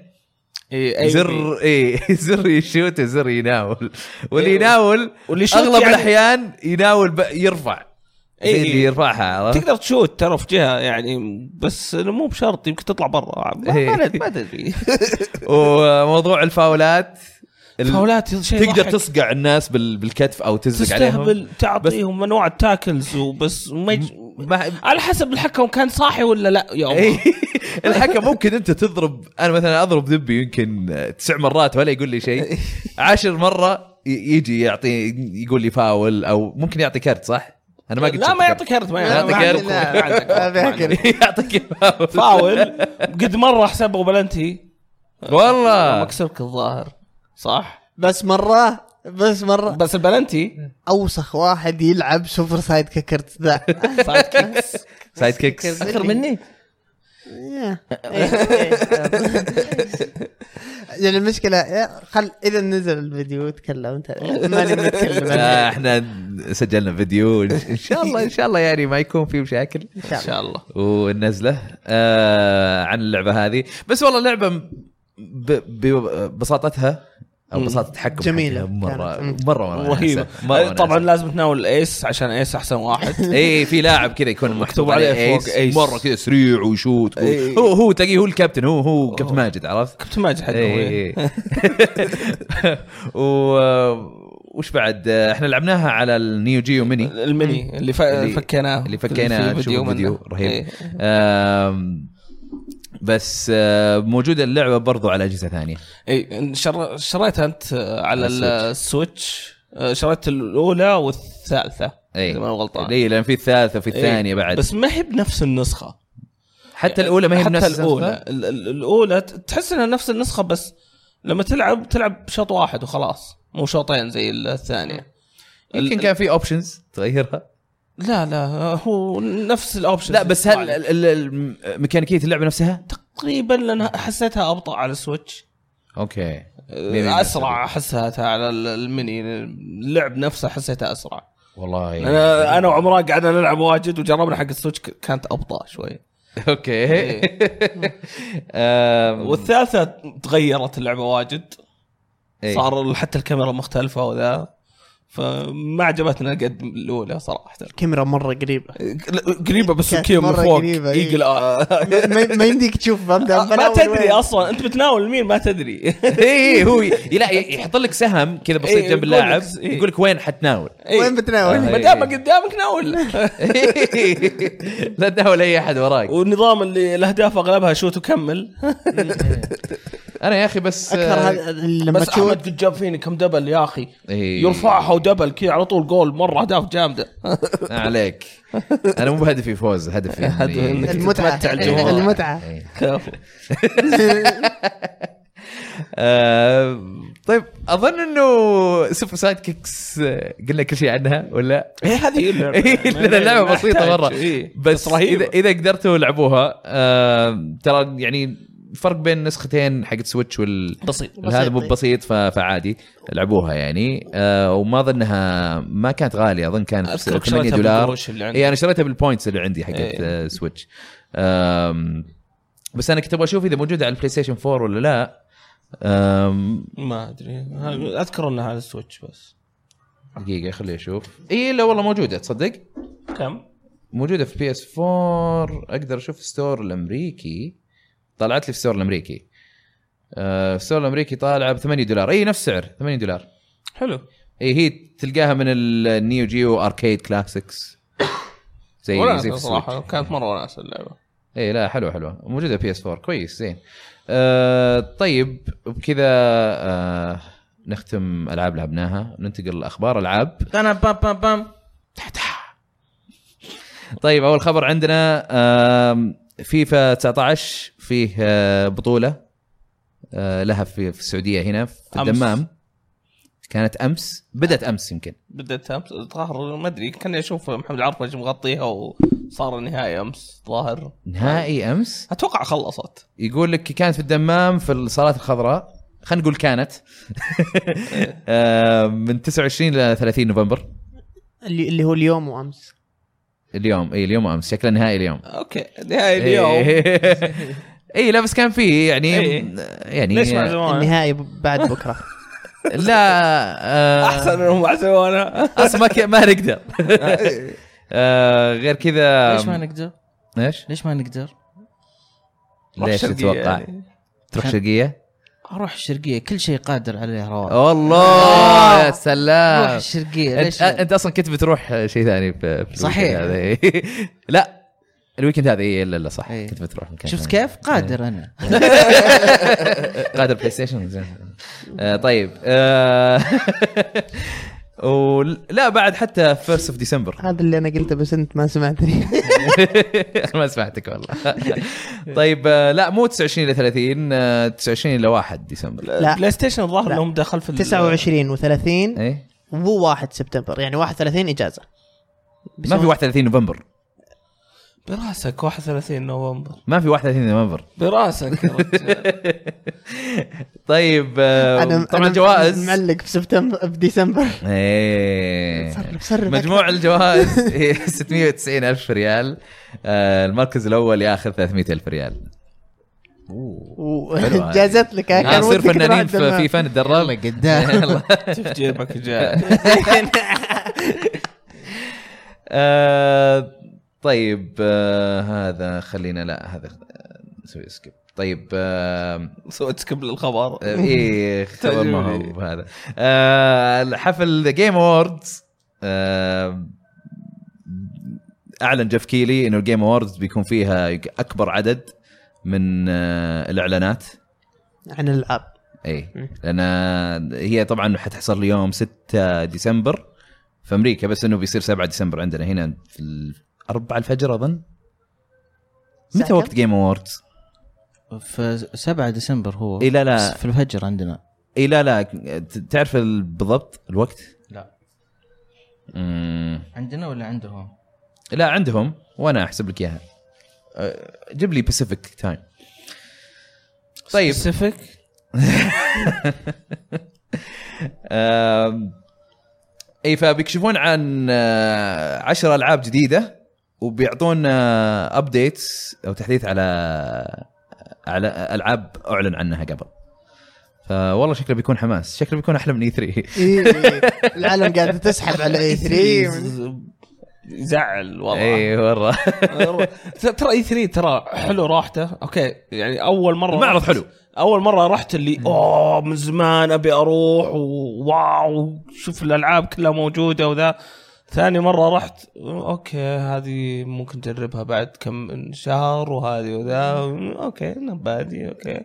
A: إي، إيه، أي بي.
C: زر ايه [LAUGHS] زر يشوت وزر يناول واللي
A: إيه.
C: يناول
A: واللي يشوت
C: اغلب
A: يعني-
C: الاحيان يناول ب... يرفع
A: إيه.
C: زي اللي يرفعها عرفت؟
A: تقدر تشوت ترى في جهه يعني بس إنه مو بشرط يمكن تطلع برا ما-
C: إيه.
A: ما ند- ما
C: [LAUGHS]
A: تدري
C: وموضوع الفاولات ال-
A: فاولات شيء
C: تقدر
A: يضحك.
C: تصقع الناس بال... بالكتف او تزق عليهم
A: تستهبل تعطيهم انواع التاكلز وبس ما يج...
C: ما-
A: على حسب الحكم كان صاحي ولا لا يا الله
C: إيه. الحكم ممكن انت تضرب انا مثلا اضرب دبي يمكن تسع مرات ولا يقول لي شيء عاشر مره ي- يجي يعطي يقول لي فاول او ممكن يعطي كرت صح؟ انا ما قلت
A: لا ما يعطيك كرت ما يعطيك
C: ما يعطيك
A: كرت. ما عندك
D: لا، ما
A: كرت.
C: [LAUGHS]
D: بيعطيك.
C: يعطيك
A: فاول قد مره حسبه بلنتي
C: والله
A: مكسبك الظاهر صح
D: بس مره بس مره
A: بس
C: [LAUGHS]
A: البلنتي
D: اوسخ واحد يلعب سوبر سايد كيكرز
A: [LAUGHS]
D: ذا
A: سايد كيكس
C: سايد كيكس
E: اكثر مني
D: إيه. [LAUGHS] يعني المشكله يا خل اذا نزل الفيديو وتكلم انت ما نقدر
A: [LAUGHS]
D: نتكلم
C: آه،
D: عنه.
C: احنا سجلنا فيديو ان شاء الله ان شاء الله يعني ما يكون في مشاكل
A: ان شاء الله
C: والنزله آه عن اللعبه هذه بس والله لعبه ب- ب- ببساطتها او
A: مم.
C: بساطه التحكم
D: جميلة
C: حقها مره
D: كانت.
C: مره مره
A: رهيبه
C: وناسة. مرة وناسة.
A: طبعا لازم تناول ايس عشان ايس احسن
C: [LAUGHS]
A: واحد
C: اي إيه، في لاعب كذا يكون مكتوب عليه
A: عليه إيه. فوق
C: ايس,
A: إيس.
C: مره كذا سريع ويشوت و-
A: إي.
C: هو هو تلاقيه هو الكابتن هو هو كابتن ماجد عرفت؟
A: كنت ماجد حقه
C: اي
A: إيه.
C: اي
A: [LAUGHS]
C: و وش بعد احنا لعبناها على النيو جيو ميني
A: [LAUGHS] المني اللي, ف...
C: إيه. اللي-
A: اللي فكيناه
C: اللي فكينا
A: في
C: فيديو
A: منه.
C: فيديو رهيب
A: إيه.
C: آم، بس آه، موجوده اللعبه برضو على اجهزه ثانيه
A: اي إيه، شر... شريتها انت آه، على
C: على
A: السويتش آه، شريت الاولى والثالثه
C: اي
A: اذا ما أنا غلطان
C: اي لان إيه. في الثالثه وفي الثانيه
A: إيه.
C: بعد
A: بس ما هي بنفس النسخه
C: حتى الاولى ما هي
A: حتى
C: بنفس
A: الاولى ال- ال- الاولى ت- تحس انها نفس النسخه بس لما تلعب تلعب شوط واحد وخلاص مو شوطين زي الثانيه
C: يمكن
A: ال-
C: كان في اوبشنز تغيرها
A: لا لا هو نفس الاوبشن
C: لا بس هل ال- ال- ال- ميكانيكيه اللعبه نفسها؟
A: تقريبا لان حسيتها ابطا على السويتش
C: اوكي
A: أه، اسرع حسيتها على ال- المني اللعب نفسه حسيتها اسرع
C: والله
A: انا
C: [LAUGHS]
A: انا وعمران قعدنا نلعب واجد وجربنا حق السويتش ك- كانت ابطا شوي
C: [LAUGHS] اوكي
A: إيه.
C: آم،
A: والثالثه تغيرت اللعبه واجد
C: إيه. [LAUGHS]
A: صار حتى الكاميرا مختلفه وذا فما عجبتنا قد الاولى صراحه
D: الكاميرا مره قريبه
A: قريبه بس
D: كانت
A: كذا من
D: مرة
A: فوق
D: قريبة، إيه.
A: ايجل آه.
D: [LAUGHS]
A: [LAUGHS]
D: ما, ما يمديك تشوف فهمت؟
A: ما
D: بلاول
A: تدري
D: وين.
A: اصلا انت بتناول مين ما تدري
C: اي إيه، هو ي- لا ي- يحط لك سهم كذا بسيط
A: إيه،
C: جنب
A: يقول
C: اللاعب
A: لك- إيه.
C: يقول لك وين حتناول [LAUGHS]
D: وين بتناول؟
C: آه.
A: ما دام قدامك ناول
C: لا تناول اي احد وراك
A: [LAUGHS] والنظام اللي الاهداف اغلبها شوت وكمل
C: انا يا اخي بس
D: اكثر هذا لما
A: بس
D: تشوف
A: احمد قد جاب فيني كم دبل يا اخي
C: إيه.
A: يرفعها ودبل كذا على طول جول مره اهداف جامده
C: [LAUGHS] ما آه، عليك انا مو بهدفي فوز هدفي
A: هدفي إنك
C: إني-
D: المتعه
A: تتمتع
D: [LAUGHS]
A: الجمهور.
D: المتعه
C: إيه.
A: كفو
C: آه، طيب اظن انه سوبر سايد كيكس آه، قلنا كل شيء عنها ولا
A: هي هذه
C: إيه، لأن
A: [LAUGHS]
C: اللعبه بسيطه مره
A: إيه،
C: بس اذا
A: رهيبه
C: اذا قدرتوا العبوها آه، ترى يعني الفرق بين نسختين حق سويتش وال
A: بسيط
C: هذا مو
D: بسيط.
C: بسيط ف- فعادي العبوها يعني آه، وما اظنها ما كانت غاليه اظن كانت
A: اذكرك
C: 8
A: شريتها
C: دولار
A: بالقروش اللي عندي
C: اي انا شريتها بالبوينتس اللي عندي حقت
A: إيه.
C: آه، سويتش آم، بس انا كنت ابغى اشوف اذا موجوده على البلاي ستيشن 4 ولا لا آم،
A: ما ادري اذكر انها على السويتش بس
C: دقيقه خليني اشوف اي لا والله موجوده تصدق
A: كم؟
C: موجوده في بي اس 4 اقدر اشوف في ستور الامريكي طلعت لي في ستور الامريكي آه، في ستور الامريكي طالعه ب 8 دولار اي نفس سعر 8 دولار
A: حلو
C: اي هي تلقاها من النيو جيو اركيد كلاسيكس زي زي
A: وناسه
C: إيه، في
A: صراحه
C: الصراحه
A: كانت مره وناسه اللعبه
C: اي لا حلوه حلوه موجوده بي اس 4 كويس زين آه طيب وبكذا آه نختم العاب لعبناها ننتقل لاخبار العاب
E: انا بام بام بام
C: طيب اول خبر عندنا آم، فيفا 19 فيه آه، بطوله آه، لها في في السعوديه هنا في
A: أمس. نعم.
C: الدمام كانت امس بدات امس يمكن
A: بدت امس الظاهر ما ادري كاني اشوف محمد عرفج مغطيها وصار النهائي امس ظاهر
C: نهائي امس
A: اتوقع خلصت
C: يقول لك كانت في الدمام في الصالات الخضراء خلينا نقول كانت [LAUGHS] آه، من 29 ل 30 نوفمبر
D: اللي اللي هو اليوم وامس
C: اليوم اي اليوم امس شكله نهائي اليوم
A: اوكي نهائي [LAUGHS]
C: إيه،
A: اليوم
C: [LAUGHS] اي لا بس كان فيه يعني
A: إيه.
C: يعني
A: ليش ما عزمونا؟
D: النهائي ب- بعد بكره
A: [LAUGHS]
C: لا آه،
A: احسن انهم عزمونا
C: اصلا ما ك- ما
E: [LAUGHS]
C: نقدر
E: إيه.
C: [LAUGHS] آه، غير كذا
E: ليش ما نقدر؟
C: ايش؟
E: ليش ما نقدر؟
C: ليش
A: شرقية
C: تتوقع؟
A: يعني.
C: تروح شرقيه؟
E: اروح الشرقيه كل شيء قادر عليه رواد
C: والله يا
E: اروح
C: سلام
E: الشرقيه
C: انت
E: ليش
C: انت اصلا كنت بتروح شيء ثاني في في
E: صحيح.
C: الويكند هذا. [LAUGHS] لا الويكند هذا اي الا الا صح
E: إيه.
C: كنت بتروح مكان
E: شفت
C: ثاني.
E: كيف؟ قادر انا
C: [LAUGHS] قادر بلاي ستيشن زين. آه، طيب آه، ولا آه، بعد حتى فيرست اوف ديسمبر [LAUGHS]
D: هذا اللي انا قلته بس انت ما سمعتني
C: ما سمعتك والله
E: [LAUGHS]
C: طيب آه، لا مو 29 الى 30 آه، 29 الى 1 ديسمبر
D: لا.
A: بلاي ستيشن الظاهر
D: لا.
A: انهم دخل في ال-
D: 29 و30
C: ايه
D: و1 سبتمبر يعني 31 اجازه
C: ما في 31 نوفمبر
A: براسك 31 نوفمبر
C: ما في 31 نوفمبر
A: براسك يا
C: [LAUGHS]
A: رجال.
C: طيب آه، طبعا جوائز
D: معلق في سبتمبر في ديسمبر
C: ايه
D: سرب- سرب
C: مجموع الجوائز إيه، [LAUGHS] هي 690 الف ريال آه، المركز الاول ياخذ 300 الف ريال
D: [LAUGHS]
C: حلو هاي.
D: وجازت لك ها،
C: آه، نصير
D: ودك تروح
C: فنانين في
D: الدمام.
C: في فن [LAUGHS] الدراب
E: قدام
A: شوف جيبك جاي
C: [LAUGHS] آه، طيب آه، هذا خلينا لا هذا آه، نسوي سكيب طيب آه،
A: سويت سكيب للخبر
C: آه، ايه خبر ما
A: تعجبني.
C: هو هذا آه، الحفل ذا جيم اووردز اعلن آه، جيف كيلي انه الجيم اووردز بيكون فيها اكبر عدد من آه، الاعلانات
D: عن الالعاب
C: اي
D: مم.
C: لان هي طبعا حتحصل يوم 6 ديسمبر في امريكا بس انه بيصير 7 ديسمبر عندنا هنا في 4 الفجر اظن متى
D: ساعة
C: وقت جيم اووردز؟
E: في 7 ديسمبر هو
C: اي إيه، لا
E: بس
C: لا
E: في الفجر عندنا
C: اي لا لا ت- تعرف ال- بالضبط الوقت؟
E: لا
C: مم.
E: عندنا ولا عندهم؟
C: لا عندهم وانا احسب لك اياها أه، جيب لي باسيفيك تايم طيب
A: سبيسيفيك
C: آم، اي إيه، فبيكشفون عن آه، عشر العاب جديده وبيعطونا ابديتس او آه، تحديث على على العاب اعلن عنها قبل فوالله شكله بيكون حماس شكله بيكون احلى من E اي 3 [LAUGHS]
D: إيه، [LAUGHS] إيه. العالم قاعده تسحب على إيه، اي [LAUGHS] 3
A: يزعل والله
C: اي مره
A: ترى اي 3 ترى حلو راحته اوكي يعني اول مره
C: المعرض
A: رحت-
C: حلو
A: اول مره رحت اللي اوه من زمان ابي اروح وواو شوف الالعاب كلها موجوده وذا ثاني مره رحت اوكي هذه ممكن تجربها بعد كم من شهر وهذه وذا اوكي نبادي
C: [LAUGHS]
A: اوكي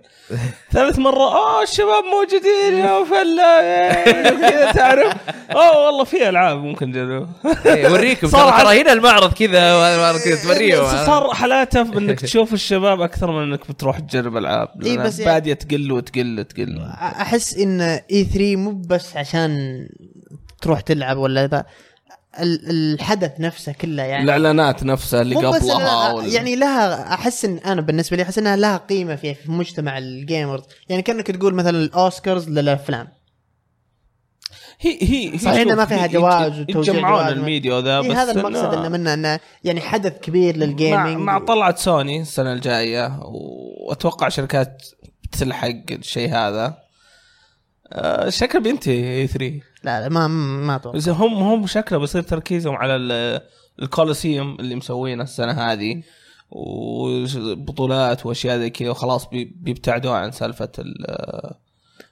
A: ثالث مره اه الشباب موجودين يا فلا إيه، كذا
C: [LAUGHS]
A: تعرف اوه والله في العاب ممكن نجربها
C: إيه،
A: [LAUGHS]
C: وريكم
A: صار
C: ترى
A: عن-
C: ترى هنا المعرض كذا والمعرض كذا
A: إيه،
C: توريهم
A: صار حالاته انك تشوف الشباب اكثر من انك بتروح تجرب العاب
D: إي،
A: إيه
D: بس
A: بس
D: يعني-
A: باديه تقل وتقل وتقل
D: احس ان اي 3 مو بس عشان تروح تلعب ولا ذا ال- الحدث نفسه كله يعني
A: الاعلانات نفسها اللي
D: مو بس
A: قبلها
D: لها-
A: وال-
D: يعني لها احس ان انا بالنسبه لي احس انها لها قيمه في في مجتمع الجيمرز يعني كانك تقول مثلا الاوسكارز للافلام
A: هي هي هي
D: صحيح
A: شوف،
D: إنه ما فيها
A: هي-
D: جوائز
A: يت-
D: وتوزيع
A: يتجمعون
D: جوائز.
A: الميديا وذا بس
D: إيه هذا المقصد
A: إنه
D: انه منه انه يعني حدث كبير للجيمنج
A: مع, مع طلعت سوني السنه الجايه واتوقع شركات بتلحق الشيء هذا آه، شكله بينتهي اي 3
D: لا لا ما ما اتوقع
A: بس هم هم شكله بيصير تركيزهم على ال- الكولوسيوم اللي مسوينه السنه هذه وبطولات واشياء زي كذا وخلاص بي- بيبتعدوا عن سالفه ال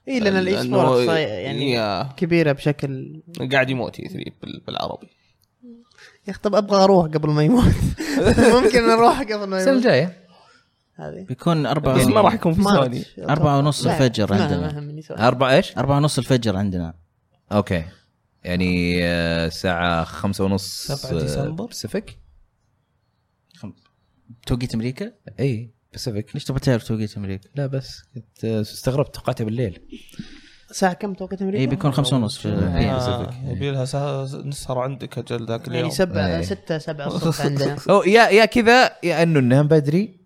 D: اي لان
A: ال-
D: الاي
A: إنه-
D: سبورت يعني
A: إيه، يا-
D: كبيره بشكل
A: قاعد يموت اي 3 بالعربي
D: يا أخي طب ابغى اروح قبل ما يموت [LAUGHS] ممكن اروح قبل ما
C: السنه
D: يموت
C: الجايه
D: هذه
E: بيكون أربعة
A: بس ما راح يكون في سوني
D: مارس.
E: أربعة ونص
D: لا،
E: الفجر
D: ما-
E: عندنا.
D: ما يهمني سوني.
C: أربعة ايش؟
E: أربعة ونص الفجر عندنا
C: اوكي يعني آه، الساعه 5 ونص آه،
A: 7 ديسمبر.
C: باسيفيك
E: توقيت أمريكا
C: اي باسيفيك
E: ليش تبغى تعرف توقيت أمريكا؟
C: لا بس كنت آه، استغربت توقعتها بالليل
D: الساعه كم توقيت امريكا؟
E: اي إيه، بيكون خمسة ونص في
C: إيه،
A: آه،
E: باسيفيك.
A: يبي لها ساعة نسهر عندك اجل ذاك اليوم
D: يعني سبعة
C: إيه.
D: ستة
E: [LAUGHS]
D: سبعة الصبح عندنا
C: او يا يا كذا يا انه ننام بدري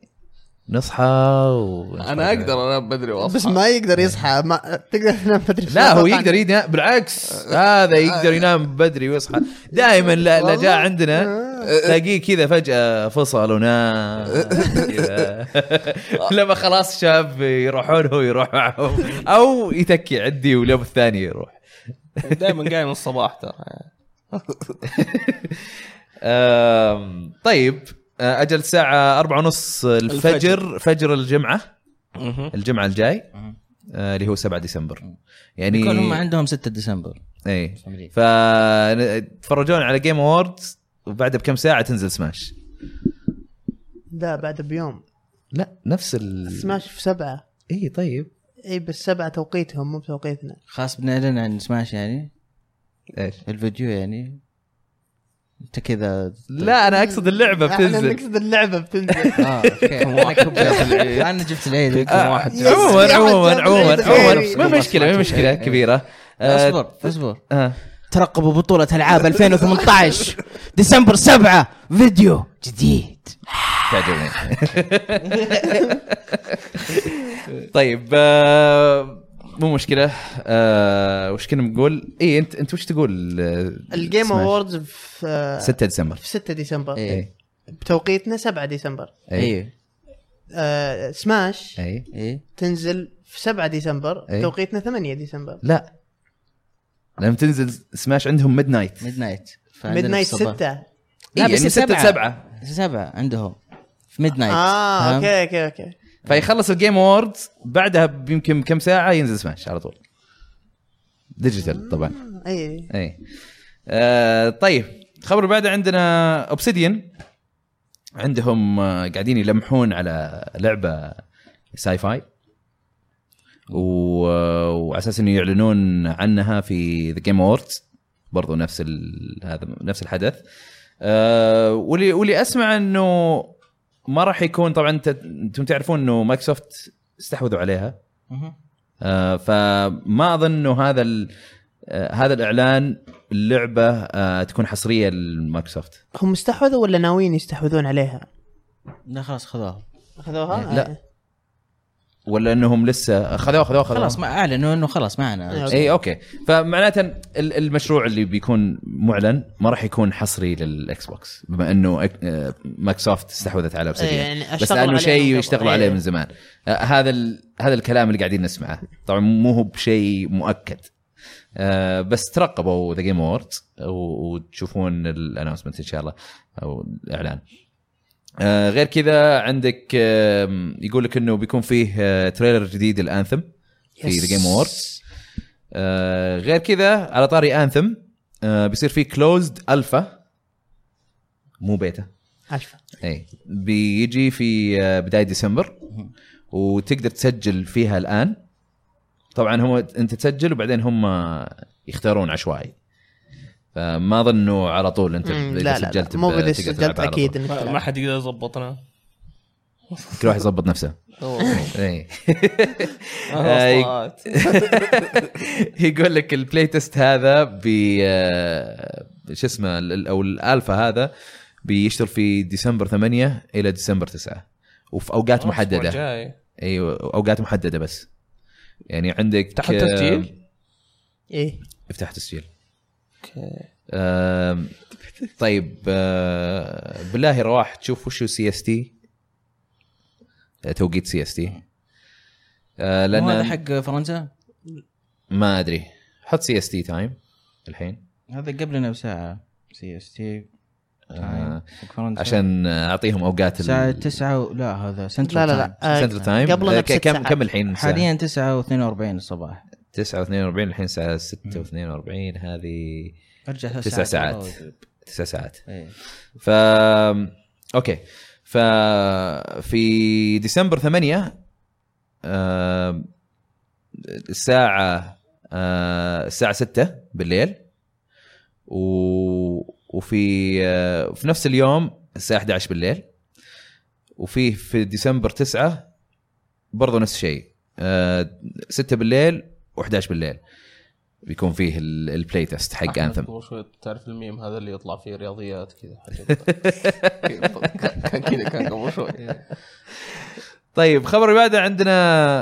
C: نصحى و...
A: انا اقدر انام بدري [LAUGHS] واصحى
D: بس ما يقدر يصحى ما تقدر تنام بدري
C: لا هو يقدر ينام بالعكس هذا يقدر ينام بدري ويصحى دائما لا, لا جاء عندنا تلاقيه كذا فجاه فصل ونام كذا. لما خلاص شاب يروحون هو يروح معهم او يتكي عندي واليوم الثاني يروح
A: دائما قايم الصباح ترى
C: آم، طيب آه، اجل الساعه أربعة ونص الفجر فجر الجمعه
A: مهم.
C: الجمعه الجاي
E: مهم.
C: آه، اللي هو 7 ديسمبر يعني
E: بيكون هم عندهم 6 ديسمبر
C: اي
E: في أمريكا.
C: فتفرجون على جيم اووردز وبعدها بكم ساعه تنزل سماش
D: لا بعد بيوم
C: لا نفس ال
D: سماش في سبعة إيه،
C: اي طيب
D: اي بس سبعة توقيتهم مو بتوقيتنا
E: خاص بنعلن عن سماش يعني
C: ايش؟
E: الفيديو يعني انت كذا
C: لا انا اقصد اللعبه
D: احنا
C: بتنزل
D: نقصد اللعبه بتنزل
C: [LAUGHS]
E: اه اوكي انا كبرت العيد. انا جبت
C: آه.
E: العيد
A: كم واحد
D: يا
C: عموما
D: سيدي،
C: عموما
D: حتى
C: عموما
D: أنت
C: عموما
D: غيري.
C: ما مشكله ما مشكله كبيره آه،
E: اصبر اصبر
C: آه.
E: ترقبوا بطولة العاب
C: [LAUGHS]
E: 2018 ديسمبر 7 فيديو جديد
C: تعجبني [LAUGHS] طيب آه، مو مشكله آه، وش كنا بنقول؟ اي انت انت وش تقول؟ آه،
D: الجيم
C: سماش؟
D: اووردز في آه،
C: 6 ديسمبر
D: في 6 ديسمبر
C: إيه.
E: ايه
D: بتوقيتنا 7 ديسمبر
C: اي
E: ايه
D: آه، سماش
C: اي
E: ايه
D: تنزل في 7 ديسمبر
C: إيه.
D: توقيتنا 8 ديسمبر
C: لا لما تنزل سماش عندهم إيه، يعني ميد نايت
E: ميد نايت
D: ميد نايت 6
C: لا بس 6 7
E: سبعة عندهم في ميد نايت
D: اه اوكي اوكي اوكي
C: فيخلص الجيم اووردز بعدها بيمكن كم ساعه ينزل سماش على طول ديجيتال طبعا
D: اي
C: اي إيه. آه طيب الخبر اللي بعده عندنا اوبسيديان عندهم آه، قاعدين يلمحون على لعبه ساي فاي و- آه، وعلى اساس انه يعلنون عنها في ذا جيم اووردز برضو نفس ال... هذا نفس الحدث آه واللي واللي اسمع انه ما راح يكون طبعا انت- انتم تعرفون انه مايكروسوفت استحوذوا عليها
E: مهم.
C: آه، فما اظن انه هذا ال- آه، هذا الاعلان اللعبه آه، تكون حصريه لمايكروسوفت
D: هم استحوذوا ولا ناويين يستحوذون عليها؟
E: لا خلاص خذوها
D: اخذوها؟
C: لا.
D: آه.
C: ولا انهم لسه خذوها خذوها خذوها
E: خلاص ما إيه، اعلنوا انه خلاص معنا
D: أيوة.
C: اي اوكي فمعناته ال- المشروع اللي بيكون معلن ما راح يكون حصري للاكس بوكس بما انه أك- آه، مايكروسوفت استحوذت على
D: إيه،
C: اوبسيديان
D: يعني
C: بس
D: اشتغلوا
C: لانه
D: عليه من
C: شيء
D: قبل.
C: يشتغلوا
D: إيه.
C: عليه من زمان آه، هذا ال- هذا الكلام اللي قاعدين نسمعه طبعا مو هو بشيء مؤكد آه، بس ترقبوا ذا جيم اووردز وتشوفون الانونسمنت ان شاء الله او الاعلان آه، غير كذا عندك آه، يقول لك انه بيكون فيه آه، تريلر جديد الانثم في
D: يس.
C: ذا جيم اووردز أه، غير كذا على طاري انثم بيصير فيه كلوزد الفا مو بيتا
D: عارفه
C: اي إيه. بيجي في آه، بدايه ديسمبر وتقدر تسجل فيها الان طبعا هو انت تسجل وبعدين هم يختارون عشوائي فما اظن انه على طول انت
D: مم،
C: اذا
D: لا لا,
C: سجلت
D: لا. مو
C: ب- تقدر
D: بدا
C: تلعبها
D: سجلت
C: على طول.
D: اكيد انك
A: ما ما
D: تلعب.
A: حد يقدر يظبطنا
C: كل واحد يظبط
D: [LAUGHS]
C: نفسه
A: [LAUGHS]
C: إيه. اي
A: وصلت.
C: يقول لك البلاي تيست هذا ب شو اسمه ال- ال- او الالفا هذا بيشتغل في ديسمبر 8 الى ديسمبر 9 وفي اوقات
A: الأسبوع
C: محدده
A: الجاي.
C: ايوه اوقات محدده بس يعني عندك
A: تحت التسجيل؟
D: ايه
C: آه، افتح تسجيل
A: اوكي
C: آم، طيب آه، بالله رواح تشوف وش سي اس تي توقيت سي اس تي
E: لان هذا
C: لان
E: حق فرنسا
C: آه، ما ادري حط سي اس تي تايم الحين
E: هذا قبلنا بساعة سي اس تي
C: آه،
E: فرنسا
C: عشان اعطيهم اوقات
E: الساعة 9 و... لا هذا سنترال
D: لا لا لا آه،
C: سنتر تايم
D: قبلنا بست
C: كم
D: ساعات
C: كم الحين
E: حاليا 9 و42 الصباح
C: 9 42 الحين الساعه 6 42 هذه
E: ارجع ثلاث
C: تسع ساعات تسع ساعات
E: إيه.
C: ف اوكي ف في ديسمبر 8 آه، الساعة آه، الساعة 6 بالليل و... وفي آه، في نفس اليوم الساعة 11 بالليل وفي في ديسمبر 9 برضه نفس الشيء آه، 6 بالليل و11 بالليل بيكون فيه ال- البلاي تيست حق
A: أحمد
C: انثم
A: قبل شوي تعرف الميم هذا اللي يطلع فيه رياضيات كذا
C: [LAUGHS]
A: كان كذا كان قبل شوي
C: طيب خبر اللي بعده عندنا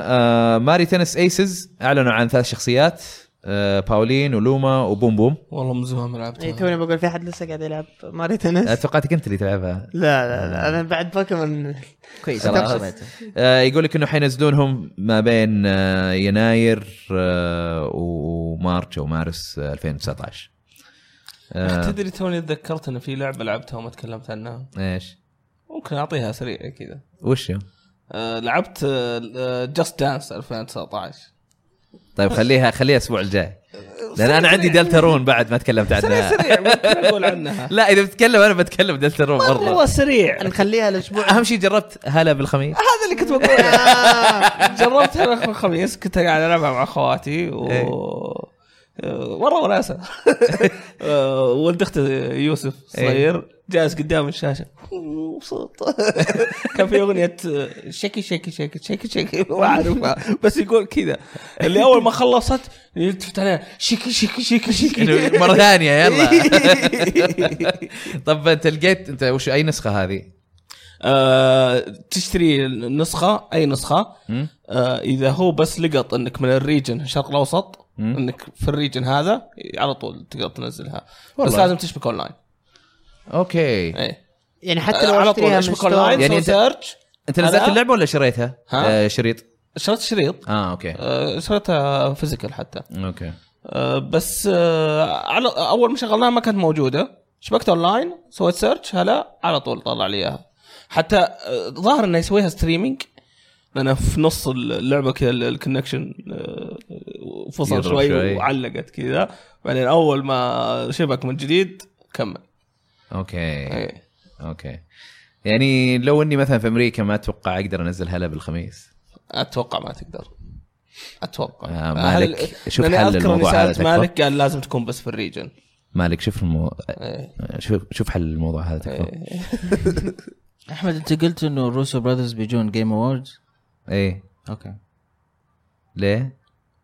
C: آه ماري تنس ايسز اعلنوا عن ثلاث شخصيات آه باولين ولوما وبوم بوم
A: والله من زمان ما
D: اي
A: لعبتها
D: إيه، توني بقول في احد لسه قاعد يلعب ماري تنس
C: توقعتك انت اللي تلعبها
D: لا لا
A: آه.
D: لا انا بعد بوكيمون
E: كويس
C: خلاص.
E: أنا سمعته.
C: آه يقول لك انه حينزلونهم ما بين آه يناير آه ومارس او مارس آه، 2019 آه
A: [LAUGHS] تدري توني تذكرت ان في لعبه لعبتها وما تكلمت عنها
C: ايش
A: ممكن اعطيها سريع كذا
C: وش هو؟
A: آه، لعبت آه، جاست دانس 2019
C: طيب خليها خليها الاسبوع الجاي لان انا عندي دلترون بعد ما تكلمت
A: سريع
C: عنها
A: سريع ممكن اقول
C: [LAUGHS]
A: عنها
C: لا اذا بتتكلم انا بتكلم دلترون مره
A: والله سريع
D: نخليها الاسبوع
C: اهم شيء جربت هلا بالخميس
A: هذا اللي كنت بقوله آه. جربتها انا الخميس كنت قاعد العبها مع اخواتي و آه، مره وناسه آه، ولد اخت يوسف صغير جالس قدام الشاشه مبسوط [LAUGHS] كان في اغنيه آه، شكي شكي شكي شكي شكي [LAUGHS] ما اعرفها بس يقول كذا اللي اول ما خلصت التفت عليها شكي شكي شكي شكي
C: [LAUGHS] مره ثانيه يلا [LAUGHS] طب انت لقيت انت وش اي نسخه هذه؟
A: آه، تشتري نسخه اي نسخه
C: مم؟
A: آه، اذا هو بس لقط انك من الريجن الشرق الاوسط
C: مم.
A: انك في الريجن هذا على طول تقدر تنزلها بس
C: والله.
A: لازم تشبك اونلاين
C: اوكي
A: ايه
D: يعني حتى لو
A: على طول
D: اشتريها من
A: اشبك اونلاين
D: ستور
C: يعني
A: يعني
C: أنت-
A: سيرش
C: انت نزلت
A: أنا-
C: اللعبه ولا شريتها؟
A: ها؟
C: آه شريط
A: شريت شريط
C: اه اوكي
A: آه، شريتها فيزيكال حتى
C: اوكي
A: آه، بس آه، على اول ما شغلناها ما كانت موجوده شبكت اونلاين سويت سيرش هلا على طول طلع لي اياها حتى آه، ظاهر انه يسويها ستريمينج لان في نص اللعبه كذا ال- الكونكشن آه، فصل
C: يضرب
A: شوي,
C: شوي.
A: وعلقت كذا بعدين اول ما شبك من جديد كمل
C: اوكي
A: إيه.
C: اوكي يعني لو اني مثلا في امريكا ما اتوقع اقدر انزل هلا بالخميس
A: اتوقع ما تقدر اتوقع
C: آه، مالك،
A: هل-
C: شوف
A: لأني
C: حل
A: أذكر إني
C: الموضوع هذا
A: سالت
C: تكفى.
A: مالك قال لازم تكون بس في الريجن
C: مالك شوف المو...
A: إيه.
C: شوف شوف حل الموضوع هذا تكفى
E: احمد انت قلت انه الروسو براذرز بيجون جيم اووردز
C: ايه
E: اوكي
C: ليه؟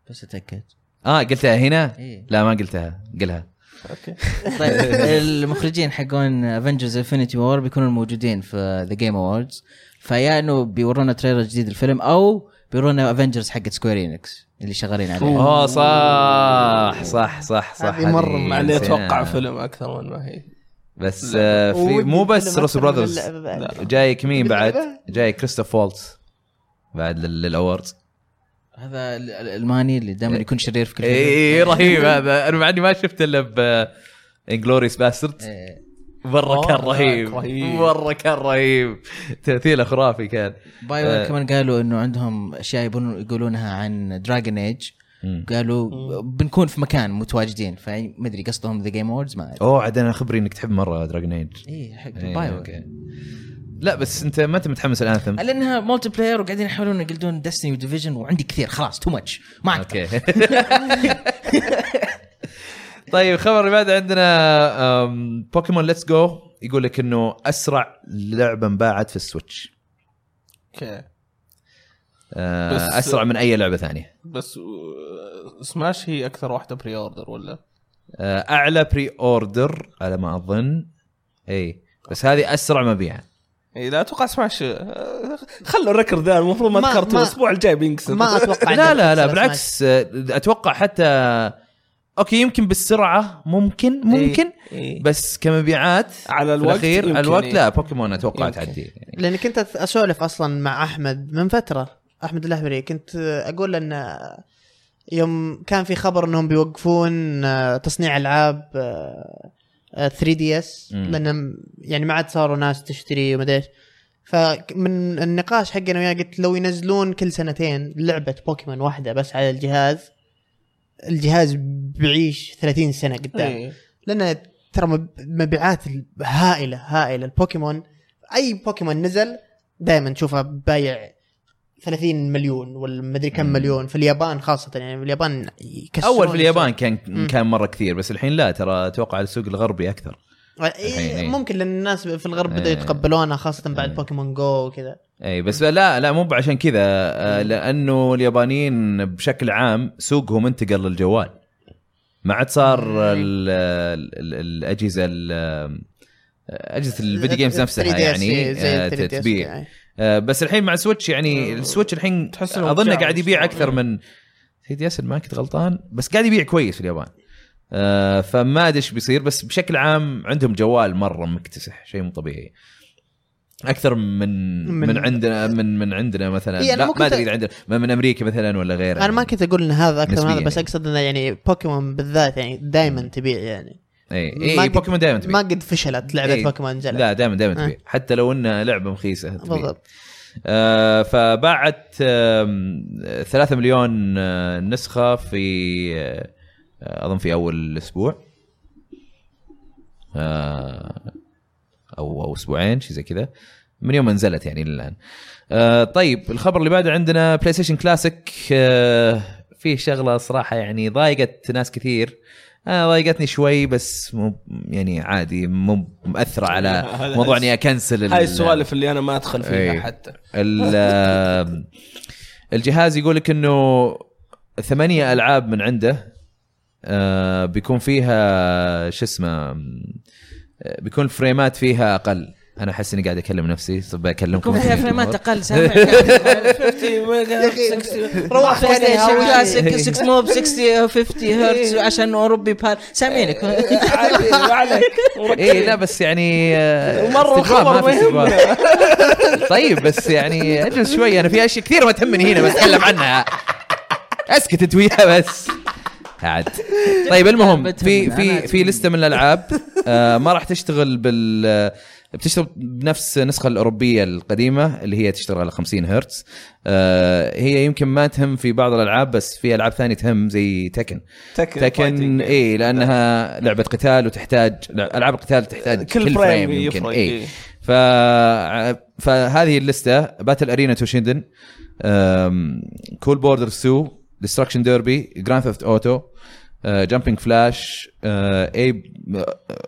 E: بس اتاكد
C: اه قلتها هنا؟
E: إيه.
C: لا ما قلتها قلها
A: اوكي
E: طيب
C: [LAUGHS]
E: المخرجين حقون افنجرز انفنتي وور بيكونوا موجودين في ذا جيم اووردز فيا انه بيورونا تريلر جديد الفيلم او بيورونا افنجرز حقت سكوير انكس اللي شغالين عليه
C: اوه صح صح صح صح
D: هذه مرة
C: هذه
A: مع اني اتوقع
C: نسيناها.
A: فيلم اكثر من ما هي
C: بس آه في مو بس روس براذرز جايك مين بعد؟
D: باللعبة؟
C: جاي كريستوف فولتز بعد لل- للاوردز
E: هذا ال- ال- الالماني اللي
C: إيه.
E: دائما يكون شرير في كل فيلم
C: [LAUGHS] اي إيه، رهيب هذا انا مع اني ما شفته الا ب انجلوريس باسترد
E: إيه.
C: مره كان
A: آه،
C: رهيب
A: رهيب.
C: مره كان رهيب تمثيله خرافي كان
E: باي
C: آه.
E: وير كمان قالوا انه عندهم اشياء يبون يقولونها عن دراجون ايج
C: مم.
E: قالوا بنكون في مكان متواجدين فما ادري قصدهم ذا جيم اووردز ما ادري
C: اوه عاد انا خبري انك تحب مره دراجون ايج
E: اي حق
C: إيه،
E: باي
C: أوكي.
E: وير
C: لا بس انت ما انت متحمس الانثم
E: لانها مولتي بلاير وقاعدين يحاولون يقلدون ديستني وديفيجن وعندي كثير خلاص تو ماتش ما أقدر.
C: اوكي [LAUGHS] طيب خبر اللي بعد عندنا أم، بوكيمون ليتس جو يقول لك انه اسرع لعبه انباعت في السويتش
A: اوكي
C: أه،
A: بس-
C: اسرع من اي لعبه ثانيه
A: بس آه، سماش هي اكثر واحده بري اوردر ولا
C: أه، اعلى بري اوردر على ما اظن اي بس هذه اسرع
A: [LAUGHS]
C: مبيعا
A: اي لا اتوقع سماش آه، خلوا الركر ذا المفروض ما
D: ما-
A: ذكرته
D: ما-
A: الاسبوع الجاي بينكسر
D: ما اتوقع
C: لا
D: إنه
C: لا لا
D: بيكسر Smash.
C: بالعكس أه، اتوقع حتى اوكي يمكن بالسرعه ممكن ممكن
A: إيه.
C: بس كمبيعات
A: على
C: في
A: الوقت
C: الأخير على
A: يمكن
C: الوقت
A: إيه.
C: لا بوكيمون اتوقع
A: يمكن.
C: تعدي يعني.
D: لاني كنت أت- اسولف اصلا مع احمد من فتره احمد الاهبري كنت اقول له ان يوم كان في خبر انهم بيوقفون آه، تصنيع العاب 3 دي اس
C: مم.
D: لان يعني ما عاد صاروا ناس تشتري وما أدري ايش فمن النقاش حقنا وياه قلت لو ينزلون كل سنتين لعبه بوكيمون واحده بس على الجهاز الجهاز بيعيش 30 سنه قدام
A: إيه.
D: لان ترى مب- مبيعات ال- هائله هائله البوكيمون اي بوكيمون نزل دائما تشوفه بايع 30 مليون ولا مدري كم
C: مم.
D: مليون في اليابان خاصه يعني اليابان يكسرون
C: اول في اليابان كان
D: مم.
C: كان مره كثير بس الحين لا ترى اتوقع على السوق الغربي اكثر الحين، إيه.
D: إيه ممكن لان الناس في الغرب بدأوا
C: إيه.
D: يتقبلونها خاصه بعد
C: إيه.
D: بوكيمون جو وكذا
C: اي بس لا لا مو عشان كذا آه، لانه اليابانيين بشكل عام سوقهم انتقل للجوال ما عاد صار
D: مم.
C: ال- ال- الاجهزه ال- اجهزه الفيديو جيمز
D: 3DS
C: نفسها يعني
D: زي
C: آه،
D: 3DS
C: تبيع
D: يعني.
C: آه، بس الحين مع سويتش
D: آه،
C: يعني السويتش الحين
A: تحس إنه
C: اظنه
A: مجال
C: قاعد يبيع
A: شوي.
C: اكثر من سي دي اس ما كنت غلطان بس قاعد يبيع كويس في اليابان آه، فما ادري ايش بيصير بس بشكل عام عندهم جوال مره مكتسح شيء مو طبيعي اكثر من من,
D: من-
C: من عندنا من من عندنا مثلا
D: إي، أنا
C: لا
D: ممكن
C: ما ادري
D: ت-
C: اذا عندنا من, من امريكا مثلا ولا غيره
D: انا ما كنت اقول ان هذا اكثر من هذا
C: نسبياً
D: بس
C: يعني.
D: اقصد انه يعني بوكيمون بالذات يعني دائما تبيع يعني
C: اي
D: ما
C: اي
D: قد-
C: إيه، بوكيمون دائما
D: ما
C: تبيع
D: قد فشلت لعبه
C: إيه.
D: بوكيمون جلت
C: لا دائما دائما
D: آه.
C: تبيع حتى لو انها لعبه مخيسه تبيع.
D: بالضبط
C: آه، فباعت آم، ثلاثة مليون آه، نسخة في آه، أظن في أول أسبوع آه، أو أو أسبوعين شيء زي كذا من يوم ما نزلت يعني للآن آه، طيب الخبر اللي بعده عندنا بلاي ستيشن كلاسيك آه، في شغله صراحه يعني ضايقت ناس كثير آه ضايقتني شوي بس مو يعني عادي مو مؤثره على
A: هذا-
C: موضوع اني اكنسل ال-
A: هاي السوالف اللي انا ما ادخل فيها
C: إيه.
A: حتى
E: [LAUGHS]
C: ال- الجهاز يقول لك انه ثمانية العاب من عنده آه، بيكون فيها شو اسمه آه، بيكون الفريمات فيها اقل انا احس اني قاعد اكلم نفسي طب بكلمكم
E: كم
C: [LAUGHS]
E: فيها فريمات اقل سامع
D: [LAUGHS]
A: 50 ميجا، 60.
D: روحت عليه
E: شغال
D: هاوي.
E: 6 6 موب 60 50 هرتز
D: إيه.
E: عشان اوروبي بار سامعينك
A: عادي ما
C: [LAUGHS]
A: عليك
C: اي لا بس يعني آه،
A: مرة
C: استجواب، ما
A: الخبر
C: في
A: ما
C: استجواب. طيب بس يعني اجلس شوي انا في اشياء كثير ما تهمني هنا بتكلم عنها اسكت انت وياها بس عاد طيب المهم في
E: بتهمني، أنا
C: في في لسته من الالعاب آه، ما راح تشتغل بال آه، بتشتغل بنفس النسخه الاوروبيه القديمه اللي هي تشتغل على 50 هرتز آه، هي يمكن ما تهم في بعض الالعاب بس في العاب ثانيه تهم زي تكن تكن اي لانها لعبه قتال وتحتاج العاب القتال تحتاج
A: كل فريم يفرق
C: اي
A: إيه.
C: ف... فهذه اللسته باتل ارينا توشيندن كول بوردر سو ديستركشن ديربي جراند ثيفت اوتو جامبينج فلاش ايب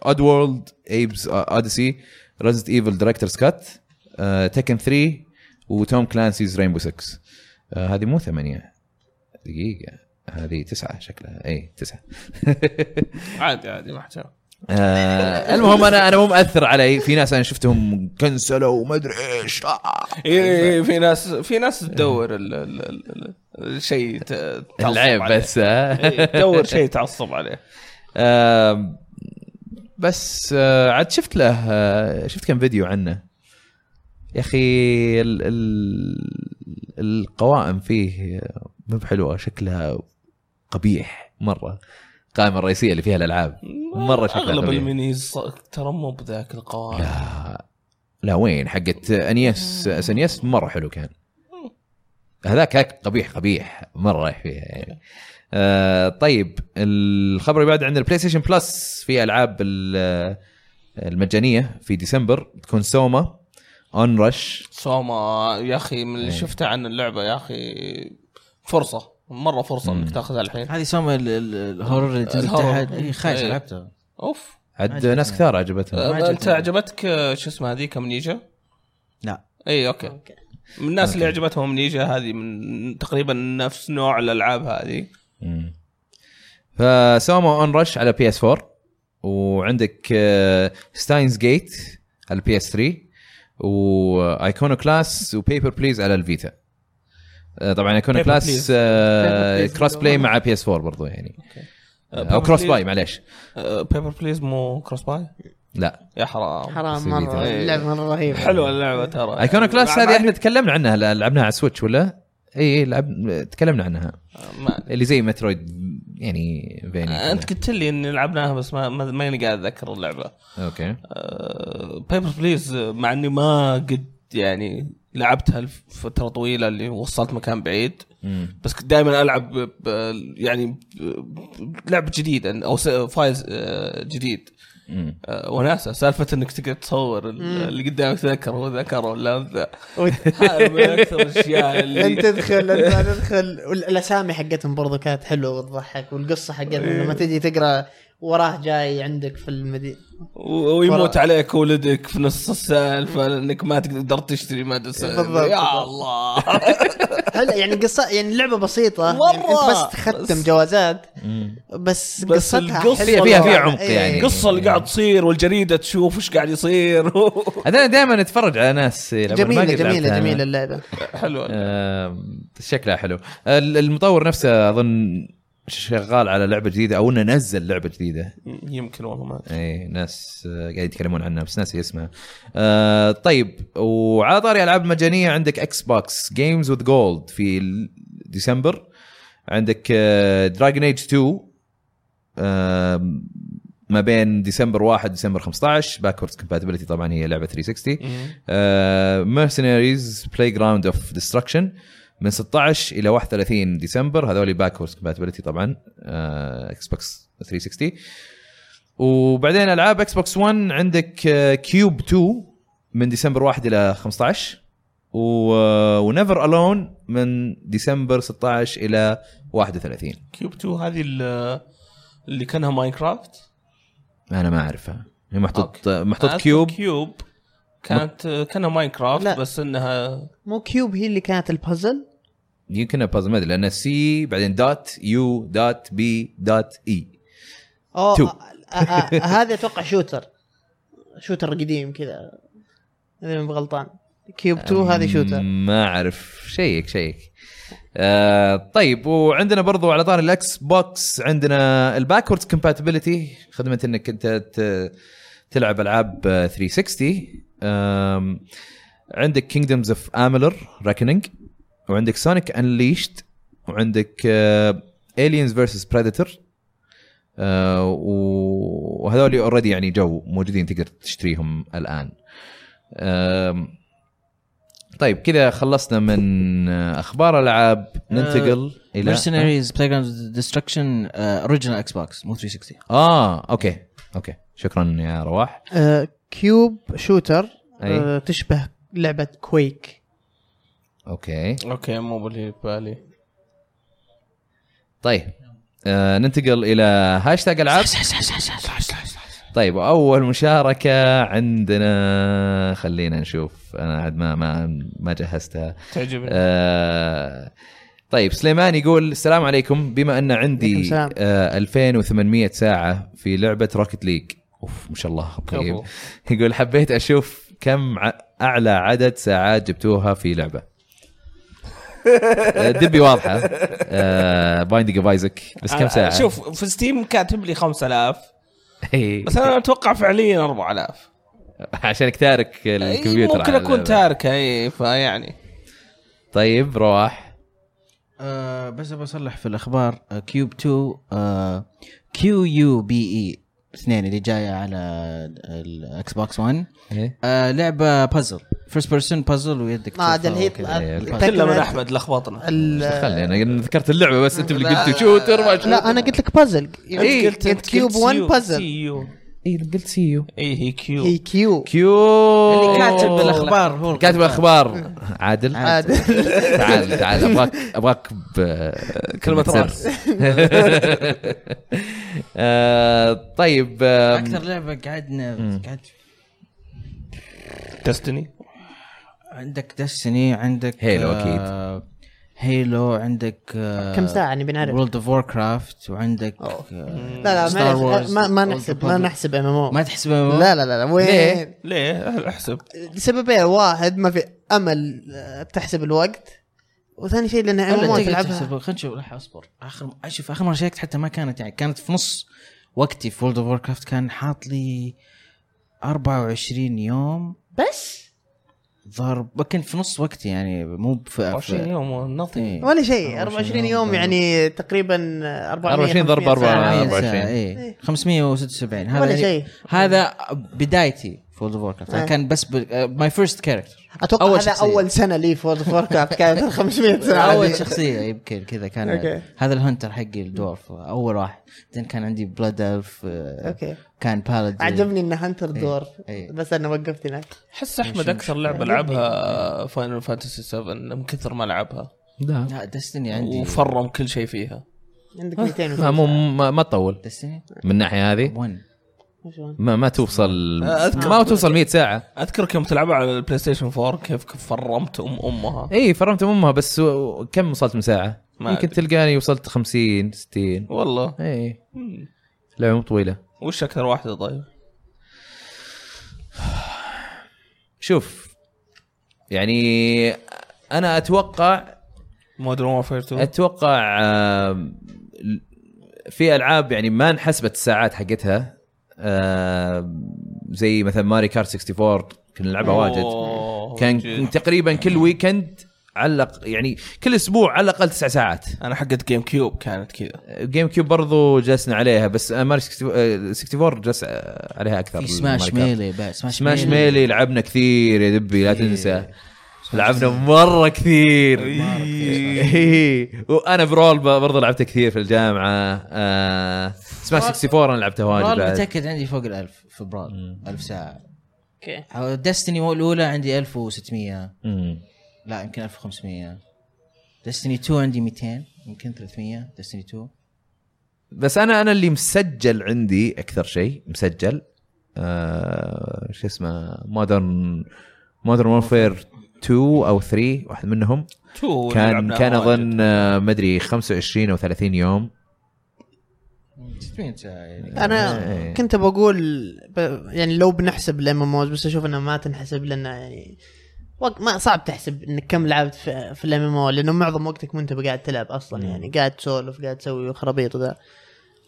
C: اد وورلد ايبز اوديسي ريزنت ايفل دايركتورز كات تكن 3 وتوم كلانسيز رينبو 6 آه، هذه مو ثمانيه دقيقه هذه تسعه شكلها إيه، اي تسعه [LAUGHS]
A: عادي عادي ما حد شاف.
C: آه المهم انا انا مو مأثر علي في ناس انا شفتهم كنسلوا وما ادري ايش آه.
A: إيه، إيه، في ناس في ناس تدور ال- ال- ال- ال- الشيء ت- تعصب
C: العيب
A: عليه.
C: بس آه.
A: إيه، تدور شيء تعصب عليه
C: آه بس آه عاد شفت له آه شفت كم فيديو عنه يا اخي ال ال القوائم فيه آه، مو بحلوه شكلها قبيح مره القائمه الرئيسيه اللي فيها الالعاب مره شكلها
A: اغلب
C: قبيح.
A: المنيز ص- ترى مو بذاك القوائم
C: لا لا وين حقت انيس سنيس مره حلو كان هذاك هاك قبيح قبيح مره رايح فيها يعني آه طيب الخبر اللي بعد عند البلاي ستيشن بلس في العاب ال- المجانيه في ديسمبر تكون سوما اون رش
A: سوما يا اخي من اللي
C: إيه.
A: شفته عن اللعبه يا اخي فرصه مره فرصه انك تاخذها الحين
E: [LAUGHS] هذه سوما ال- ال- الهورر اللي تنزل
A: الهورر.
E: تحت إيه، خايس
A: إيه.
E: لعبتها
A: اوف
C: عاد ناس كثار عجبتهم
A: أه، انت
E: عجبتني.
A: عجبتك أه، شو اسمه هذيك امنيجا؟
E: لا
A: اي اوكي من الناس اللي عجبتهم امنيجا هذه من تقريبا نفس نوع الالعاب هذه
C: مم. فسوما اون رش على بي اس 4 وعندك ستاينز جيت على البي اس 3 وايكونو كلاس وبيبر بليز على الفيتا آه، طبعا ايكونو
A: Paper
C: كلاس
A: Please. Paper Please.
C: كروس بلاي مع بي اس 4 برضو يعني
A: آه،
C: او
A: Paper
C: كروس
A: Please.
C: باي معليش
A: بيبر بليز أه، مو كروس باي
C: لا
A: يا حرام
D: حرام
C: بس
D: مره
A: إيه.
D: اللعبه مره
A: [LAUGHS]
D: رهيبه
A: حلوه اللعبه ترى
C: ايكونو كلاس
A: يعني مع- مع-
C: هذه احنا تكلمنا عنها لا، لعبناها على سويتش ولا؟ اي اي لعب تكلمنا عنها
A: ما-
C: اللي زي مترويد يعني فيني
A: انت قلت لي اني لعبناها بس ما ما- ماني قاعد اتذكر اللعبه
C: اوكي
A: بيبر بليز آه، مع اني ما قد يعني لعبتها لفتره طويله اللي وصلت مكان بعيد
C: مم.
A: بس كنت دائما العب ب- ب- يعني ب- لعبه جديده او س- فايز آه، جديد
C: مم.
A: آه، وناسه سالفه انك تقدر تصور ال- اللي قدامك ذكر هو ذكر ولا انثى
D: وت-
A: هذا من اكثر الاشياء
D: لن
A: [LAUGHS] اللي
D: تدخل لن ما تدخل والاسامي حقتهم برضو كانت حلوه وتضحك والقصه حقتهم لما تجي تقرا وراه جاي عندك في المدينه
A: و- ويموت عليك ولدك في نص السالفه لانك ما تقدر تشتري مدرسه
D: بالضبط.
A: يا الله
D: هلا يعني قصه يعني اللعبه بسيطه يعني انت
A: مرة.
D: بس تختم جوازات
C: مم.
D: بس,
A: بس
D: قصتها
A: القصة
D: حلوة.
A: فيها-
C: فيها عمق
D: إيه.
C: يعني.
A: القصه اللي قاعد تصير والجريده تشوف ايش قاعد [LAUGHS] يصير
C: انا دائما اتفرج على ناس يلعبون، ما
D: جميله
C: قد لعبتها
D: جميله
C: أنا.
D: جميله اللعبه
A: حلوه
C: آم، شكلها حلو ال- المطور نفسه اظن شغال على لعبه جديده او انه نزل لعبه جديده
A: [LAUGHS] يمكن والله ما
C: اي ناس آه، قاعد يتكلمون عنها بس ناسي اسمها آه، طيب وعلى طاري العاب مجانيه عندك اكس بوكس جيمز وذ جولد في ال- ديسمبر عندك آه، دراجون ايج 2 آم، ما بين ديسمبر 1 ديسمبر 15 باكورد كومباتيبلتي طبعا هي لعبه 360
A: إيه.
C: آه، ميرسينيريز بلاي جراوند اوف ديستركشن من 16 الى 31 ديسمبر هذول باكورد كومباتيبلتي طبعا اكس بوكس 360 وبعدين العاب آه، اكس بوكس 1 عندك كيوب 2 من ديسمبر 1 الى 15 و... ونيفر الون من ديسمبر 16 الى 31
A: كيوب 2 هذه ال- اللي كانها ماينكرافت
C: انا ما اعرفها هي محطوط
A: أوكي.
C: محطوط
A: أذكر
C: كيوب
A: كيوب كانت كانها ماينكرافت
D: لا.
A: بس انها
D: مو كيوب هي اللي كانت البازل
C: يمكن بازل ما ادري لان سي بعدين دوت يو دوت بي دوت اي
D: اوه
C: Two.
D: آه، آه، آه، هذا اتوقع شوتر شوتر قديم كذا اذا ماني بغلطان كيوب 2 هذه شوتر
C: ما اعرف شيك شيك آه طيب وعندنا برضو على طار الاكس بوكس عندنا الباكورد كومباتيبلتي خدمه انك انت ت- تلعب العاب آه، 360 آم، عندك كينجدمز اوف املر ريكننج وعندك سونيك انليشت وعندك آه، الينز فيرسس بريدتور آه، وهذول اوريدي يعني جو موجودين تقدر تشتريهم الان آم، طيب كذا خلصنا من آه، اخبار العاب ننتقل الى
E: ميرسنريز بلاي جراوند ديستركشن اوريجنال اكس بوكس uh, مو 360
C: اه اوكي اوكي شكرا يا رواح
D: آه، كيوب شوتر
C: أي.
D: آه، تشبه لعبه كويك
C: اوكي
A: اوكي مو باللي ببالي
C: طيب آه ننتقل الى هاشتاج العاب طيب اول مشاركه عندنا خلينا نشوف انا عاد ما ما ما جهزتها
A: تعجبني
C: آه طيب سليمان يقول السلام عليكم بما ان
D: عليكم
C: عندي
D: السلام.
C: آه 2800 ساعه في لعبه روكت ليج اوف ما شاء الله طيب
A: كفو.
C: [LAUGHS] يقول حبيت اشوف كم ع- اعلى عدد ساعات جبتوها في لعبه آه، دبي آه، واضحه بايندينج اوف ايزك بس كم
A: أنا-
C: ساعه
A: آه،
C: [LAUGHS]
A: شوف في ستيم كاتب لي 5000
C: إيه،
A: بس انا اتوقع فعليا 4000
C: عشانك تارك
A: إيه،
C: الكمبيوتر
A: ممكن
C: على
A: اكون
C: اللعبة.
A: تاركه اي فيعني
C: طيب رواح
E: آه بس ابغى اصلح في الاخبار آه كيوب 2 آه كيو يو بي اي E اثنين اللي جايه على الاكس بوكس 1
C: إيه.
E: آه لعبه بازل فيرست بيرسون بازل ويدك
D: ما
E: تلفها
D: عاد هي
E: وكذا.
A: كله من احمد لخبطنا
C: خلي انا ذكرت اللعبه بس انت اللي قلت شوتر ما شوتر
D: لا انا قلت لك بازل
A: إيه،
D: قلت قلت كيوب 1 بازل
A: سيو
C: اي قلت سي يو
A: اي هي كيو
D: هي كيو
C: كيو
E: اللي يعني كاتب الاخبار هو
C: كاتب الاخبار عادل
D: عاد.
C: تعال تعال ابغاك ابغاك ب
A: كلمة
C: سر.
A: رأس.
C: [LAUGHS] آه، طيب آم،
E: اكثر لعبه قعدنا قعدت
A: دستني
E: عندك دستني عندك
C: هيلو
E: آه، هيلو عندك آه،
D: كم يعني ساعه نبي نعرف
E: وورلد اوف وور كرافت وعندك
D: أوه.
E: آه،
D: لا لا
E: Star
D: ما
E: Wars.
D: نحسب ما, ما
E: Old
D: نحسب ما
E: Republic.
D: نحسب ام ام او
E: ما تحسب MMO؟
D: لا لا لا لا وين
C: ليه؟
A: ليه احسب
D: لسببين واحد ما في امل آه، تحسب الوقت وثاني شيء لان ام ام او
E: ولا تقدر
D: تلعبها
E: تحسب خلينا نشوف لحظه اصبر اخر شوف اخر مره شيكت حتى ما كانت يعني كانت في نص وقتي في وورلد اوف وور كرافت كان حاط لي 24 يوم
D: بس
E: ضرب لكن في نص وقتي يعني مو في
A: 20 يوم نظيف
E: إيه.
D: ولا شيء
E: 24
D: 24 يوم
E: ضرب. يعني
D: يعني تقريبا
C: 24 ضرب 4
E: 40
C: 24.
E: ساعة، إيه. 576 هذا
D: ولا
E: يعني-
D: شيء.
E: هذا بدايتي في وورلد اوف وور كرافت
D: إيه.
E: كان بس آه، ماي فيرست كاركتر
D: اتوقع
E: أول
D: هذا
E: شخصية.
D: اول سنه لي في وورد اوف
E: [LAUGHS]
D: كانت 500 ساعه
E: اول
D: دي.
E: شخصيه يمكن إيه، كذا كان
D: أوكي.
E: هذا الهنتر حقي الدورف اول واحد بعدين كان عندي بلاد الف
D: اوكي
E: كان بالادين
D: عجبني ان هانتر دور
E: إيه.
D: بس انا وقفت هناك
A: احس احمد اكثر لعبه لعبها فاينل فانتسي 7 من كثر ما لعبها
C: لا
E: لا دستني عندي
A: وفرم كل شيء فيها
E: [LAUGHS]
D: عندك 200
C: ما مو ما, ما تطول
E: دستني
C: من الناحيه هذه
E: 1
C: ما ما توصل
A: أذكر.
C: ما توصل 100 ساعه
A: اذكرك يوم تلعبها على البلاي ستيشن 4 كيف كيف فرمت ام امها
C: اي فرمت امها بس و- كم وصلت من ساعه؟
A: ما
C: يمكن
A: أدري.
C: تلقاني وصلت 50 60
A: والله
C: اي لعبه مو طويله
A: وش اكثر واحده طيب؟
C: شوف يعني انا اتوقع
A: مودرن وورفير 2
C: اتوقع آم، في العاب يعني ما انحسبت الساعات حقتها آم، زي مثلا ماري كارت 64 كنا نلعبها واجد
A: أوه،
C: كان
A: جد.
C: تقريبا كل ويكند علق يعني كل اسبوع على الاقل تسع ساعات
A: انا حقت جيم كيوب كانت كذا
C: جيم كيوب برضو جلسنا عليها بس آه، ماري 64 جلس عليها اكثر
E: في
C: ماري
E: سماش
C: كارت.
E: ميلي بس سماش,
C: سماش ميلي لعبنا كثير يا دبي لا
E: إيه.
C: تنسى لعبنا مره كثير [LAUGHS] إيه. وانا برول ب- برضه لعبته كثير في الجامعه آه سماش 64 انا لعبتها واجد
E: برال
C: بعد.
E: متاكد عندي فوق الألف في برال 1000 ساعه اوكي دستني الاولى عندي 1600
C: مم.
E: لا يمكن 1500 ديستني 2 عندي 200 يمكن 300 ديستني 2
C: بس انا انا اللي مسجل عندي اكثر شيء مسجل آه شو اسمه مودرن مودرن وورفير 2 او 3 واحد منهم
A: تو
C: كان
A: لعبناها
C: كان
A: واجد.
C: اظن آه، مدري 25 او 30 يوم
E: 600 ساعة يعني
D: انا
C: إيه.
D: كنت بقول ب... يعني لو بنحسب الام ام اوز بس اشوف انها ما تنحسب لان يعني وق... ما صعب تحسب انك كم لعبت في, في الام ام او لانه معظم وقتك ما انت قاعد تلعب اصلا يعني قاعد تسولف قاعد تسوي خرابيط ذا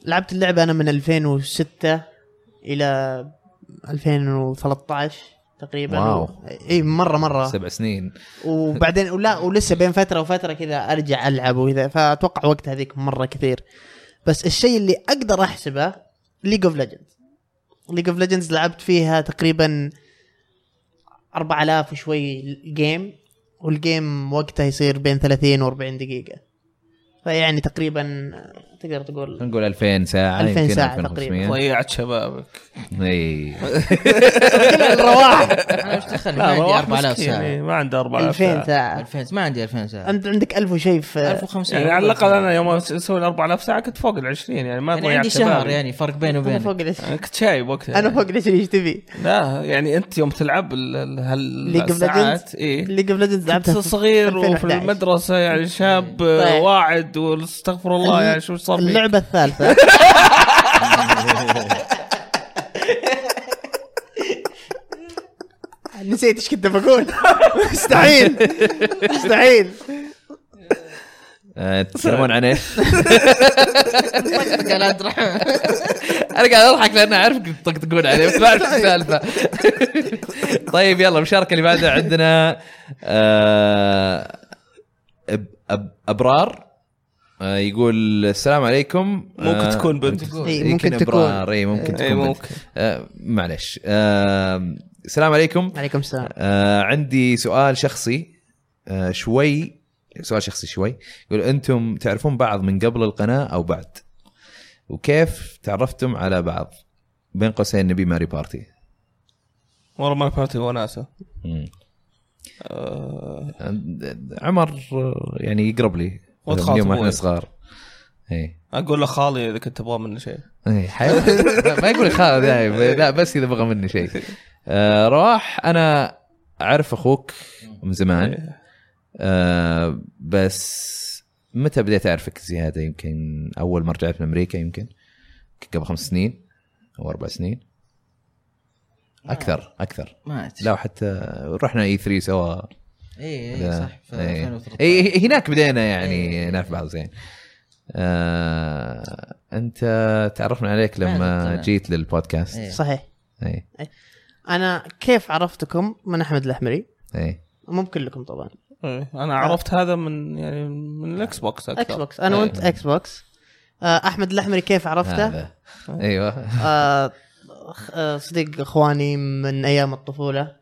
D: لعبت اللعبه انا من 2006 الى 2013 تقريبا
C: واو.
D: اي مره مره
C: سبع سنين
D: وبعدين ولا ولسه بين فتره وفتره كذا ارجع العب وكذا فاتوقع وقت هذيك مره كثير بس الشيء اللي اقدر احسبه ليج اوف ليجندز ليج اوف ليجندز لعبت فيها تقريبا 4000 وشوي جيم والجيم وقتها يصير بين 30 و 40 دقيقه فيعني تقريبا تقدر
C: [LAUGHS]
D: تقول
C: نقول 2000 ساعه
D: 2000
C: يمكن
D: ساعة
C: 2500.
A: ضيعت شبابك
C: طيب. اي
D: الرواح
E: انا مش دخلني ما
A: لا
E: عندي
A: رواح مسكين،
E: 4000 ساعة
A: إيه، ما عنده 4000 ساعه
D: 2000 ساعه
E: 2000 ما عندي 2000 ساعة
D: انت عندك 1000 وشيء في
E: 1500
A: يعني على الاقل انا يوم اسوي ال 4000 ساعه كنت فوق ال 20 يعني ما
E: يعني
A: ضيعت
E: عندي
A: شبابي.
E: شهر يعني فرق بيني
D: انا
E: وبينك
D: فوق ال
A: انا كنت شايب وقتها
D: انا فوق ال 20 ايش تبي؟
A: لا يعني انت يوم تلعب ال- ال-
D: ليج اوف ليجندز
A: هالساعات اي
D: ليج اوف ليجندز لعبتها
A: لعبتها
D: في
A: صغير وفي
D: 2011.
A: المدرسه
E: إيه.
A: يعني شاب
D: طيب.
A: واعد واستغفر الله يعني شو صار فيك؟
D: اللعبه الثالثه [LAUGHS] نسيت ايش كنت بقول مستحيل مستحيل
C: آه، تتكلمون عن [LAUGHS] ايش؟
E: قال أدرى.
C: انا قاعد اضحك لان اعرف كنت تطقطقون عليه بس ما اعرف إيش السالفه [LAUGHS] طيب يلا المشاركه اللي بعدها عندنا آه، أب- أب- ابرار آه، يقول السلام عليكم
A: ممكن
C: آه،
A: تكون بنت
D: إي،
C: يمكن
D: ممكن
C: ابرار
D: تكون
C: اي ممكن
A: اي
C: تكون بنت.
A: ممكن
C: آه، معلش آه، السلام عليكم
D: عليكم السلام
C: آه عندي سؤال شخصي آه شوي سؤال شخصي شوي يقول انتم تعرفون بعض من قبل القناه او بعد وكيف تعرفتم على بعض بين قوسين نبي ماري بارتي
A: والله ما فهمت وناسه
C: مم.
A: أه،
C: عمر آه، يعني يقرب لي
A: وتخاطب
C: من يوم احنا
A: أبوي.
C: صغار اي
A: اقول له خالي اذا كنت تبغى مني شيء
C: اي إيه، حيوان [LAUGHS] لا، ما يقول خالد يعني لا بس اذا بغى مني شيء آه رواح انا اعرف اخوك من زمان
E: إيه.
C: آه بس متى بديت اعرفك زياده يمكن اول ما رجعت من امريكا يمكن يمكن قبل خمس سنين او اربع سنين
E: آه.
C: اكثر اكثر
E: ما ادري
C: لا حتى رحنا اي 3 سوا
E: اي اي صح في
C: إيه.
E: 2013
C: إيه، هناك بدينا يعني
E: إيه.
C: نعرف بعض زين آه، انت تعرفنا عليك
E: بعد
C: لما
E: القناة.
C: جيت للبودكاست
E: إيه.
D: صحيح
C: اي
D: انا كيف عرفتكم من احمد الاحمري
C: اي
D: مو بكلكم طبعا
A: إيه، انا عرفت هذا من يعني
E: أه.
A: من الاكس بوكس اكثر
D: اكس بوكس انا وانت اكس بوكس آه، احمد الاحمري كيف عرفته؟
C: هذا ايوه
D: آه، خ- آه، صديق اخواني من ايام الطفوله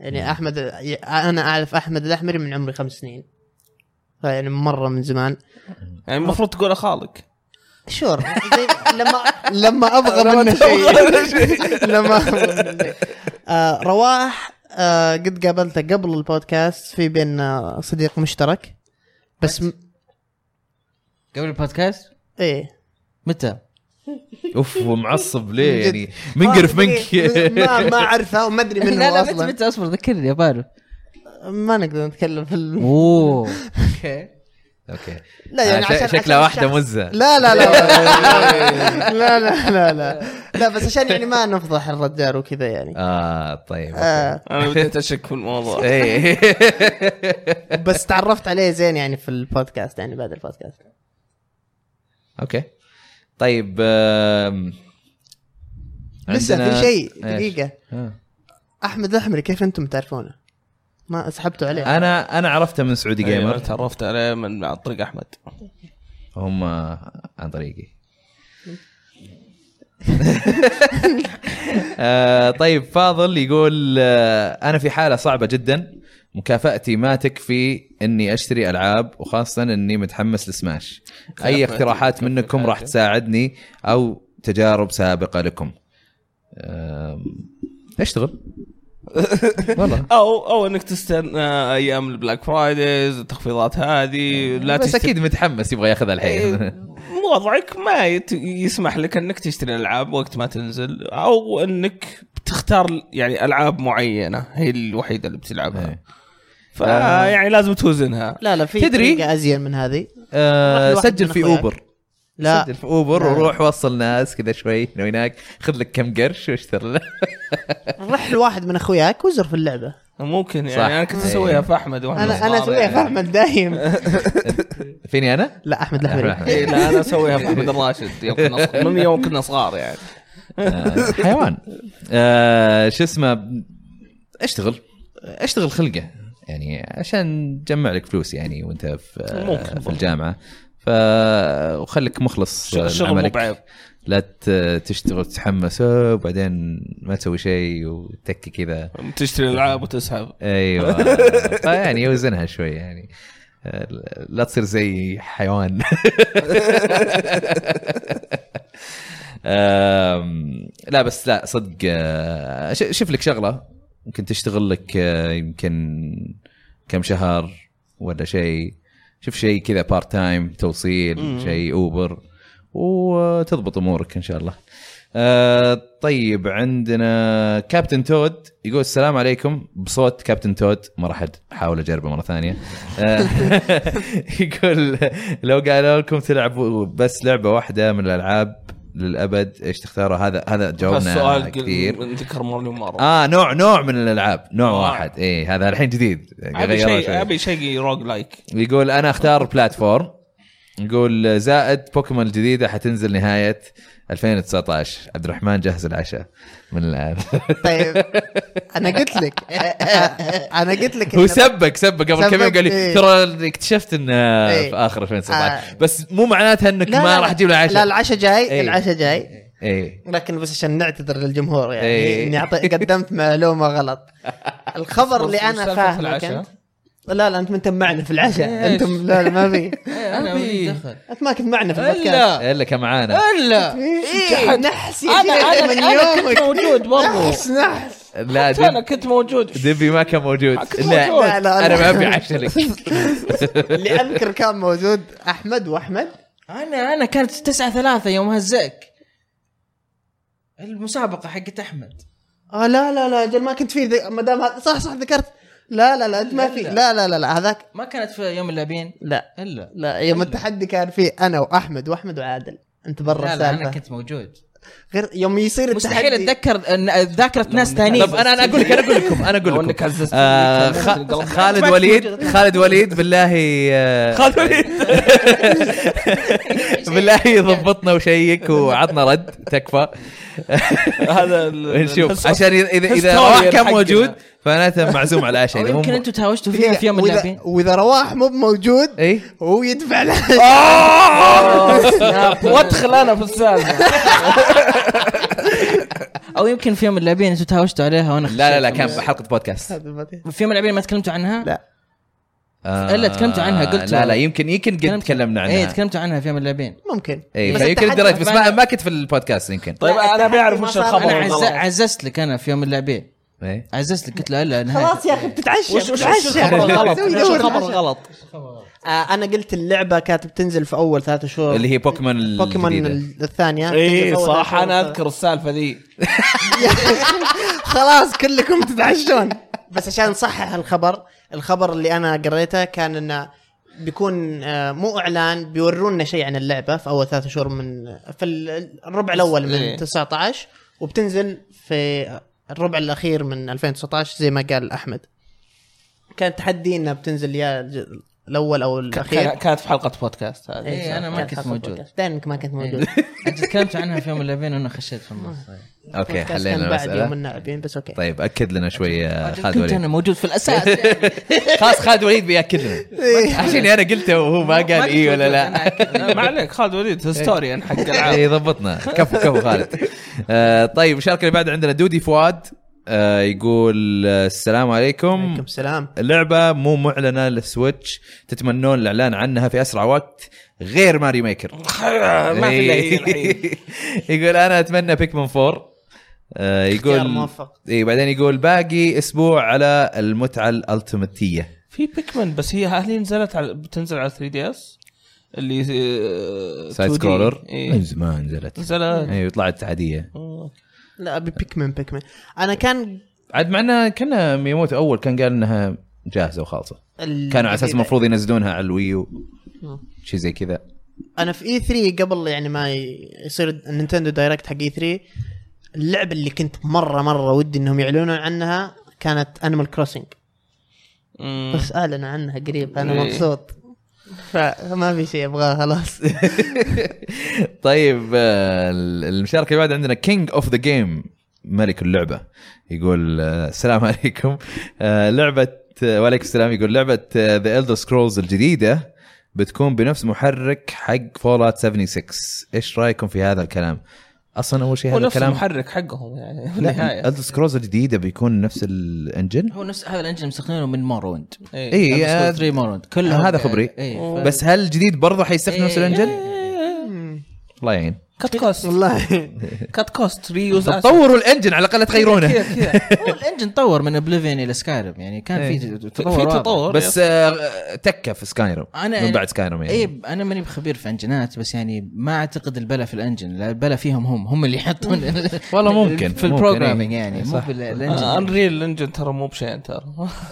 D: يعني احمد انا اعرف احمد الاحمري من عمري خمس سنين فيعني مره من زمان
A: يعني المفروض تقول خالك
D: شور زي لما لما ابغى منه شيء لما أبغى منه. آه، رواح آه، قد قابلته قبل البودكاست في بيننا صديق مشترك بس م...
E: قبل البودكاست
D: ايه
E: متى؟
C: اوف ومعصب ليه
D: جد. يعني
C: يعني منقرف
D: [LAUGHS]
C: منك [LAUGHS]
D: ما ما اعرفه وما ادري منه
E: [LAUGHS] لا لا متى
D: اصلا
E: متى اصبر ذكرني ابارو
D: ما نقدر نتكلم في الم...
E: اوه اوكي
C: اوكي
D: لا يعني
C: آه،
D: عشان
C: شكلها
D: عشان
C: واحده
D: الشخص-
C: مزه
D: لا لا لا لا [LAUGHS] لا لا لا لا لا بس عشان يعني ما نفضح الرجال وكذا يعني
C: اه طيب إيه.
D: آه
A: انا بديت اشك في [LAUGHS] الموضوع
C: اي
D: [LAUGHS]
C: [LAUGHS]
D: بس تعرفت عليه زين يعني في البودكاست يعني بعد البودكاست
C: اوكي طيب آم،
D: لسه
C: عندنا-
D: في شيء
C: إيش؟
D: دقيقه
C: آه.
D: احمد الاحمري كيف انتم تعرفونه؟ ما سحبتوا عليه
C: انا انا عرفته من سعودي
A: أيوة،
C: جيمر
A: تعرفت عليه من عن طريق احمد
C: هم عن
D: [LAUGHS]
C: طريقي آه، طيب فاضل يقول آه، انا في حاله صعبه جدا مكافاتي ما تكفي اني اشتري العاب وخاصه اني متحمس لسماش اي اقتراحات منكم راح تساعدني او تجارب سابقه لكم آم، اشتغل
D: [LAUGHS]
C: والله
A: او او انك تستنى ايام البلاك فرايديز التخفيضات هذه لا
C: بس
A: تشتري
C: اكيد متحمس يبغى
A: [LAUGHS]
C: ياخذها الحين
A: إيه، وضعك ما يت- يسمح لك انك تشتري العاب وقت ما تنزل او انك تختار يعني العاب معينه هي الوحيده اللي بتلعبها
C: [LAUGHS] إيه. آه.
A: فيعني لازم توزنها
D: لا لا في
C: تدري-
D: طريقة ازين من هذه
C: آه،
D: روح لواحد
C: سجل
D: من
C: في
D: أخوياك.
C: اوبر
D: لا
C: سجل في اوبر
D: لا.
C: وروح وصل ناس كذا شوي هنا وهناك خذ لك كم قرش واشتري له
D: رح لواحد من اخوياك وزر في اللعبه
A: ممكن يعني
C: صح.
A: انا كنت
C: إيه.
A: اسويها في احمد واحنا
D: انا
A: صغار
D: انا اسويها
A: يعني.
D: في احمد دايم
C: فيني انا؟
D: لا احمد
C: أحمد
D: الاحمري
C: الأحمري.
A: إيه، لا انا اسويها في احمد الراشد يوم كنا صغار- من يوم كنا صغار يعني
C: آه، حيوان آه، شو اسمه اشتغل اشتغل خلقه يعني عشان تجمع لك فلوس يعني وانت في آه،
A: ممكن
C: في الجامعه ف وخليك مخلص
A: ش- شغل مو
C: لعملك.
A: بعيب
C: لا ت- تشتغل وتتحمس آه، وبعدين ما تسوي شيء وتكي كذا
A: تشتري العاب وتسحب
C: ايوه فيعني يوزنها شوي يعني آه، لا تصير زي حيوان آم، لا بس لا صدق آه، ش- شوف لك شغله ممكن تشتغل لك آه، يمكن كم شهر ولا شيء شوف شيء كذا بارت تايم توصيل شيء اوبر وتضبط امورك ان شاء الله آه، طيب عندنا كابتن تود يقول السلام عليكم بصوت كابتن تود ما راح احاول اجربه مره ثانيه آه، [LAUGHS] يقول لو قالوا لكم تلعبوا بس لعبه واحده من الالعاب للابد ايش تختاروا هذا هذا جاوبنا
A: السؤال
C: كثير
A: ذكر مليون مره
C: اه نوع نوع من الالعاب نوع واحد اي هذا الحين جديد
A: ابي
C: غيروه
A: شيء
C: شوي.
A: ابي شيء روج لايك
C: يقول انا اختار بلاتفورم يقول زائد بوكيمون الجديده حتنزل نهايه 2019 عبد الرحمن جهز العشاء من الان
D: طيب انا قلت لك
C: [LAUGHS]
D: انا قلت لك
C: هو
D: إن-
C: سبك سبك قبل كم يوم
D: سبك،
C: قال لي
D: إيه.
C: ترى اكتشفت انه
D: إيه.
C: في اخر 2019
D: آه.
C: بس مو معناتها انك ما راح تجيب له
D: لا
C: عشاء
D: العشاء جاي
C: إيه.
D: العشاء جاي
C: اي
D: لكن بس عشان نعتذر للجمهور يعني
C: إيه.
D: اني أعطي- قدمت معلومه غلط الخبر اللي
A: وش سالفة
D: انا فاهمه
A: العشاء؟
D: كنت لا لا انت ما انت معنا في العشاء
E: إيش؟
D: انتم لا لا ما في
E: إيه، انا
A: أبي.
E: ولي دخل
D: انت ما كنت معنا في البودكاست
E: الا
C: الا كان معانا
E: الا [LAUGHS]
D: إيه، نحس يا
A: انا
D: شيخ
A: انا
D: من
A: انا كنت
D: يومك
A: موجود
E: [LAUGHS]
A: برضو
D: نحس نحس
C: لا
A: إيه، حتى انا
C: دب
A: كنت موجود
C: دبي ما كان موجود
A: كنت موجود.
C: لا
D: لا، لا،
C: انا ما
D: لا.
C: ابي عشاء لك
D: [LAUGHS] اللي اذكر كان موجود احمد واحمد
E: انا انا كانت 9 3 يوم هزأك المسابقه حقت احمد
D: اه لا لا لا اجل ما كنت فيه ذي- ما دام هذا- صح صح ذكرت لا لا لا انت ما في لا لا لا لا هذاك
E: ما كانت في يوم اللاعبين
D: لا
E: الا
D: لا يوم التحدي كان فيه انا واحمد واحمد وعادل انت برا
E: لا لا انا
D: السالفه
E: كنت موجود
D: غير يوم يصير التحدي
E: مستحيل اتذكر أن- ذاكره ناس ثانيين
C: طب انا انا اقول لك انا اقول لكم
D: [LAUGHS]
C: انا
A: لو
C: اقول
A: إنك
C: لكم
A: عززت
C: آه،
A: مني كان
C: خ-
A: ممكن
C: خالد وليد خالد وليد بالله
D: [LAUGHS]
C: آه،
A: خالد وليد
C: بالله ضبطنا وشيك وعطنا رد تكفى
A: [LAUGHS] هذا [LAUGHS] ال-
C: نشوف
D: [LAUGHS]
A: الحس-
C: عشان إذا- اذا اذا
A: الهستوريا
C: رواح كان
A: حقنا.
C: موجود فمعناته معزوم على
E: أو
C: العشاء إذا مو-
E: يمكن انتم تهاوشتوا فيها
D: دقيقة،
E: في يوم
D: وإذا-
C: [LAUGHS]
E: اللاعبين
D: واذا رواح مو موجود
C: اي
D: هو يدفع له
E: آه.
D: [LAUGHS]
A: يا أبو، وادخل انا في السالفه
E: او يمكن في يوم اللاعبين انتم تهاوشتوا عليها وانا
C: لا لا لا
E: خشيت.
C: كان حلقه بودكاست
E: في يوم اللاعبين ما تكلمتوا عنها؟
D: لا.
C: آه،
E: إلا تكلمتوا عنها، قلت-
C: لا لا يمكن يمكن قد
E: تكلمت-
C: تكلمنا
E: ايه
C: عنها
E: تكلمتوا عنها في يوم اللاعبين
D: ممكن
C: اي
A: إيه،
D: بس
C: فيمكن
D: التحدي
C: دريت بس ما
E: معنا.
C: ما كنت في البودكاست يمكن
A: طيب
D: لا،
A: انا بعرف
D: التحدي
A: وش
D: ما صار.
A: الخبر
E: انا عز...
D: والله.
A: والغلط.
E: عززت لك انا في يوم اللاعبين
C: إيه.
E: عززت لك قلت له لا نهاية.
D: خلاص يا اخي بتتعشى
A: إيه. وش وش وش
D: بتتعشى.
A: الخبر
D: [LAUGHS]
A: الغلط
D: سوي
A: وش
D: دور
A: الخبر
D: العشاء.
A: الغلط
D: آه، انا قلت اللعبه كانت بتنزل في اول ثلاثة شهور
C: اللي هي بوكيمون
D: بوكيمون
C: الجديدة.
D: ال- الثانيه بتنزل في
A: اي
D: أول
A: إيه، صح
D: ثلاثة
A: انا
D: شهور.
A: اذكر السالفه ذي
D: [LAUGHS] خلاص كلكم تتعشون بس عشان نصحح الخبر الخبر اللي انا قريته كان انه بيكون آه، مو اعلان بيورونا شيء عن اللعبه في اول ثلاث شهور من في ال- الربع الاول
A: إيه.
D: من 19 وبتنزل في الربع الاخير من 2019 زي ما قال احمد كان تحدي انها بتنزل يا الج- الاول او الاخير
A: كان- كانت في حلقه بودكاست هذه
D: إيه،
E: ايه انا ما كنت موجود
D: دينك ما كنت
E: [LAUGHS]
D: موجود
E: انت تكلمت عنها في يوم اللاعبين وانا خشيت في النص طيب.
C: اوكي
D: بودكاست
C: حلينا
D: كان بعد يوم
C: المساله
D: النائبين بس اوكي
C: طيب اكد لنا شوي آه، خالد
E: كنت انا
C: وليد
E: موجود في الاساس يعني.
C: خلاص خالد وليد بياكد لنا عشان انا قلته وهو ما قال
E: كنت
A: إيه
C: اي ولا
E: موجود،
C: لا
E: أنا أكد.
A: ما عليك خالد وليد هستوريان حق [LAUGHS] العاب
C: اي ضبطنا كفو كفو خالد آه طيب المشاركه اللي بعد عندنا دودي فؤاد آه يقول آه، السلام عليكم
D: عليكم السلام
C: لعبه مو معلنه للسويتش تتمنون الاعلان عنها في اسرع وقت غير ماري ميكر
A: إيه.
C: إيه. [LAUGHS]
A: ما في الا هي الحين
C: يقول انا اتمنى بيكمن 4 آه
D: اختيار
C: يقول
D: موفق
C: اي بعدين يقول باقي اسبوع على المتعه الالتيمتيه
A: [LAUGHS] في بيكمان بس هي هل هي نزلت على بتنزل على 3 دي اس اللي آه،
C: سايد سكرولر من
A: إيه.
C: زمان نزلت
A: نزلت
C: ايوه طلعت عاديه
A: أوه.
D: لا أبي بيكمان بيكمان انا كان
C: عاد مع انها كان ميموتو اول كان قال انها جاهزه وخالصه كانوا على اساس المفروض ينزلونها على الويو شيء زي كذا [LAUGHS]
D: انا إيه. في اي 3 قبل يعني ما ي- يصير النينتندو دايركت حق اي 3 اللعبه اللي كنت مره مره ودي انهم يعلنون عنها كانت انيمال كروسنج
A: مم.
D: بس اعلنوا عنها قريب انا
A: إيه.
D: مبسوط فما في شيء ابغاه
C: [LAUGHS]
D: خلاص
C: طيب آه، المشاركه اللي بعد عندنا كينج اوف ذا جيم ملك اللعبه يقول آه، السلام [LAUGHS] عليكم آه، لعبه آه، وعليكم السلام يقول آه، لعبه ذا الدر سكرولز الجديده بتكون بنفس محرك حق فولات 76 ايش رايكم في هذا الكلام اصلا اول شيء
A: هو
C: هذا
A: نفس
C: الكلام
A: المحرك حقهم يعني في
C: لا
A: النهايه
C: الدر سكرولز الجديده بيكون نفس الانجن
E: هو نفس هذا الانجن مستخدمينه من موروند
A: إيه.
C: اي آه،
E: 3 موروند كلهم
C: هذا خبري.
E: إيه، ف-
C: بس هل الجديد برضه حيستخدم نفس
E: إيه.
C: الانجن؟ الله يعين
A: كات كوست
D: والله
A: كات كوست ريوز
C: طوروا الانجن على الاقل تغيرونه
A: كذا كذا
E: هو الانجن طور من اوبليفيون الى سكايرم يعني كان
C: إيه.
E: في
A: في
E: تطور واضح.
A: تطور
C: [LAUGHS] بس آه، تكه في سكايرم
E: أنا- إيه.
C: من بعد سكايرم يعني
E: اي انا ماني بخبير في انجنات بس يعني ما اعتقد البلا في الانجن لا، البلا فيهم هم هم اللي يحطون
C: [LAUGHS] والله
E: [LAUGHS]
C: ممكن،
E: في
C: ممكن،
E: البروجرامينج
C: إيه.
E: يعني
C: صح.
E: مو بالانجن
A: انريل انجن آه، ترى مو بشين ترى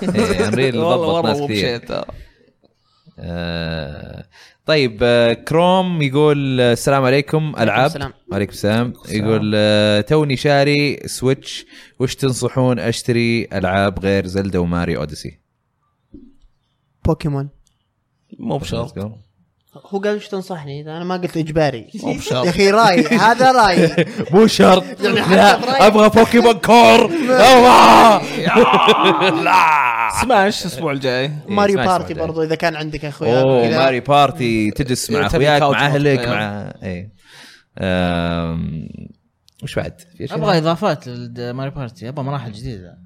C: إيه،
A: [LAUGHS]
C: Unreal ضبط
A: والله والله
C: ناس
A: مو
C: كثير.
A: بشين ترى
C: آه، طيب آه، كروم يقول آه، السلام عليكم العاب
D: السلام.
C: عليكم السلام يقول آه، توني شاري سويتش وش تنصحون اشتري العاب غير زلدا وماري اوديسي
D: بوكيمون
A: مو بشرط
D: هو قال ايش تنصحني انا ما قلت اجباري
A: مو
D: يا
A: بشرط
D: اخي راي هذا
C: [LAUGHS]
D: راي
C: مو شرط
D: يعني
C: لا ابغى بوكيمون كور
A: سماش الاسبوع الجاي
D: ماريو
C: اسمع، اسمع
D: بارتي
C: ده.
D: برضو اذا كان عندك اخويا
C: اوه
D: كذا.
C: ماري بارتي تجلس مع
A: تبي
C: اخوياك
A: كاوتش
C: مع اهلك
A: مختلف.
C: مع اي آم، وش بعد؟ في شيء؟
E: ابغى اضافات لماري بارتي ابغى مراحل جديده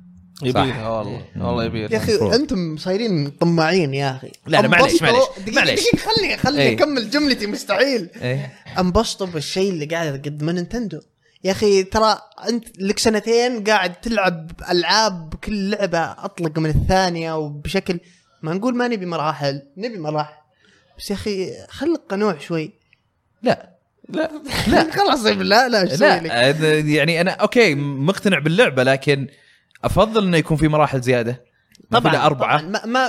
A: يبيلها والله
C: إيه.
A: والله
D: يا
A: يبيلها
D: اخي
C: المفروض.
D: انتم صايرين طماعين يا اخي
C: لا، لا، معليش،
D: أنبسطوا-
C: معليش،
D: دقيقة-
C: معليش.
D: دقيقة، خلني
C: إيه.
D: خلني اكمل جملتي مستحيل
C: إيه.
D: انبسطوا بالشيء اللي قاعد يقدمه نينتندو يا اخي ترى انت لك سنتين قاعد تلعب العاب كل لعبه اطلق من الثانيه وبشكل ما نقول ما نبي مراحل نبي مراحل بس يا اخي خلق قنوع شوي
C: لا
A: لا
D: لا [LAUGHS] خلاص يا لا لا ايش أسوي لك؟
C: لا أنا- يعني انا اوكي مقتنع باللعبه لكن افضل انه يكون في مراحل زياده طبعا
D: طبعاً،
C: اربعه
D: ما, ما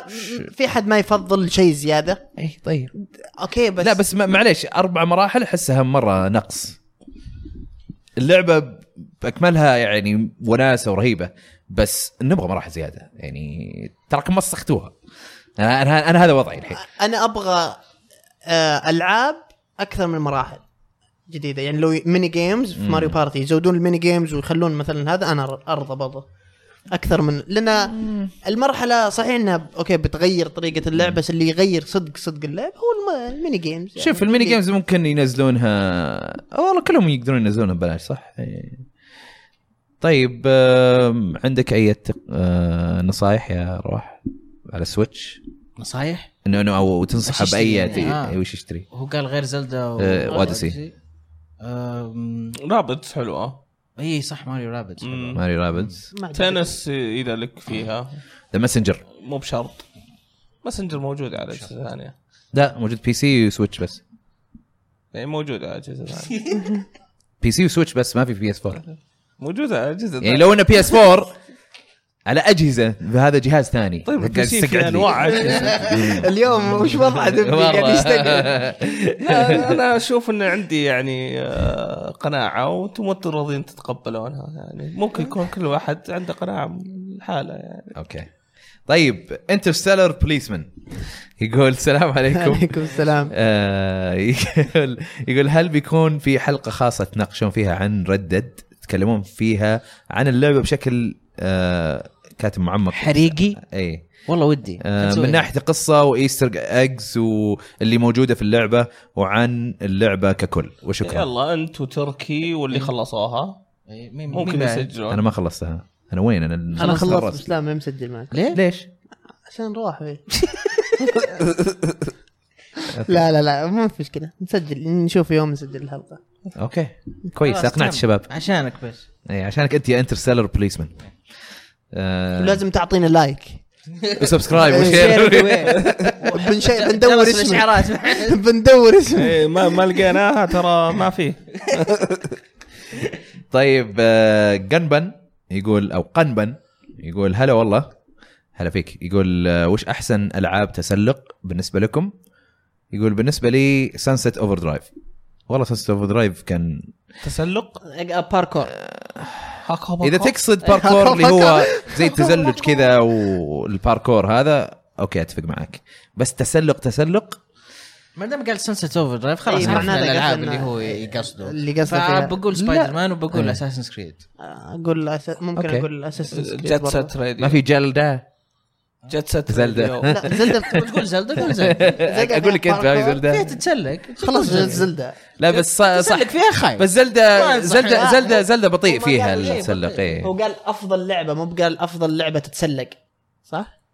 D: في حد ما يفضل شيء زياده
C: اي طيب
D: اوكي بس
C: لا بس ما- معليش اربع مراحل احسها مره نقص اللعبه باكملها يعني وناسه ورهيبه بس نبغى مراحل زياده يعني تراكم مسختوها انا انا, أنا هذا وضعي الحين
E: يعني
D: انا ابغى آه، العاب اكثر من مراحل جديده يعني لو ميني جيمز في ماريو بارتي يزودون الميني جيمز ويخلون مثلا هذا انا أر- ارضى برضه اكثر من لان المرحله صحيح انها اوكي بتغير طريقه اللعب بس اللي يغير صدق صدق اللعب هو الم- الميني جيمز يعني.
C: شوف الميني جيمز ممكن ينزلونها والله كلهم يقدرون ينزلونها ببلاش صح؟ إيه. طيب آم، عندك اي تق- آه، نصايح يا روح على السويتش؟
E: نصايح
C: انه انه او تنصحه
E: وش
C: باي
E: يشتري؟
C: تي-
E: آه.
C: وش يشتري؟
E: هو قال غير زلدا و...
C: آه، وأوديسي.
E: آم،
A: رابط حلوه
E: اي إيه، صح ماريو رابد
A: مم.
C: ماري رابدز
D: ما أدري.
A: تنس اذا لك فيها
C: ذا ماسنجر
A: مو بشرط ماسنجر موجود على اجهزه ثانيه
C: لا موجود بي سي وسويتش بس
A: يعني موجود على اجهزه
C: [LAUGHS]
A: ثانيه
C: بي سي وسويتش بس ما في
A: [LAUGHS]
C: بي اس 4
A: موجود على اجهزه
C: يعني
A: ثانيه
C: لو انه بي اس 4 على اجهزه هذا جهاز ثاني
A: طيب
C: قاعد
A: البي سي
C: يستقعد
A: في
C: لي.
A: انواع اجهزه
D: [LAUGHS] اليوم
C: [LAUGHS]
D: وش وضعه دبي قاعد يستقبل
A: [LAUGHS] لا، انا اشوف ان عندي يعني آه، قناعه وانتم انتم راضيين تتقبلونها يعني ممكن يكون كل واحد عنده قناعه من حاله يعني
C: اوكي طيب انترستيلر بوليسمان يقول السلام عليكم
D: عليكم السلام
C: آه، يقول يقول هل بيكون في حلقه خاصه تناقشون فيها عن ردد تتكلمون فيها عن اللعبه بشكل آه، كاتب معمق إيه.
E: حريقي
C: اي
E: والله ودي
C: آه،
E: نسوي.
C: من ناحيه القصه وايستر اجز واللي موجوده في اللعبه وعن اللعبه ككل وشكرا
A: يلا انت وتركي واللي خلصوها
E: إيه، مين
A: ممكن
E: ممكن
C: انا
A: يسجلون
C: ما خلصتها انا وين انا
D: انا خلصت
C: خلصت.
D: بس لا ما مسجل معك
E: ليه؟
C: ليش؟
D: عشان راح إيه.
C: [LAUGHS]
D: لا لا لا مو في مشكله نسجل نشوف يوم نسجل الحلقه
C: اوكي كويس
E: خلاص،
C: اقنعت
E: تم.
C: الشباب
E: عشانك بس
C: اي عشانك انت يا انترستيلر بوليسمان
D: لازم تعطينا لايك
E: [LAUGHS]
C: وسبسكرايب
E: Share it
C: وشير
E: [LAUGHS] away.
D: [LAUGHS] بنشي بندور
E: خلص
D: اسمه
E: الاشعارات
D: بندور اسمه
A: ايه ما ما لقيناها ترى ما فيه
C: طيب آه، قنبن يقول او قنبن يقول هلا والله هلا فيك يقول آه، وش احسن العاب تسلق بالنسبه لكم؟ يقول بالنسبه لي سانست اوفر درايف والله سانست اوفر درايف كان
A: تسلق
E: أه،
D: باركور
C: اذا تقصد باركور اللي هو زي التزلج كذا والباركور هذا اوكي اتفق معك بس تسلق تسلق
E: ما دام قال سنسيت اوفر درايف خلاص
D: إيه،
E: عرفنا
D: معناته قصد
E: الالعاب
D: إنه-
E: اللي هو يقصده
D: اللي قصده فيها.
E: فبقول
C: لا.
E: سبايدر مان وبقول
C: إيه.
E: اساسن كريد
D: اقول أس- ممكن
C: أوكي.
D: اقول اساسن
A: جت
C: [LAUGHS]
A: ست راديو
C: ما في جلده
A: جت ست
C: زلدة. [LAUGHS]
A: راديو.
D: لا زلدة [LAUGHS]
E: تقول زلدا [LAUGHS] قول زلدا
C: اقول لك انت ما في
E: فيها
C: زلده
E: تتسلق
D: خلاص زلدة
C: لا بس ص- صح
E: تسلق فيها خايف
C: بس
E: بس
C: زلدة
E: ما أنصح.
C: زلدة
E: لا،
C: زلدة زلدة بطيء
D: هو
C: فيها
D: قال شيء
C: التسلق
D: هو
C: ايه
D: قال افضل لعبة مو بقال افضل لعبة تتسلق صح؟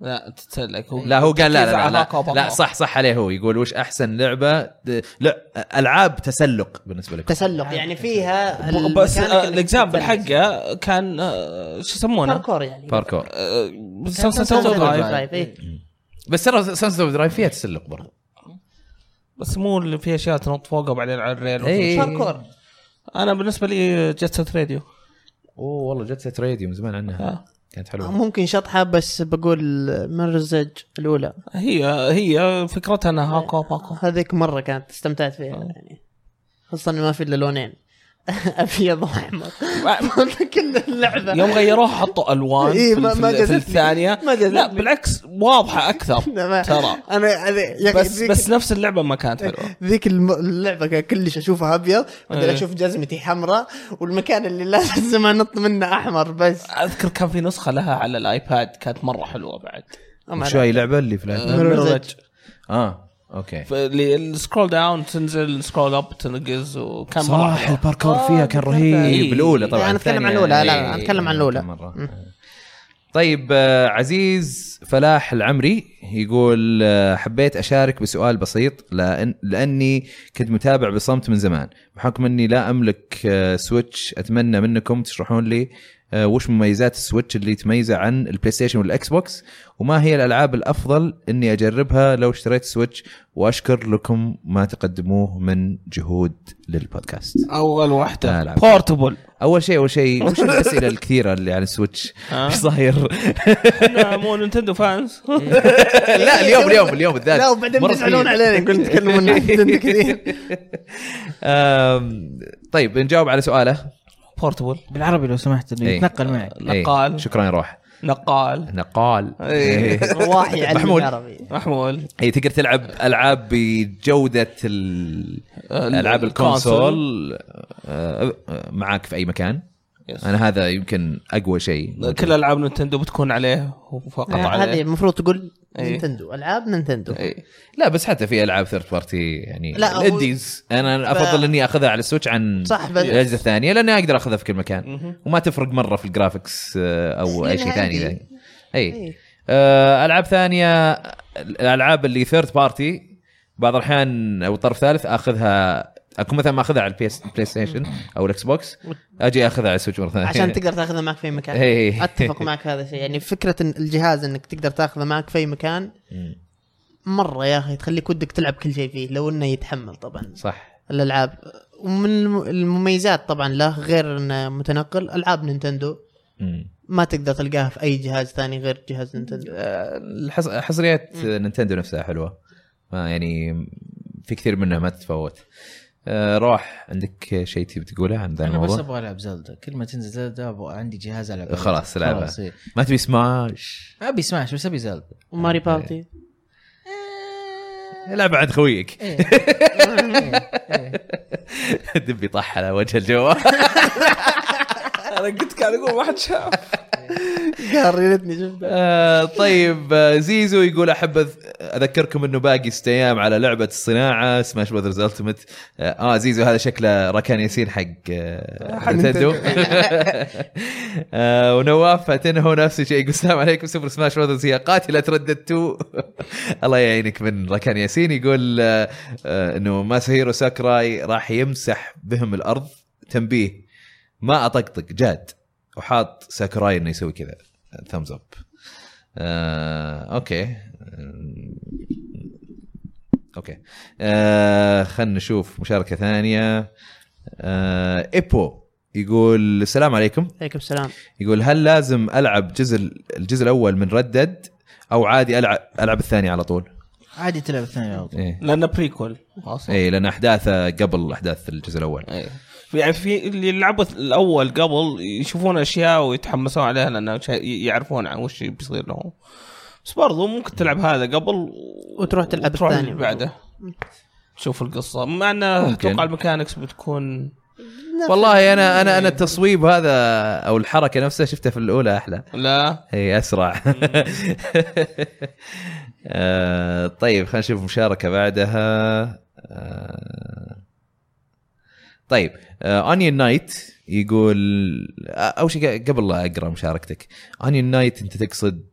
A: لا تتسلق
C: لا هو قال لا لا
A: علاقة
C: لا, لا, لا
A: وبقاء.
C: صح صح عليه هو يقول وش احسن لعبة د- لا العاب تسلق بالنسبة لك
D: تسلق يعني فيها
A: ب-
D: المكان
A: بس
D: إنك
A: آه، الاكزامبل
D: تتسلق.
A: حقه كان آه، شو يسمونه؟
D: باركور يعني إيه.
C: باركور
A: سانسيت
E: Sunset
A: اوفر
E: Overdrive.
C: بس ترى سانس اوف درايف فيها تسلق برضه
A: بس مو اللي في اشياء تنط فوقها وبعدين على الريل
C: إيه.
A: وكذا.
D: باركور
A: انا بالنسبه لي جت ست راديو
C: اوه والله جت ست راديو من زمان عنها كانت حلوة
D: ممكن شطحة بس بقول مرزج الأولى
A: هي هي فكرتها انها هاكو باكو
D: هذيك مرة كانت استمتعت فيها يعني خصوصا إنه ما في إلا لونين [LAUGHS]
A: [LAUGHS]
D: أبيض وأحمر [LAUGHS] كل اللعبة
A: يوم غيروها حطوا الوان
D: إيه،
A: في,
D: ما-
A: في,
D: ما
A: في
D: جازت لي.
A: الثانيه
D: ما نعم. جازت
A: لا
D: لي.
A: بالعكس واضحه اكثر
D: [LAUGHS] ما-
A: ترى
D: انا هذي- يا أخي [LAUGHS]
A: بس
D: ذيك-
A: بس نفس اللعبه ما كانت حلوه
D: ذيك الم- اللعبه كان كلش اشوفها ابيض بعدين
A: إيه.
D: اشوف جزمتي حمراء والمكان اللي لازم انط منه احمر بس
A: اذكر كان في نسخه لها على الايباد كانت مره حلوه بعد
D: أما
C: شو هاي اللعبة اللي في
A: آه،
C: العاب؟
A: ميرورج.
C: اه اوكي
A: فاللي- السكرول داون تنزل سكرول اب تنقز وكان مرة
C: صح
A: حلوة.
C: الباركور فيها كان رهيب
A: إيه.
C: الاولى طبعا
D: أنا أتكلم عن
C: الثانية-
D: الأولى، لا، لا،
C: إيه،
D: أتكلم عن الأولى.
C: مرة. طيب آه، عزيز فلاح العمري يقول آه، حبيت اشارك بسؤال بسيط لأن لاني كنت متابع بصمت من زمان بحكم اني لا املك آه، سويتش اتمنى منكم تشرحون لي آه، وش مميزات السويتش اللي تميزه عن البلاي ستيشن والاكس بوكس وما هي الالعاب الافضل اني اجربها لو اشتريت سويتش واشكر لكم ما تقدموه من جهود للبودكاست
A: اول واحده
C: لا، لا.
A: بورتبل
C: اول شيء اول شيء وش الاسئله الكثيره اللي عن
D: [LAUGHS]
C: السويتش
A: ها؟
C: ايش صاير
A: [LAUGHS] احنا نعم، مو نينتندو [LAUGHS] فانز
C: لا اليوم اليوم اليوم بالذات
D: لا وبعدين
C: مرة
D: بيزعلون
C: كثير.
D: علينا
A: [LAUGHS]
D: يقول نتكلم عن نتندو كثير
C: آم، طيب نجاوب على سؤاله
A: بورتبل
E: بالعربي لو سمحت انه
C: إيه.
E: يتنقل معي
A: نقال.
C: إيه، شكرا يا روح
A: نقال
C: نقال [LAUGHS]
A: إيه.
D: رواح [LAUGHS] يعلم
C: محمود.
D: العربي
A: [LAUGHS] محمول
C: اي تقدر تلعب العاب بجوده ال-
A: آه،
C: العاب
A: الكونسول.
C: الكونسول آه، آه، معاك في اي مكان
A: يس.
C: انا هذا يمكن اقوى شيء
A: كل العاب نينتندو بتكون عليه وفقط
D: نعم، آه، هذه
A: عليه
D: المفروض تقول
A: إيه.
D: نينتندو العاب نينتندو
A: إيه.
C: لا بس حتى في العاب ثيرد بارتي يعني
D: لا، هو-
C: الانديز انا افضل اني اخذها على السويتش عن
D: صح، بس-
A: إيه.
C: الاجهزه الثانيه لاني اقدر اخذها في كل مكان وما تفرق مره في الجرافكس آه، او اي شيء
D: لأنها
C: ثاني
D: عندي.
C: ذا. اي
D: إيه.
C: آه، العاب ثانيه الالعاب اللي ثيرد بارتي بعض الاحيان او طرف ثالث اخذها اكون مثلا ما اخذها على البيس- البلاي ستيشن او الاكس بوكس اجي اخذها على السويتش مره ثانيه
A: إيه.
D: عشان تقدر تاخذها معك في أي
C: [LAUGHS]
D: مكان
C: إيه.
D: اتفق معك هذا الشيء يعني فكره إن الجهاز انك تقدر تاخذه معك في أي مكان
C: مم.
D: مره يا اخي تخليك ودك تلعب كل شيء فيه لو انه يتحمل طبعا
C: [LAUGHS] صح
D: الالعاب ومن الم- المميزات طبعا له غير انه متنقل العاب نينتندو
C: مم.
D: ما تقدر تلقاها في اي جهاز ثاني غير جهاز نينتندو
C: آه، الحص- حصريات نينتندو نفسها حلوه ما يعني في كثير منها ما تتفوت آه، روح عندك شيء تبي تقوله عن ذا
E: انا بس
C: الموضوع
E: ابغى العب زلدا كل ما تنزل زلدا ابغى عندي جهاز العب
C: خلاص، العبها.
E: خلاص، إيه.
C: ما تبي سماش
E: ابي سماش بس ابي زلدا
A: إيه.
D: وماري بارتي
C: العب عند خويك
E: إيه.
C: [LAUGHS] دبي طح على وجه الجوال
A: انا قلت قاعد اقول ما حد شاف
D: قهر يا ريتني شفته
C: آه، طيب آه، زيزو يقول احب أذ- اذكركم انه باقي ست ايام على لعبه الصناعه سماش براذرز التيمت آه, اه زيزو هذا شكله ركان ياسين حق آه، نتندو [LAUGHS] آه ونواف فاتنه نفس الشيء يقول السلام عليكم سوبر سماش براذرز هي قاتله ردت تو [LAUGHS] الله يعينك من ركان ياسين يقول آه آه انه ماساهيرو ساكراي راح يمسح بهم الارض تنبيه ما اطقطق جاد وحاط ساكوراي انه يسوي كذا ثمز اب آه، اوكي آه، اوكي آه، خلنا نشوف مشاركه ثانيه آه، ايبو يقول السلام عليكم
D: عليكم السلام
C: يقول هل لازم العب جزء الجزء الاول من ردد او عادي العب العب الثاني على طول؟
E: عادي تلعب الثاني على طول
C: ايه
A: لانه بريكول اصلا
C: ايه لان احداثه قبل احداث الجزء الاول
A: إيه. يعني في اللي يلعبوا الاول قبل يشوفون اشياء ويتحمسون عليها لان شا- يعرفون عن وش بيصير لهم بس برضو ممكن تلعب هذا قبل و-
D: وتروح تلعب
A: وتروح
D: الثاني.
A: اللي بعده تشوف القصه مع انه
C: ممكن.
A: اتوقع الميكانكس بتكون
C: والله انا انا انا التصويب هذا او الحركه نفسها شفتها في الاولى احلى
A: لا
C: اي اسرع [LAUGHS] آه، طيب خلينا نشوف مشاركه بعدها آه، طيب اونيون نايت يقول آه، اول شيء قبل لا اقرا مشاركتك اونيون نايت انت تقصد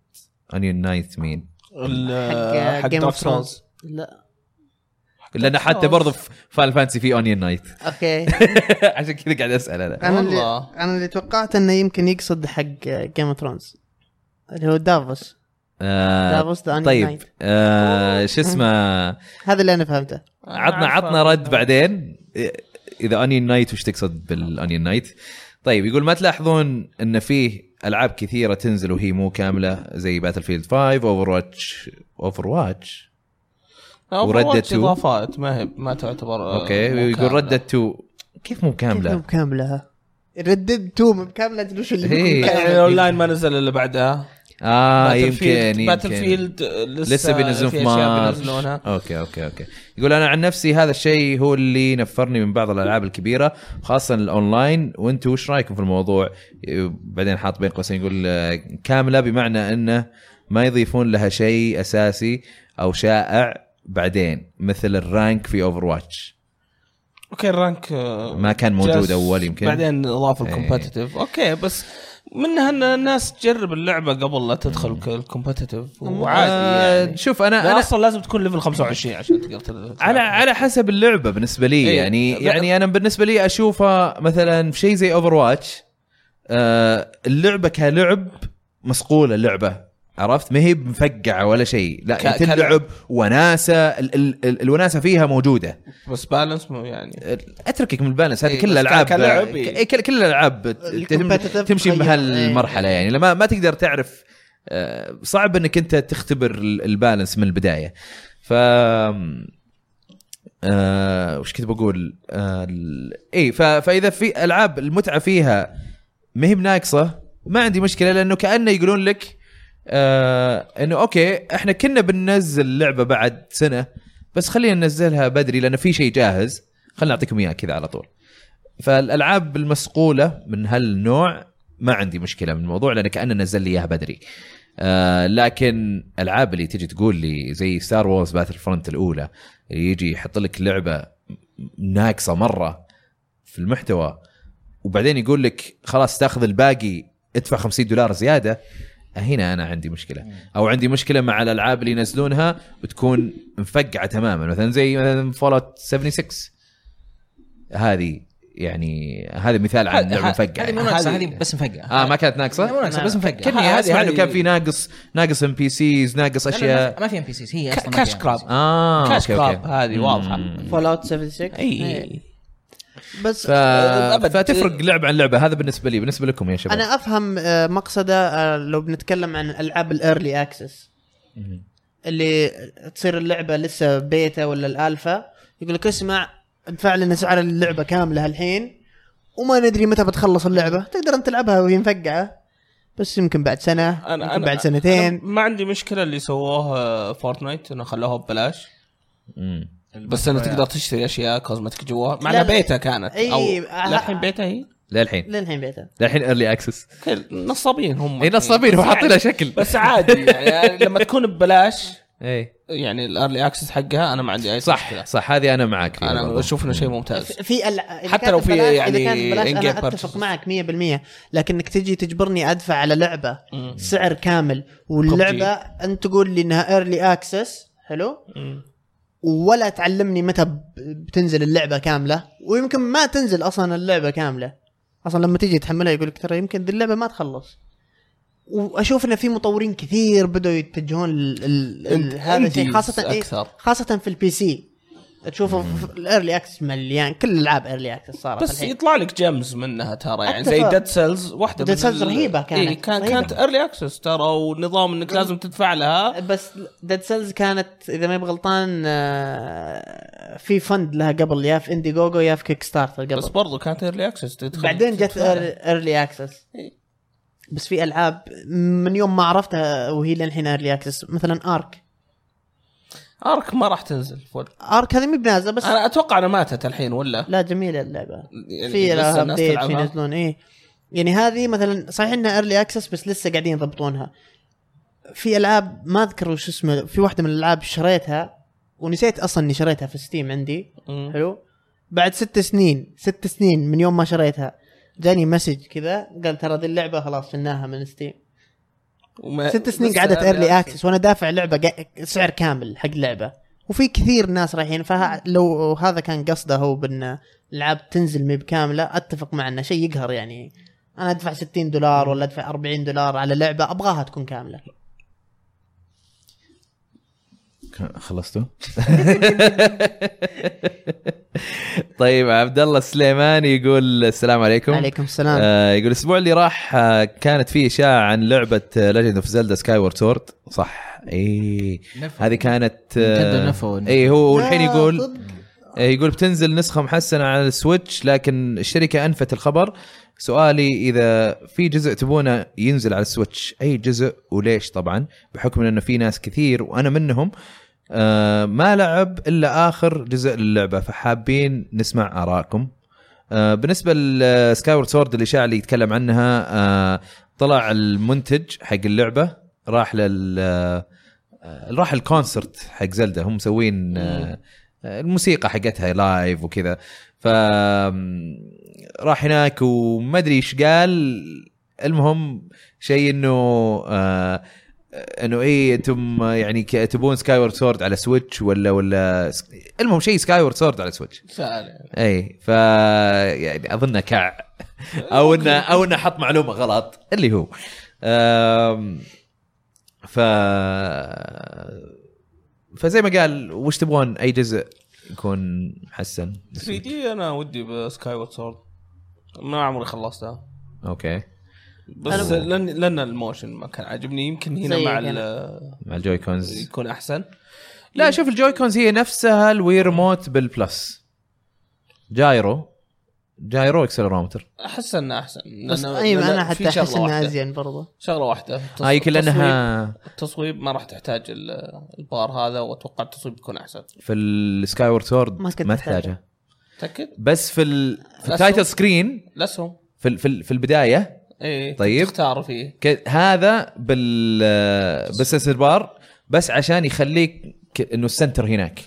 C: اونيون نايت مين؟
A: ال- آه، حق
D: Game
A: دارك
D: of
A: سولز
D: Thrones. لا
C: لان حتى برضه في فان فانسي في اونيون نايت
D: اوكي
C: [LAUGHS] عشان كذا قاعد اسال انا
D: انا اللي
A: والله.
D: انا اللي توقعت انه يمكن يقصد حق جيم اوف ثرونز اللي هو دافوس
C: آه،
D: دافوس ذا
C: طيب آه، شو اسمه
D: هذا اللي انا فهمته
C: عطنا عطنا رد بعدين اذا انيون نايت وش تقصد بالانيون نايت طيب يقول ما تلاحظون ان فيه العاب كثيره تنزل وهي مو كامله زي باتل فيلد 5 اوفر واتش اوفر واتش وردت
A: وردت
C: تو.
A: اضافات ما هي ما تعتبر آه،
C: اوكي
A: مو
C: يقول
A: كاملة.
C: ردت 2 كيف مو
D: كيف
C: كامله؟
D: مكامله ردد 2 مكامله تدري وش اللي
C: هي.
D: مكاملة.
A: يعني الاونلاين ما نزل الا بعدها
C: اه
A: باتل
C: يمكن
A: فيلد-
C: يمكن
A: باتل فيلد آه، لسه,
C: لسه بينزلون في
A: أشياء
C: مارس
A: بينزلونها.
C: اوكي اوكي اوكي يقول انا عن نفسي هذا الشيء هو اللي نفرني من بعض الالعاب الكبيره خاصه الاونلاين وانتم وش رايكم في الموضوع بعدين حاط بين قوسين يقول آه، كامله بمعنى انه ما يضيفون لها شيء اساسي او شائع بعدين مثل الرانك في اوفر واتش
A: اوكي الرانك آه،
C: ما كان موجود
A: جاس
C: اول يمكن
A: بعدين اضاف
C: إيه.
A: الكومبتتف اوكي بس منها ان الناس تجرب اللعبه قبل لا تدخل الكومبتتف وعادي
C: آه،
A: يعني
C: شوف انا
A: لا
C: انا
A: اصلا لازم تكون ليفل 25 عشان تقدر تلعب.
C: على على حسب اللعبه بالنسبه لي
A: إيه.
C: يعني
A: لا.
C: يعني انا بالنسبه لي اشوفها مثلا في شيء زي اوفر واتش آه اللعبه كلعب مصقوله اللعبه عرفت ما هي مفقعه ولا شيء لا
A: ك-
C: يعني
A: كلعب.
C: تلعب وناسه ال ال ال الوناسه فيها موجوده
A: بس بالانس مو يعني
C: اتركك من البالانس هذه
A: إيه،
C: كل
A: بس
C: الالعاب
A: كلعب،
C: ك-
A: إيه.
C: إيه، كل كل الالعاب ت- تم-
D: competitive
C: تمشي
D: تغير.
C: بهالمرحله يعني لما ما تقدر تعرف آه، صعب انك انت تختبر ال- البالانس من البدايه ف آه وش كنت بقول آه ال- اي ف- فاذا في العاب المتعه فيها ما هي بناقصه ما عندي مشكله لانه كانه يقولون لك آه انه اوكي احنا كنا بننزل لعبه بعد سنه بس خلينا ننزلها بدري لانه في شيء جاهز خلينا نعطيكم اياه كذا على طول فالالعاب المصقوله من هالنوع ما عندي مشكله من الموضوع لان كانه نزل لي اياها بدري آه لكن العاب اللي تجي تقول لي زي ستار وورز باتل فرونت الاولى اللي يجي يحط لك لعبه ناقصه مره في المحتوى وبعدين يقول لك خلاص تاخذ الباقي ادفع 50 دولار زياده هنا انا عندي مشكله او عندي مشكله مع الالعاب اللي ينزلونها وتكون مفقعه تماما مثلا زي مثلا فولوت 76 هذه يعني هذا مثال عن لعبه مفقعه
E: هذه مو
C: يعني.
E: ناقصه هذه بس مفقعه
C: اه ما كانت ناقصه؟
E: مو ناقصه بس مفقعه
C: كني
A: هذه-
C: اسمع انه
A: هذه-
C: كان في ناقص ناقص ام بي سيز ناقص
E: لا، لا،
C: اشياء
E: ما في ام بي سيز هي
A: ك-
E: اصلا ما
A: كاش
E: فيها
A: كراب
C: اه
A: كاش
C: أوكي، أوكي.
A: كراب هذه واضحه
D: فول اوت 76
A: اي
D: إيه. بس
C: إيه. ف...
E: أه،
C: فتفرق لعبه عن لعبه هذا بالنسبه لي بالنسبه لكم يا شباب
D: انا افهم آه، مقصده آه، لو بنتكلم عن العاب الايرلي اكسس اللي تصير اللعبه لسه بيتا ولا الالفا يقول لك اسمع ادفع لنا سعر اللعبه كامله الحين وما ندري متى بتخلص اللعبه تقدر انت تلعبها وهي مفقعه بس يمكن بعد سنه أنا يمكن بعد سنتين
A: أنا ما عندي مشكله اللي سووه فورتنايت انه خلوها ببلاش
C: مم.
A: بس انه تقدر تشتري اشياء كوزمتك جوا مع
D: لا،
A: انها
D: لا.
A: بيتا كانت
D: إي،
A: او الحين بيتا هي
C: للحين
D: للحين بيتا
C: للحين ايرلي اكسس
A: كل- نصابين هم
C: اي نصابين
A: بس
C: وحاطين
A: يعني-
C: لها شكل
A: بس عادي يعني لما تكون ببلاش
C: اي
A: يعني الارلي اكسس حقها انا ما عندي اي
C: صح
A: مشكلة.
C: إيه. صح هذه انا معك فيها
A: انا
C: برضو.
A: اشوف انه شيء ممتاز
D: في ألع... إذا
A: حتى
D: كانت
A: لو في
D: ببلاش-
A: يعني
D: اذا كانت ببلاش
A: in-game
D: انا
A: purchases.
D: اتفق معك 100% لكنك تجي تجبرني ادفع على لعبه سعر كامل واللعبه انت تقول لي انها ايرلي اكسس حلو ولا تعلمني متى ب- بتنزل اللعبه كامله ويمكن ما تنزل اصلا اللعبه كامله اصلا لما تيجي تحملها يقول لك ترى يمكن ذي اللعبه ما تخلص واشوف ان في مطورين كثير بدأوا يتجهون ال- ال- ال- هذا الشيء
A: Indies
D: خاصه إيه؟
A: أكثر.
D: خاصه في البي سي تشوفه في الايرلي اكسس مليان كل الالعاب ايرلي اكسس صارت
A: بس
D: الحين
A: يطلع لك جيمز منها ترى يعني
D: حتى
A: زي
D: ف-
A: ديد سيلز واحده
D: Dead Cells رهيبة كانت،
A: إيه كان
D: رهيبة. أيوة.
A: كانت ايرلي اكسس ترى ونظام انك لازم تدفع لها
D: بس ديد سيلز كانت اذا ما بغلطان آه، في فند لها قبل يا في اندي جوجو يا في كيك ستارتر قبل
A: بس برضو كانت ايرلي اكسس تدخل
D: بعدين جت
A: تدفع لها.
D: ايرلي اكسس بس في العاب من يوم ما عرفتها وهي للحين ايرلي اكسس مثلا ارك
A: ارك ما راح تنزل في وقت
D: ارك هذه مي بنازله بس
A: انا اتوقع انها ماتت الحين ولا
D: لا جميله اللعبه
A: يعني
D: في
A: لسه
D: لها
A: الناس
D: ابديت في
A: تلعبها؟
D: ينزلون ايه يعني هذه مثلا صحيح انها ايرلي اكسس بس لسه قاعدين يضبطونها في العاب ما اذكر وش اسمه في واحده من الالعاب شريتها ونسيت اصلا اني شريتها في ستيم عندي
A: مم.
D: حلو بعد ست سنين ست سنين من يوم ما شريتها جاني مسج كذا قال ترى ذي اللعبه خلاص شلناها من ستيم
A: وما- يعني
D: ست سنين
A: لسه
D: قعدت
A: early
D: ايرلي
A: access.
D: اكسس وانا دافع لعبه قا- سعر كامل حق لعبه وفي كثير ناس رايحين فلو هذا كان قصده هو بان العاب تنزل مي بكامله اتفق مع انه شيء يقهر يعني انا ادفع 60 دولار ولا ادفع 40 دولار على لعبه ابغاها تكون كامله
C: خلصتوا؟ [LAUGHS] طيب عبد الله السليماني يقول السلام عليكم
D: عليكم السلام
C: آه يقول الاسبوع اللي راح آه كانت فيه اشاعه عن لعبه ليجند اوف زلدا سكاي وورد سورد صح اي
E: نفوا.
C: هذه كانت
E: Nintendo
C: آه
E: نفوا.
C: اي هو الحين
D: لا،
C: يقول
D: صدق.
C: آه، يقول بتنزل نسخه محسنه على السويتش لكن الشركه انفت الخبر سؤالي اذا في جزء تبونه ينزل على السويتش اي جزء وليش طبعا بحكم انه في ناس كثير وانا منهم آه، ما لعب الا اخر جزء للعبه فحابين نسمع ارائكم آه، بالنسبه لسكاي سورد الاشاعه اللي يتكلم عنها آه، طلع المنتج حق اللعبه راح لل آه، راح الكونسرت حق زلدة هم مسوين آه، الموسيقى حقتها لايف وكذا ف آم، راح هناك وما ادري ايش قال المهم شيء انه آه، انه ايه انتم يعني ك- تبون سكاي وورد سورد على سويتش ولا ولا المهم شيء سكاي وورد سورد على سويتش
A: سأل.
C: اي إيه، ف يعني اظنه كع او انه او انه حط معلومه غلط اللي هو أم، ف فزي ما قال وش تبغون اي جزء يكون محسن
A: 3 دي انا ودي بسكاي وورد سورد ما عمري خلصتها
C: اوكي
A: بس
C: أنا-
A: لان لان الموشن ما كان عاجبني يمكن هنا
D: زيك
A: مع
D: أنا.
A: ال-
C: مع الجوي كونز
A: يكون احسن
C: لا شوف الجوي كونز هي نفسها الوي ريموت بالبلس جايرو جايرو اكسلرومتر
A: احس انه احسن
D: بس
A: لأنه-
D: ايوه
A: لأن
D: انا
A: في
D: حتى
A: شغلة
D: احس انها
A: واحدة.
D: ازين برضه
A: شغله واحده التص-
C: اه يمكن لانها
A: التصويب- التصويب ما راح تحتاج ال- البار هذا واتوقع التصويب يكون احسن
C: في السكاي وورد سورد
D: ما كنت
C: ما
D: تحتاجها.
C: تحتاجها
A: تاكد
C: بس في ال... في
A: لا
C: التايتل
A: سوق.
C: سكرين
A: لسهم
C: في ال... في, ال... في البدايه
A: ايه
C: طيب.
A: تختار فيه
C: ك... هذا بال بس بار بس عشان يخليك ك... انه السنتر هناك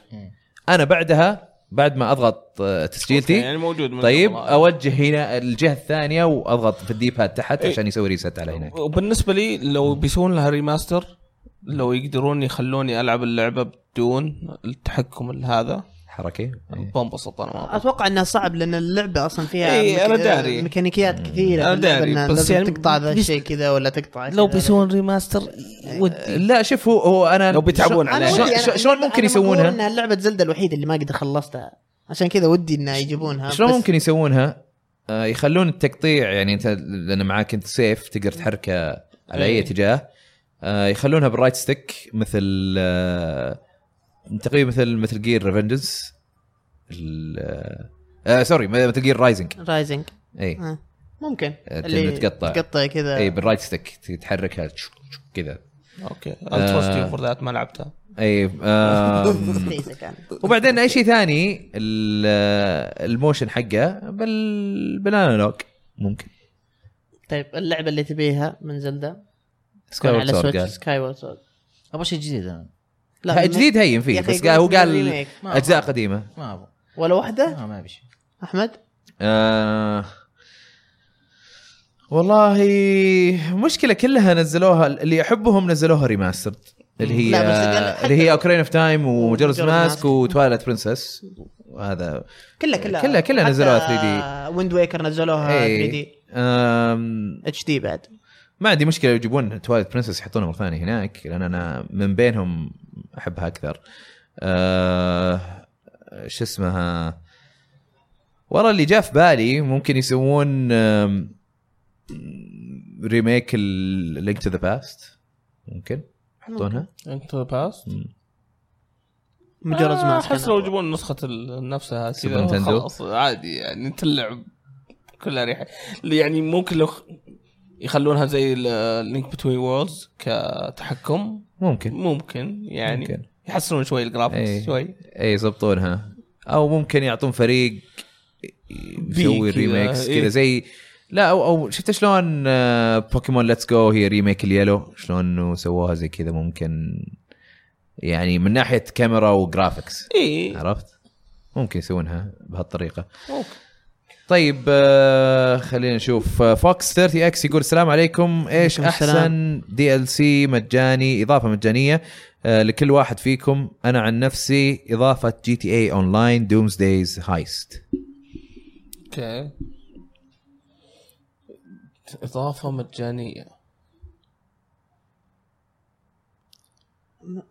C: انا بعدها بعد ما اضغط آه،
A: يعني
C: تسجيلتي
A: موجود من
C: طيب
A: قبل.
C: اوجه هنا الجهه الثانيه واضغط في الديباد تحت
A: إيه.
C: عشان يسوي ريست على هناك
A: وبالنسبه لي لو بيسوون لها ريماستر لو يقدرون يخلوني العب اللعبه بدون التحكم هذا
C: حركي إيه.
A: بنبسط انا مرة.
D: اتوقع انها صعب لان اللعبه اصلا فيها
A: إي،
D: ميك-
A: إيه، أنا داري.
D: ميكانيكيات كثيره
A: أنا
D: في اللعبة
A: داري،
D: إنها
A: بس
D: لازم
A: يعني
D: تقطع ذا
A: بيس-
D: الشيء كذا ولا تقطع
A: لو
D: كذا.
A: بيسوون ريماستر ودي
C: لا شوف هو, هو انا
A: لو بيتعبون
C: شو-
A: عليه.
C: شو-
A: أنا ودي،
C: شو- شلون ممكن يسوونها؟
D: انها لعبه زلدة الوحيده اللي ما قد خلصتها عشان كذا ودي انها يجيبونها
C: شلون
D: بس
C: ممكن يسوونها؟ آه، يخلون التقطيع يعني انت لان معاك انت سيف تقدر تحركه على اي
A: إيه.
C: اتجاه آه، يخلونها بالرايت ستيك مثل آه، تقريبا مثل مثل جير ريفنجز سوري آه، مثل إيه. جير رايزنج
D: رايزنج
C: اي
D: آه. ممكن
C: آه، تقطع. إيه.
D: تقطع كذا [LAUGHS]
C: اي بالرايت ستيك تحركها تشو- تشو كذا
A: اوكي
C: آه.
A: التراست فور ذات ما لعبتها
C: اي آم،
D: [LAUGHS] كويسة كانت.
C: وبعدين اي شيء ثاني ال- آه، الموشن حقه بال بالانالوج ممكن
D: طيب اللعبه اللي تبيها من زلدة
C: سكاي
D: على
C: وورد
D: سويتش
C: قال
D: سكاي وورد سورد
E: ابغى شيء جديد انا
C: لا جديد هين
D: يا
C: فيه
D: أخي
C: بس قال هو
D: يقولون
C: قال
D: ريميك.
E: ما
C: اجزاء
E: أبغى.
C: قديمه
E: ما ابغى
D: ولا واحده
E: ما ما ابي شيء
D: احمد
C: آه والله مشكله كلها نزلوها اللي احبهم نزلوها ريماسترد اللي هي
D: لا، بس قال حتى-
C: اللي هي اوكرين اوف تايم ومجرد
D: ومجرد
C: ماسك
D: ماسك.
C: وتوالت برنسس وهذا
D: كلها كلها
C: كلها- كلها نزلوها 3D.
D: ويند ويكر نزلوها 3 دي
C: إيه. أم،
D: اتش دي بعد
C: ما عندي مشكله لو يجيبون توالت برنسس يحطونها مره ثانيه هناك لان انا من بينهم احبها اكثر أه شو اسمها والله اللي جاء في بالي ممكن يسوون أم، ريميك اللينك تو ذا باست ممكن يحطونها
A: انت باست
C: آه،
D: مجرد ما
A: احس آه، لو يجيبون نسخه ال- نفسها
C: سوبر
A: كذا
C: نينتندو.
A: خلاص عادي يعني انت اللعب كلها ريحه يعني ممكن لو خ- يخلونها زي اللينك بتوين وورلدز كتحكم
C: ممكن
A: ممكن يعني
C: ممكن.
A: ممكن. يحسنون شوي الجرافكس
C: إيه.
A: شوي
C: اي يظبطونها او ممكن يعطون فريق يسوي
A: كذا،
C: ريميكس
A: إيه.
C: كذا زي لا او او شفت شلون آه، بوكيمون ليتس جو هي ريميك اليلو شلون إنه سووها زي كذا ممكن يعني من ناحيه كاميرا وجرافكس
A: اي
C: عرفت؟ ممكن يسوونها بهالطريقه
A: ممكن.
C: طيب آه، خلينا نشوف آه، فوكس 30 اكس يقول السلام عليكم ايش
D: عليكم السلام.
C: احسن دي ال سي مجاني اضافه مجانيه آه، لكل واحد فيكم انا عن نفسي اضافه جي تي إيه اي اون لاين دومز دايز هايست
A: اوكي اضافه مجانيه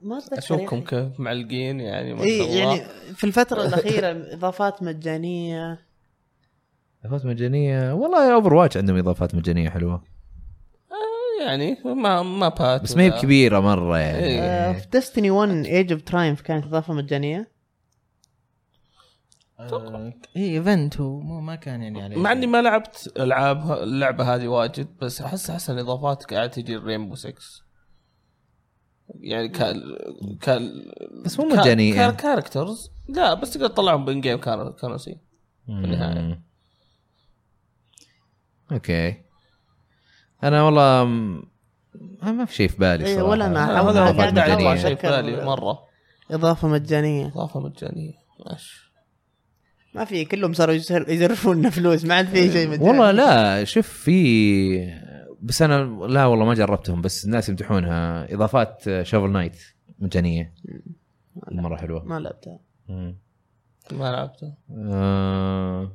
D: ما أتذكر
A: اشوفكم
D: يعني.
A: كيف معلقين يعني ما شاء
D: اي
A: الله
D: يعني في الفترة الأخيرة إضافات مجانية
C: اضافات مجانيه والله اوفر واتش عندهم اضافات مجانيه حلوه
A: يعني ما ما بات
C: بس ما هي
A: ولا-
C: بكبيره مره
D: آه،
C: يعني
D: في ديستني 1 ايج اوف ترايمف كانت إضافة مجانية
E: اي ايفنت آه، إيه، هو مو- ما كان يعني عليه
A: مع اني ما لعبت العاب اللعبه هذه واجد بس احس احس إن الاضافات قاعد تجي ريمبو 6 يعني كان كان
C: بس مو مجانية.
A: كان كاركترز لا بس تقدر تطلعهم بين جيم كارنسي
C: آه، مم. اوكي انا والله م- ما في شيء في بالي
D: إيه،
C: صراحه
D: ولا أنا.
A: هذا
D: أحاول
A: هو
C: إضافات
A: قاعد عليه
C: مجانية.
A: شيء في
D: أتذكر-
A: بالي مره
D: إضافة مجانية
A: اضافه مجانيه ماشي
D: ما في كلهم صاروا يزر- يزرفوننا [LAUGHS] فلوس ما عاد في شيء مجاني
C: والله لا شوف في بس انا لا والله ما جربتهم بس الناس يمدحونها اضافات شوفل نايت مجانيه مره حلوه
D: ما لعبتها
C: مم.
A: ما لعبته
C: آه.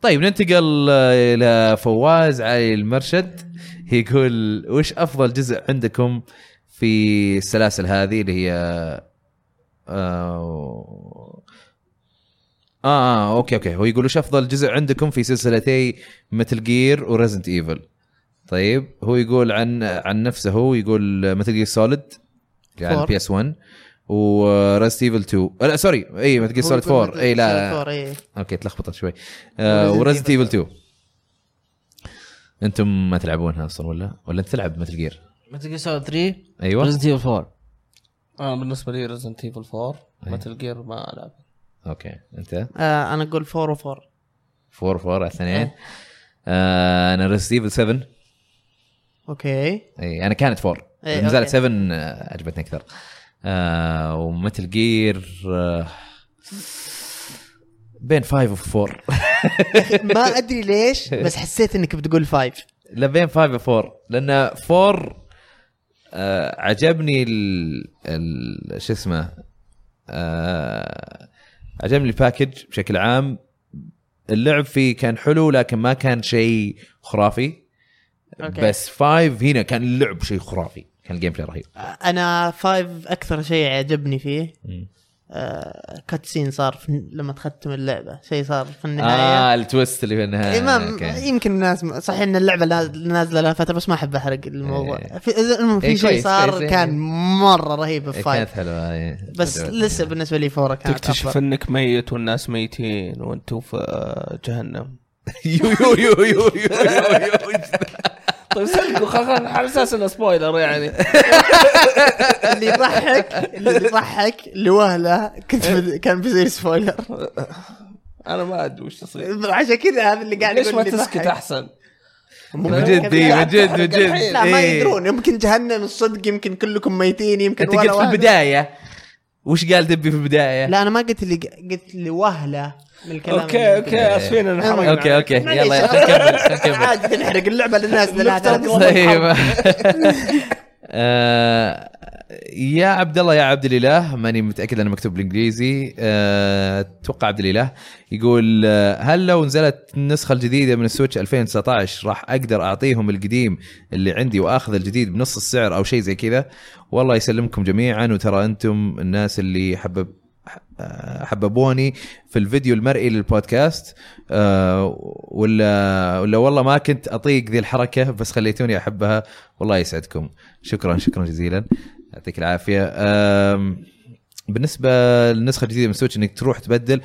C: طيب ننتقل الى فواز علي المرشد يقول وش افضل جزء عندكم في السلاسل هذه اللي هي آه آه, اه اوكي اوكي هو يقول وش افضل جزء عندكم في سلسلتي متل جير وريزنت ايفل طيب هو يقول عن عن نفسه هو يقول آه، متل جير سوليد على
D: Four.
C: البي اس 1 وريزنت ايفل 2 آه، لا سوري اي متل جير سوليد 4 اي إيه، لا
D: سوليد 4 اي
C: اوكي تلخبطت شوي آه،
D: Resident
C: وريزنت ايفل
D: Evil
C: 2 انتم ما تلعبونها اصلا ولا ولا انت تلعب مثل جير
E: متل جير سوليد 3
C: ايوه
E: ريزنت ايفل 4
A: انا بالنسبه آه، لي ريزنت ايفل 4 متل جير ما العب
C: اوكي انت
D: آه انا اقول 4 و4
C: 4 4 على اثنين آه، انا ريزنت ايفل 7
D: اوكي
C: اي انا كانت 4
D: إيه،
C: لما نزلت
D: أوكي.
C: 7 آه، عجبتني اكثر آه ومثل جير آه بين 5 و 4
D: [LAUGHS] ما ادري ليش بس حسيت انك بتقول 5
C: لا بين 5 و 4 لان 4 آه عجبني ال, ال... شو اسمه آه عجبني الباكج بشكل عام اللعب فيه كان حلو لكن ما كان شيء خرافي
D: أوكي.
C: بس 5 هنا كان اللعب شيء خرافي كان الجيم بلاي رهيب
D: انا 5 اكثر شيء عجبني فيه
C: مم.
D: آه كاتسين صار في لما تختم اللعبه شيء صار في النهايه
C: اه التويست اللي في النهايه
D: إيه ما
C: آه، أوكي.
D: يمكن الناس صحيح ان اللعبه لا- نازله لها فتره بس ما احب احرق الموضوع في المهم في
C: إيه،
D: شيء
C: كويس، كويس،
D: صار
C: إيه.
D: كان مره رهيب في
C: إيه، كانت
D: 5
C: حلوه إيه. [LAUGHS]
D: بس لسه بالنسبه لي فورة كانت
A: تكتشف
D: أفضل.
A: انك ميت والناس ميتين وانتم في آه، جهنم
C: يو يو يو يو يو يو
D: [LAUGHS]
C: يو.
A: طيب سلكوا خل- خل- على اساس انه سبويلر يعني
D: اللي يضحك اللي يضحك لوهله كنت
C: إيه.
D: بد- كان بيصير سبويلر
A: انا ما ادري وش يصير
D: عشان كذا هذا اللي قاعد
A: ليش
D: يقول
A: ما
D: اللي يضحك.
A: تسكت احسن؟
C: من جد إيه، من جد من جد
D: [LAUGHS] لا ما
C: إيه.
D: يدرون يمكن جهنم الصدق يمكن كلكم ميتين يمكن
C: انت
D: ولا
C: قلت في
D: واحد.
C: البدايه وش قال دبي في البدايه؟
D: لا انا ما قلت اللي قلت لوهله من الكلام
A: اوكي اوكي اسفين إن حرمنا
C: اوكي اوكي
D: معليش.
C: يلا
D: [LAUGHS]
C: يا اخي نكمل طيب، طيب. خلينا نكمل [LAUGHS]
D: عادي نحرق اللعبه للناس اللي لها
A: نفترض
D: تلاتة
A: والله
D: سنين.
C: طيب آه يا عبد الله يا عبد الاله ماني متاكد انه مكتوب بالانجليزي آه، اتوقع عبد الاله يقول آه، هل لو نزلت النسخه الجديده من السويتش 2019 راح اقدر اعطيهم القديم اللي عندي واخذ الجديد بنص السعر او شيء زي كذا والله يسلمكم جميعا وترى انتم الناس اللي حبب آه، حببوني في الفيديو المرئي للبودكاست آه، ولا ولا والله ما كنت اطيق ذي الحركه بس خليتوني احبها والله يسعدكم شكرا شكرا جزيلا يعطيك العافيه أم، بالنسبه للنسخه الجديده من سويتش انك تروح تبدل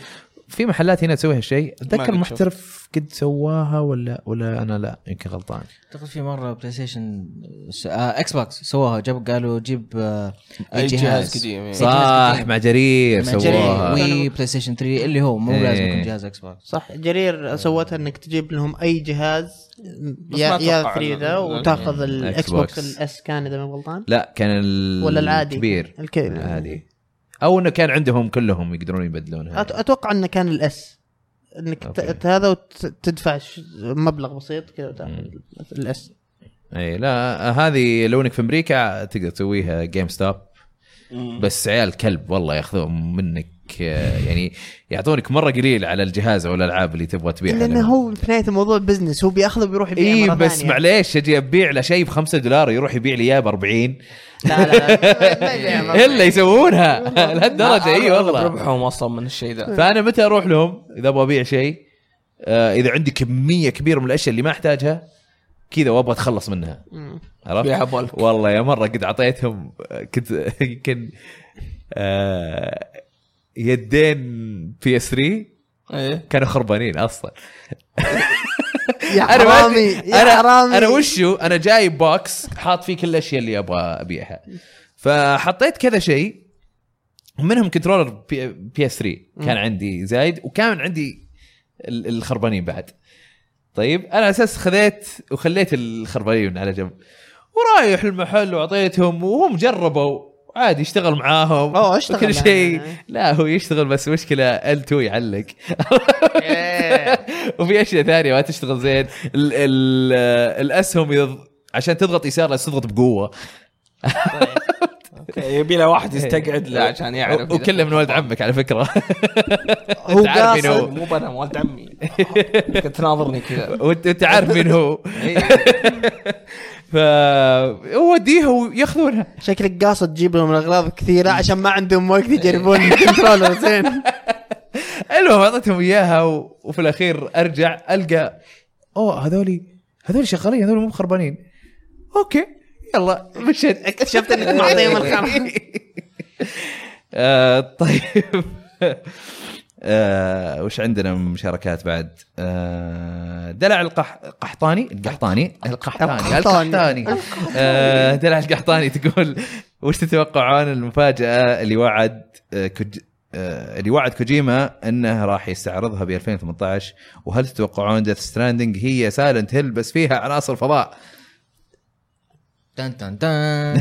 C: في محلات هنا تسوي هالشيء اتذكر
A: قد
C: محترف قد سواها ولا ولا انا لا يمكن غلطان
E: اعتقد في مره بلاي ستيشن س- آه اكس بوكس سووها جاب قالوا جيب آه
A: أي جهاز قديم، إيه.
C: صح مع جرير
E: مع جرير
C: سواها
E: وي بلاي ستيشن 3 اللي هو مو
C: إيه.
E: لازم يكون جهاز اكس بوكس
D: صح جرير سوتها انك تجيب لهم اي جهاز يا
A: ما
D: يا
A: أتوقع
D: 3 ذا
A: إنه-
D: وتاخذ الاكس
C: إكس
D: بوكس
C: بوكس.
D: الاس كان اذا ما غلطان
C: لا كان إيه، ال-
D: ولا العادي إيه.
C: الكبير
D: الكبير
C: العادي او انه كان عندهم كلهم يقدرون يبدلونها
D: أت- اتوقع انه كان الاس انك ت-
C: أوكي.
D: ت- هذا وتدفع ش- مبلغ بسيط كذا وتاخذ الاس
C: اي إيه، لا هذه لو انك في امريكا تقدر تسويها جيم ستوب بس عيال كلب والله ياخذون منك آه، يعني يعطونك مره قليل على الجهاز او الالعاب اللي تبغى تبيعها
D: لانه هو في نهايه الموضوع بزنس هو بياخذه بيروح يبيعه
C: اي
D: مره
C: إيه، بس
D: ثانية.
C: معليش اجي ابيع له شيء ب 5 دولار يروح يبيع لي اياه ب 40
D: لا لا
C: [LAUGHS]
D: لا ما يبيعه مرة
C: الا يسوونها [LAUGHS] لهالدرجه اي والله
A: أيوة، ربحهم اصلا من الشيء ذا
D: [LAUGHS]
C: فانا متى اروح لهم اذا ابغى ابيع شيء آه، اذا عندي كميه كبيره من الاشياء اللي ما احتاجها كذا وابغى اتخلص منها
D: مم.
A: بيعها
C: عرفت؟
A: بولك.
C: والله يا مره قد اعطيتهم آه، كنت [LAUGHS] يمكن آه، يدين بي اس 3
A: ايه
C: كانوا خربانين اصلا
D: يا
C: انا ما
D: حرامي
C: أدري-
D: يا
C: انا
D: حرامي
C: انا وشو انا جايب بوكس حاط فيه كل الاشياء اللي ابغى ابيعها فحطيت كذا شيء منهم كنترولر بي, بي اس 3 كان عندي زايد وكان عندي ال- الخربانين بعد طيب انا على اساس خذيت وخليت الخربانين على جنب ورايح المحل واعطيتهم وهم جربوا عادي يشتغل معاهم
D: أوه، اشتغل
C: وكل
D: معاهم
C: شيء
D: يعني.
C: لا هو يشتغل بس مشكله ال2 يعلق
D: إيه.
C: [LAUGHS] وفي اشياء ثانيه ما تشتغل زين ال ال الاسهم اذا ض- عشان تضغط يسار لازم تضغط بقوه
A: يبي له واحد
D: إيه.
A: يستقعد
C: [LAUGHS]
A: له عشان يعرف
C: و- وكله من ولد عمك على [LAUGHS] فكره
D: هو
C: عارف مين
D: قاصد
C: هو.
A: مو بنا ولد عمي كنت تناظرني كذا
C: وانت أنت عارف مين هو
D: إيه.
C: [LAUGHS] ف وديها وياخذونها
D: شكلك قاصد تجيب لهم الاغراض كثيره عشان ما عندهم وقت يجربون [LAUGHS] الكنترولر زين
C: المهم اعطيتهم اياها و... وفي الاخير ارجع القى اوه هذولي هذول شغالين هذول مو خربانين اوكي يلا مشيت
D: اكتشفت انك معطيهم الخرا
C: [LAUGHS] آه، طيب [LAUGHS] آه، وش عندنا من مشاركات بعد؟ آه، دلع القح... قحطاني القحطاني القحطاني
D: القحطاني.
C: القحطاني آه، دلع القحطاني تقول وش تتوقعون المفاجأة اللي وعد آه، كوج... آه، اللي وعد كوجيما انه راح يستعرضها ب 2018 وهل تتوقعون ديث ستراندنج هي سايلنت هيل بس فيها عناصر فضاء؟
E: تن تن تن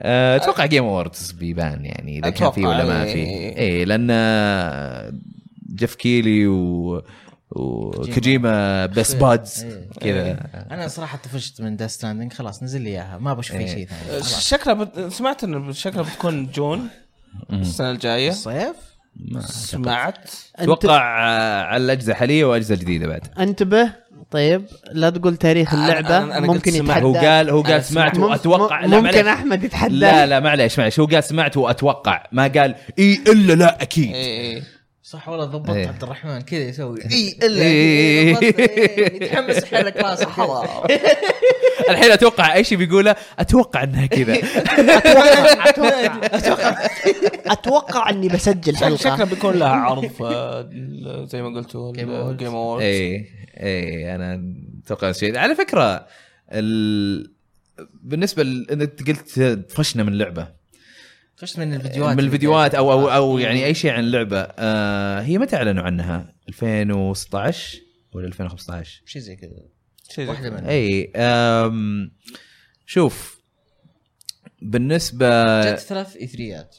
C: آه، اتوقع جيم اووردز بيبان يعني اذا كان في
A: أتوقع،
C: ولا ما
A: إيه.
C: في اي لان آه، جيف كيلي و وكوجيما بس بادز
E: إيه.
C: كذا
E: انا صراحه طفشت من ذا ستاندينج خلاص نزل لي اياها ما بشوف اي
C: إيه.
E: شيء ثاني خلاص.
A: شكلها بت... سمعت انه شكلها بتكون جون السنه الجايه
E: الصيف
A: سمعت
C: اتوقع آه، على الاجزاء الحاليه واجزاء جديده بعد
D: انتبه طيب لا تقول تاريخ
A: أنا-
D: اللعبه
A: أنا- أنا قد
D: ممكن
A: سمعت.
D: يتحدى
C: هو قال هو
E: أنا
C: قال سمعت
D: مم-
C: واتوقع
D: مم-
C: لا
D: ممكن
C: معليش.
D: احمد يتحدى
C: لا لا معليش معليش هو قال سمعت واتوقع ما قال اي الا لا اكيد
A: إيه، إيه.
E: صح والله ضبطت
C: إيه.
E: عبد الرحمن كذا يسوي
D: اي [LAUGHS]
C: إيه.
E: ضبطت، إيه، يتحمس حلك
C: [LAUGHS]
E: راسه
C: الحين اتوقع اي شيء بيقوله اتوقع انها [LAUGHS] كذا
D: اتوقع اتوقع اتوقع اني بسجل
A: شك- شكلها
D: حلقه
A: يعني بيكون لها عرض آه، زي ما قلتوا
E: Game Awards.
A: جيم اوورد
C: اي اي انا اتوقع شيء على فكره ال... بالنسبه ل... انت قلت طفشنا من لعبه
E: طفشت من الفيديوهات
C: من الفيديوهات او او او يعني اي شيء عن اللعبه آه هي متى اعلنوا عنها 2016 ولا 2015
E: شيء زي كذا
A: شيء زي
E: واحده
A: كذا.
E: من
C: اي آم... شوف بالنسبه
E: جت ثلاث اثريات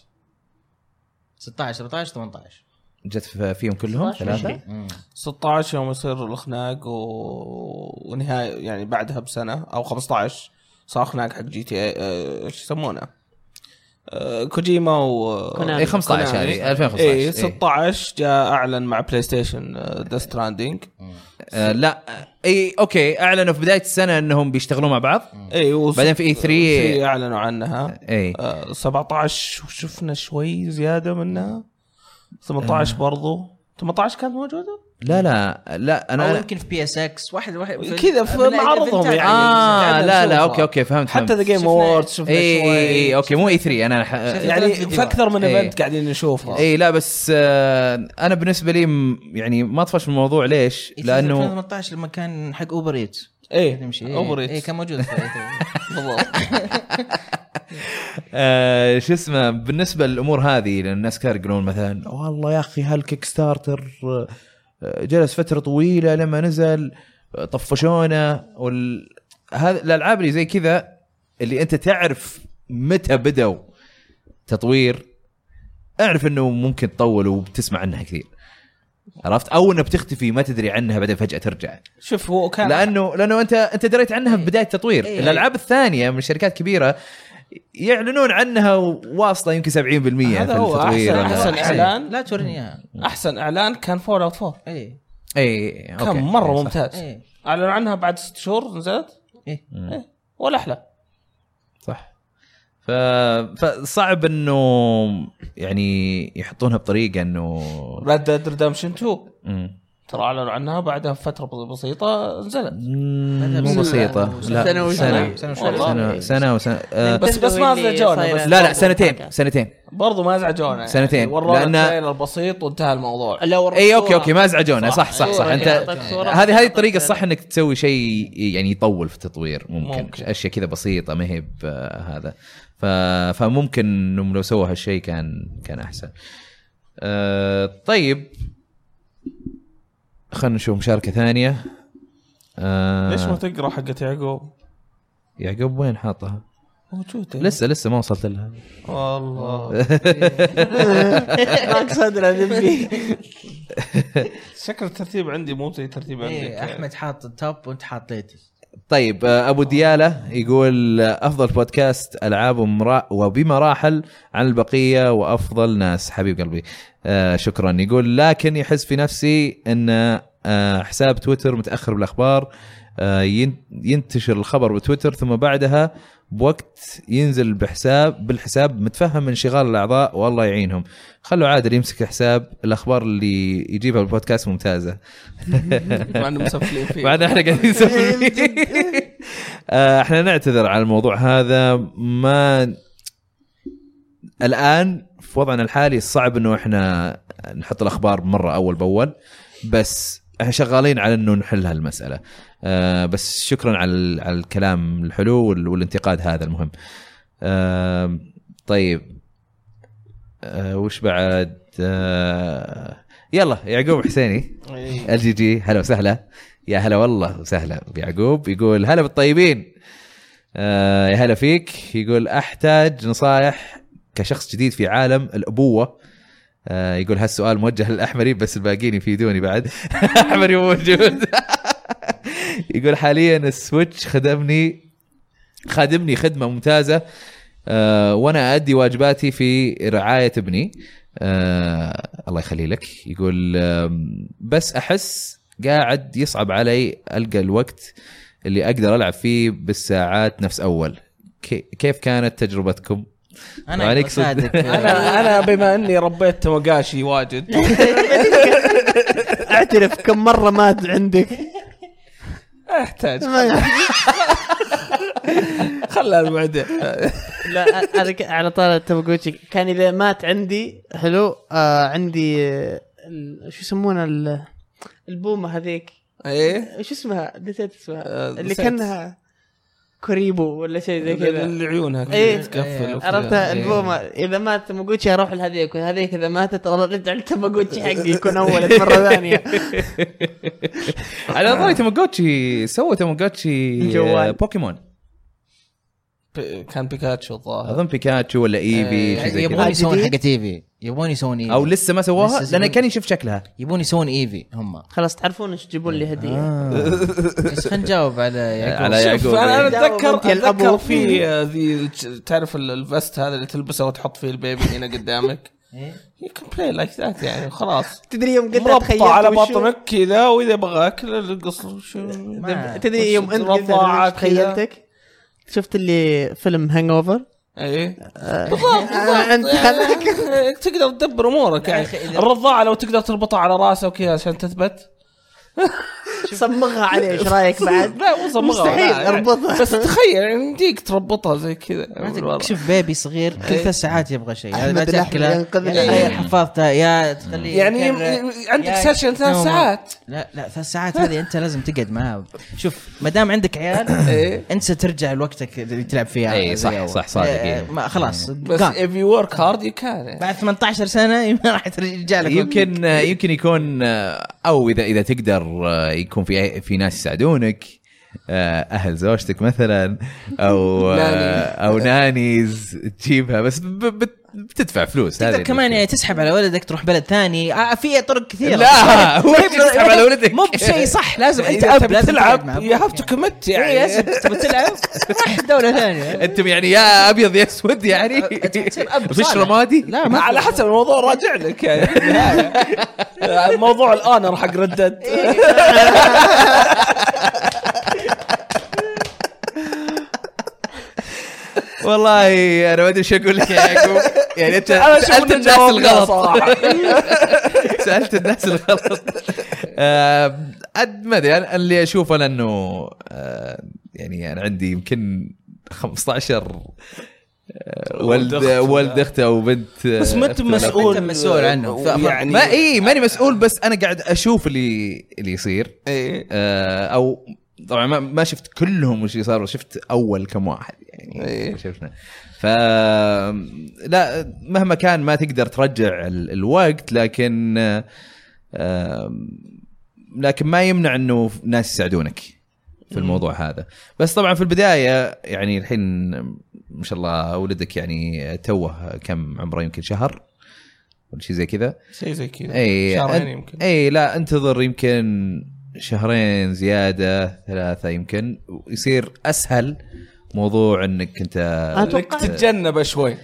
E: 16 17 18
C: جت في- فيهم كلهم
D: 16
C: ثلاثه
E: مم.
A: 16 يوم يصير الاخناق و... ونهايه يعني بعدها بسنه او 15 صاخ ناق حق جي تي اي آه، ايش يسمونه؟ آه، كوجيما و إيه،
D: كونامي.
C: اي 15
A: كونامي.
C: هذه 2015
A: اي
C: إيه.
A: 16 جاء اعلن مع بلاي ستيشن ذا ستراندنج
C: آه لا اي اوكي اعلنوا في بدايه السنه انهم بيشتغلون مع بعض
A: اي وص-
C: بعدين في E إيه. E3
A: 3 اعلنوا عنها
C: اي
A: آه، 17 شفنا شوي زياده منها 18
C: آه.
A: برضو 18 كانت موجوده؟
C: لا لا لا
E: او
C: انا
E: يمكن في بي اس اكس واحد واحد
A: كذا في معرضهم يعني.
C: اه
E: آه.
A: يعني
C: لا لا
A: نشوفها.
C: اوكي اوكي فهمت إيه،
A: حتى ذا جيم
E: شفنا-
A: اوورد شفنا
C: اي اي
A: شوي
C: اوكي مو اي 3 انا ح...
A: يعني في اكثر من
C: إيه.
A: ايفنت قاعدين نشوفها
C: اي لا بس آه انا بالنسبه لي م- يعني ما اطفش من الموضوع ليش؟
E: E
C: لانه
E: 2018 لما كان حق اوبر ايت
A: ايه
E: نمشي
C: إيه.
A: اوفر
E: اي إيه، كان
C: [LAUGHS]
E: موجود إيه. في
A: بالضبط
C: آه شو اسمه بالنسبه للامور هذه لان الناس كثير يقولون مثلا والله يا اخي هالكيك ستارتر آه، جلس فتره طويله لما نزل آه، طفشونا وال هذا الالعاب اللي زي كذا اللي انت تعرف متى بدوا تطوير اعرف انه ممكن تطول وبتسمع عنها كثير عرفت او انها بتختفي ما تدري عنها بعدين فجاه ترجع
A: شوف هو كان
C: لانه لانه انت انت دريت عنها في بدايه التطوير
E: إيه.
C: الالعاب الثانيه من شركات كبيره يعلنون عنها واصله يمكن 70% في
A: هذا هو
C: التطوير
A: أحسن-
C: إيه. ولا-
A: أحسن إعلان.
E: إيه. لا توريني إيه، اياها
A: احسن اعلان كان فول اوت 4
E: اي
C: اي إيه. أوكي.
A: كان مره
C: إي، صح. إيه.
A: ممتاز
E: اي
A: اعلنوا عنها بعد ست شهور نزلت إيه.
E: اي
A: ولا احلى
C: صح ف... فصعب انه يعني يحطونها بطريقه انه
A: ريد ديد ريدمشن 2
C: مم.
A: ترى اعلنوا عنها بعدها بفتره بسيطه نزلت
C: مو بسيطه لا
D: سنة وشوي.
C: سنه
E: سنه
A: والله.
E: وشوي
C: سنه سنه وسنه آه،
A: بس- بس ما زعجونا، بس-
C: لا لا سنتين سنتين
A: برضو ما زعجونا يعني
C: سنتين.
A: ورونا
C: لأن-
A: التريلر البسيط وانتهى الموضوع
D: [LAUGHS]
C: اي اوكي اوكي إيه، ما ازعجونا صح صح صح
D: صورة
C: انت
D: كده، أعطاك صورة.
C: هذه هذه الطريقه الصح انك تسوي شيء يعني يطول في التطوير ممكن,
A: ممكن.
C: اشياء كذا بسيطه ما هي ب- هذا ف- فممكن انهم لو سووا هالشيء كان كان احسن أه طيب خلينا نشوف مشاركه ثانيه أه
A: ليش ما تقرا حقت يعقوب؟
C: يعقوب وين حاطها؟
A: موجوده
C: لسه لسه ما وصلت لها
A: والله
D: اقصد [LAUGHS] الذبي
A: شكل الترتيب عندي مو زي ترتيب عندك
E: إي، احمد إيه. حاط التوب وانت حاط ليتس
C: طيب آه، ابو دياله يقول آه، افضل بودكاست العاب ومرا- وبمراحل عن البقيه وافضل ناس حبيب قلبي آه شكرا يقول لكن يحس في نفسي ان آه حساب تويتر متاخر بالاخبار آه ين- ينتشر الخبر بتويتر ثم بعدها بوقت ينزل بحساب بالحساب متفهم انشغال الاعضاء والله يعينهم خلوا عادل يمسك حساب الاخبار اللي يجيبها البودكاست ممتازه
A: مع انه مسفلين فيه
C: [LAUGHS] بعد احنا قاعدين نسولف آه، احنا نعتذر على الموضوع هذا ما الان في وضعنا الحالي صعب انه احنا نحط الاخبار مره اول باول بس احنا شغالين على انه نحل هالمساله آه، بس شكرا على ال- على الكلام الحلو وال- والانتقاد هذا المهم آه، طيب آه، وش بعد آه، يلا يعقوب حسيني
A: إي.
C: الجي جي هلا وسهلا يا هلا والله وسهلا بيعقوب يقول هلا بالطيبين آه يا هلا فيك يقول احتاج نصائح كشخص جديد في عالم الابوه آه يقول هالسؤال موجه للاحمري بس الباقيين يفيدوني بعد [LAUGHS] احمري مو موجود [LAUGHS] يقول حاليا السويتش خدمني خادمني خدمه ممتازه آه وانا ادي واجباتي في رعايه ابني آه الله يخلي لك يقول آم، بس احس قاعد يصعب علي القى الوقت اللي اقدر العب فيه بالساعات نفس اول كي- كيف كانت تجربتكم؟
E: انا
C: وعليك
E: أقدر اساعدك
A: انا انا بما اني ربيت تماغاشي واجد
D: اعترف كم مره مات عندك
A: احتاج
D: ما يع-
A: خلها المعده
D: لا انا ك- على طار التمagotchi كان اذا مات عندي حلو آه عندي آه، ال- شو يسمونها ال- البومه هذيك
A: ايه
D: شو اسمها نسيت اسمها
A: آه،
D: اللي
A: نسيت.
D: كانها كوريبو ولا
A: إيه،
D: شيء زي كذا
A: اللي عيونها
D: إيه.
A: كذا تقفل وكذا.
D: عرفت
A: إيه.
D: البومه اذا مات تمagotchi اروح لهذيك وهذيك اذا ماتت رجع التمagotchi حقي يكون اولك مره
A: [LAUGHS]
D: ثانيه
C: على ضروري تمagotchi سوى تمagotchi
D: الجوال.
C: بوكيمون
A: ب- كان بيكاتشو الظاهر
C: اظن بيكاتشو ولا ايفي شيء زي
E: يبغون
C: كذا
E: آه،
D: يبغى-
E: يسوون
D: جديد؟
E: حق تي في يبون يسوون ايفي
C: او لسه ما سووها
E: يعني لسه
C: لان
E: سووا-
C: كان يشوف شكلها
E: يبون يسوون ايفي هم
D: خلاص تعرفون ايش تجيبون لي هديه
A: آه.
E: بس خلينا نجاوب على يعقوب
C: [LAUGHS] على
A: شوف
C: يعقوب
A: انا انا
C: إيه.
A: اتذكر
D: أنت الأب
A: اتذكر
D: وفي.
A: في آه، ذي تعرف ال- الفست هذا اللي تلبسه وتحط فيه البيبي هنا قدامك يو كان بلاي لايك ذات يعني خلاص
D: تدري يوم قلت تخيل
A: مربطة على بطنك كذا واذا بغى اكل القصر شو
E: ما-
D: تدري يوم انت قلت
A: رضاعة
D: أنا إيش تخيلتك شفت اللي فيلم هانج اوفر
A: اي
E: آه،
A: بالضبط بالضبط.
D: أنت
A: يعني [LAUGHS] تقدر تدبر امورك يعني
E: أخي، إذا-
A: الرضاعه لو تقدر تربطها على راسه وكذا عشان تثبت
D: صمغها عليه ايش رايك بعد؟
A: [LAUGHS] لا مو صمغها، لا،
D: مستحيل
A: يعني.
D: أربطها.
A: بس تخيل يعني يمديك تربطها زي كذا
E: ما
A: من
E: تك-
A: ورا.
E: شوف بيبي صغير كل ثلاث ساعات يبغى شيء هذا لا
D: أحمد الأحمد يعني
E: تاكله
D: ينقذنا.
E: يا تغير حفاظته يا تخليه
A: يعني يم-
E: يكرر.
A: يم- عندك
E: يا-
A: سيشن ثلاث
E: نومه.
A: ساعات.
E: لا لا ثلاث ساعات هذه انت لازم تقعد معاه شوف ما دام عندك عيال
A: [COUGHS] إيه.
E: انت سترجع لوقتك اللي تلعب فيه زي
C: إيه، صح-
E: أول.
C: صح، صادق،
E: إيه،
C: إيه.
E: ما خلاص
A: بس إيه.
E: gone.
A: if you work hard you can
E: بعد 18 سنه [LAUGHS] ما راح ترجع لك وقتك.
C: يمكن يمكن يكون او اذا اذا تقدر يكون في في ناس يساعدونك اهل زوجتك مثلا او
A: ناني.
C: او نانيز تجيبها بس ب- بت- بتدفع فلوس
E: تقدر
C: هذه
E: كمان يعني
C: المشكلة.
E: تسحب على ولدك تروح بلد ثاني آه في طرق كثيره [LAUGHS]
C: لا هو
E: ما هي-
C: تسحب على ولدك
E: مو بشيء صح لازم
A: انت
E: انت
A: اب
E: اب لازم تقعد
A: يعني تلعب
E: مع
A: يو هاف
E: أبوك.
A: تو كوميت
E: يعني
A: يعني
E: لازم تبي تلعب
A: [LAUGHS]
E: روح دوله ثانيه
C: انتم يعني يا ابيض يا اسود يعني
E: تصير أب
C: فيش
E: صالح.
C: رمادي
E: لا ما
A: على حسب الموضوع راجع لك يعني الموضوع الانر حق ردد
C: والله انا ما ادري ايش اقول لك يا يعقوب يعني انت
A: أنا أشوف
C: سالت
A: إنه
C: الناس
A: جاوبنا
C: الغلط
A: صراحة.
C: [LAUGHS] سالت الناس الغلط آم، أد- ما ادري أنا- اللي اشوفه انا انه آه، يعني انا عندي يمكن 15 آه، ولد
A: ولد أخت.
C: ولد اخته وبنت آه،
A: بس ما انت
C: أخت
A: مسؤول
E: أنت مسؤول عنه. [LAUGHS]
A: يعني
C: ما اي ماني مسؤول بس انا قاعد اشوف اللي اللي يصير
A: إيه.
C: آه، او طبعا ما, ما شفت كلهم وش اللي صار شفت اول كم واحد يعني
A: إيه.
C: شفنا ف لا مهما كان ما تقدر ترجع ال- الوقت لكن آه، آم، لكن ما يمنع انه ناس يساعدونك في الموضوع هذا بس طبعا في البدايه يعني الحين ما شاء الله ولدك يعني توه كم عمره يمكن شهر ولا شيء زي كذا
A: شيء زي كذا
C: اي
A: شهرين
C: أن-
A: يمكن
C: اي لا انتظر يمكن شهرين زياده ثلاثه يمكن ويصير اسهل موضوع انك
D: [LAUGHS]
C: انت
A: انك تتجنبه شوي
C: هو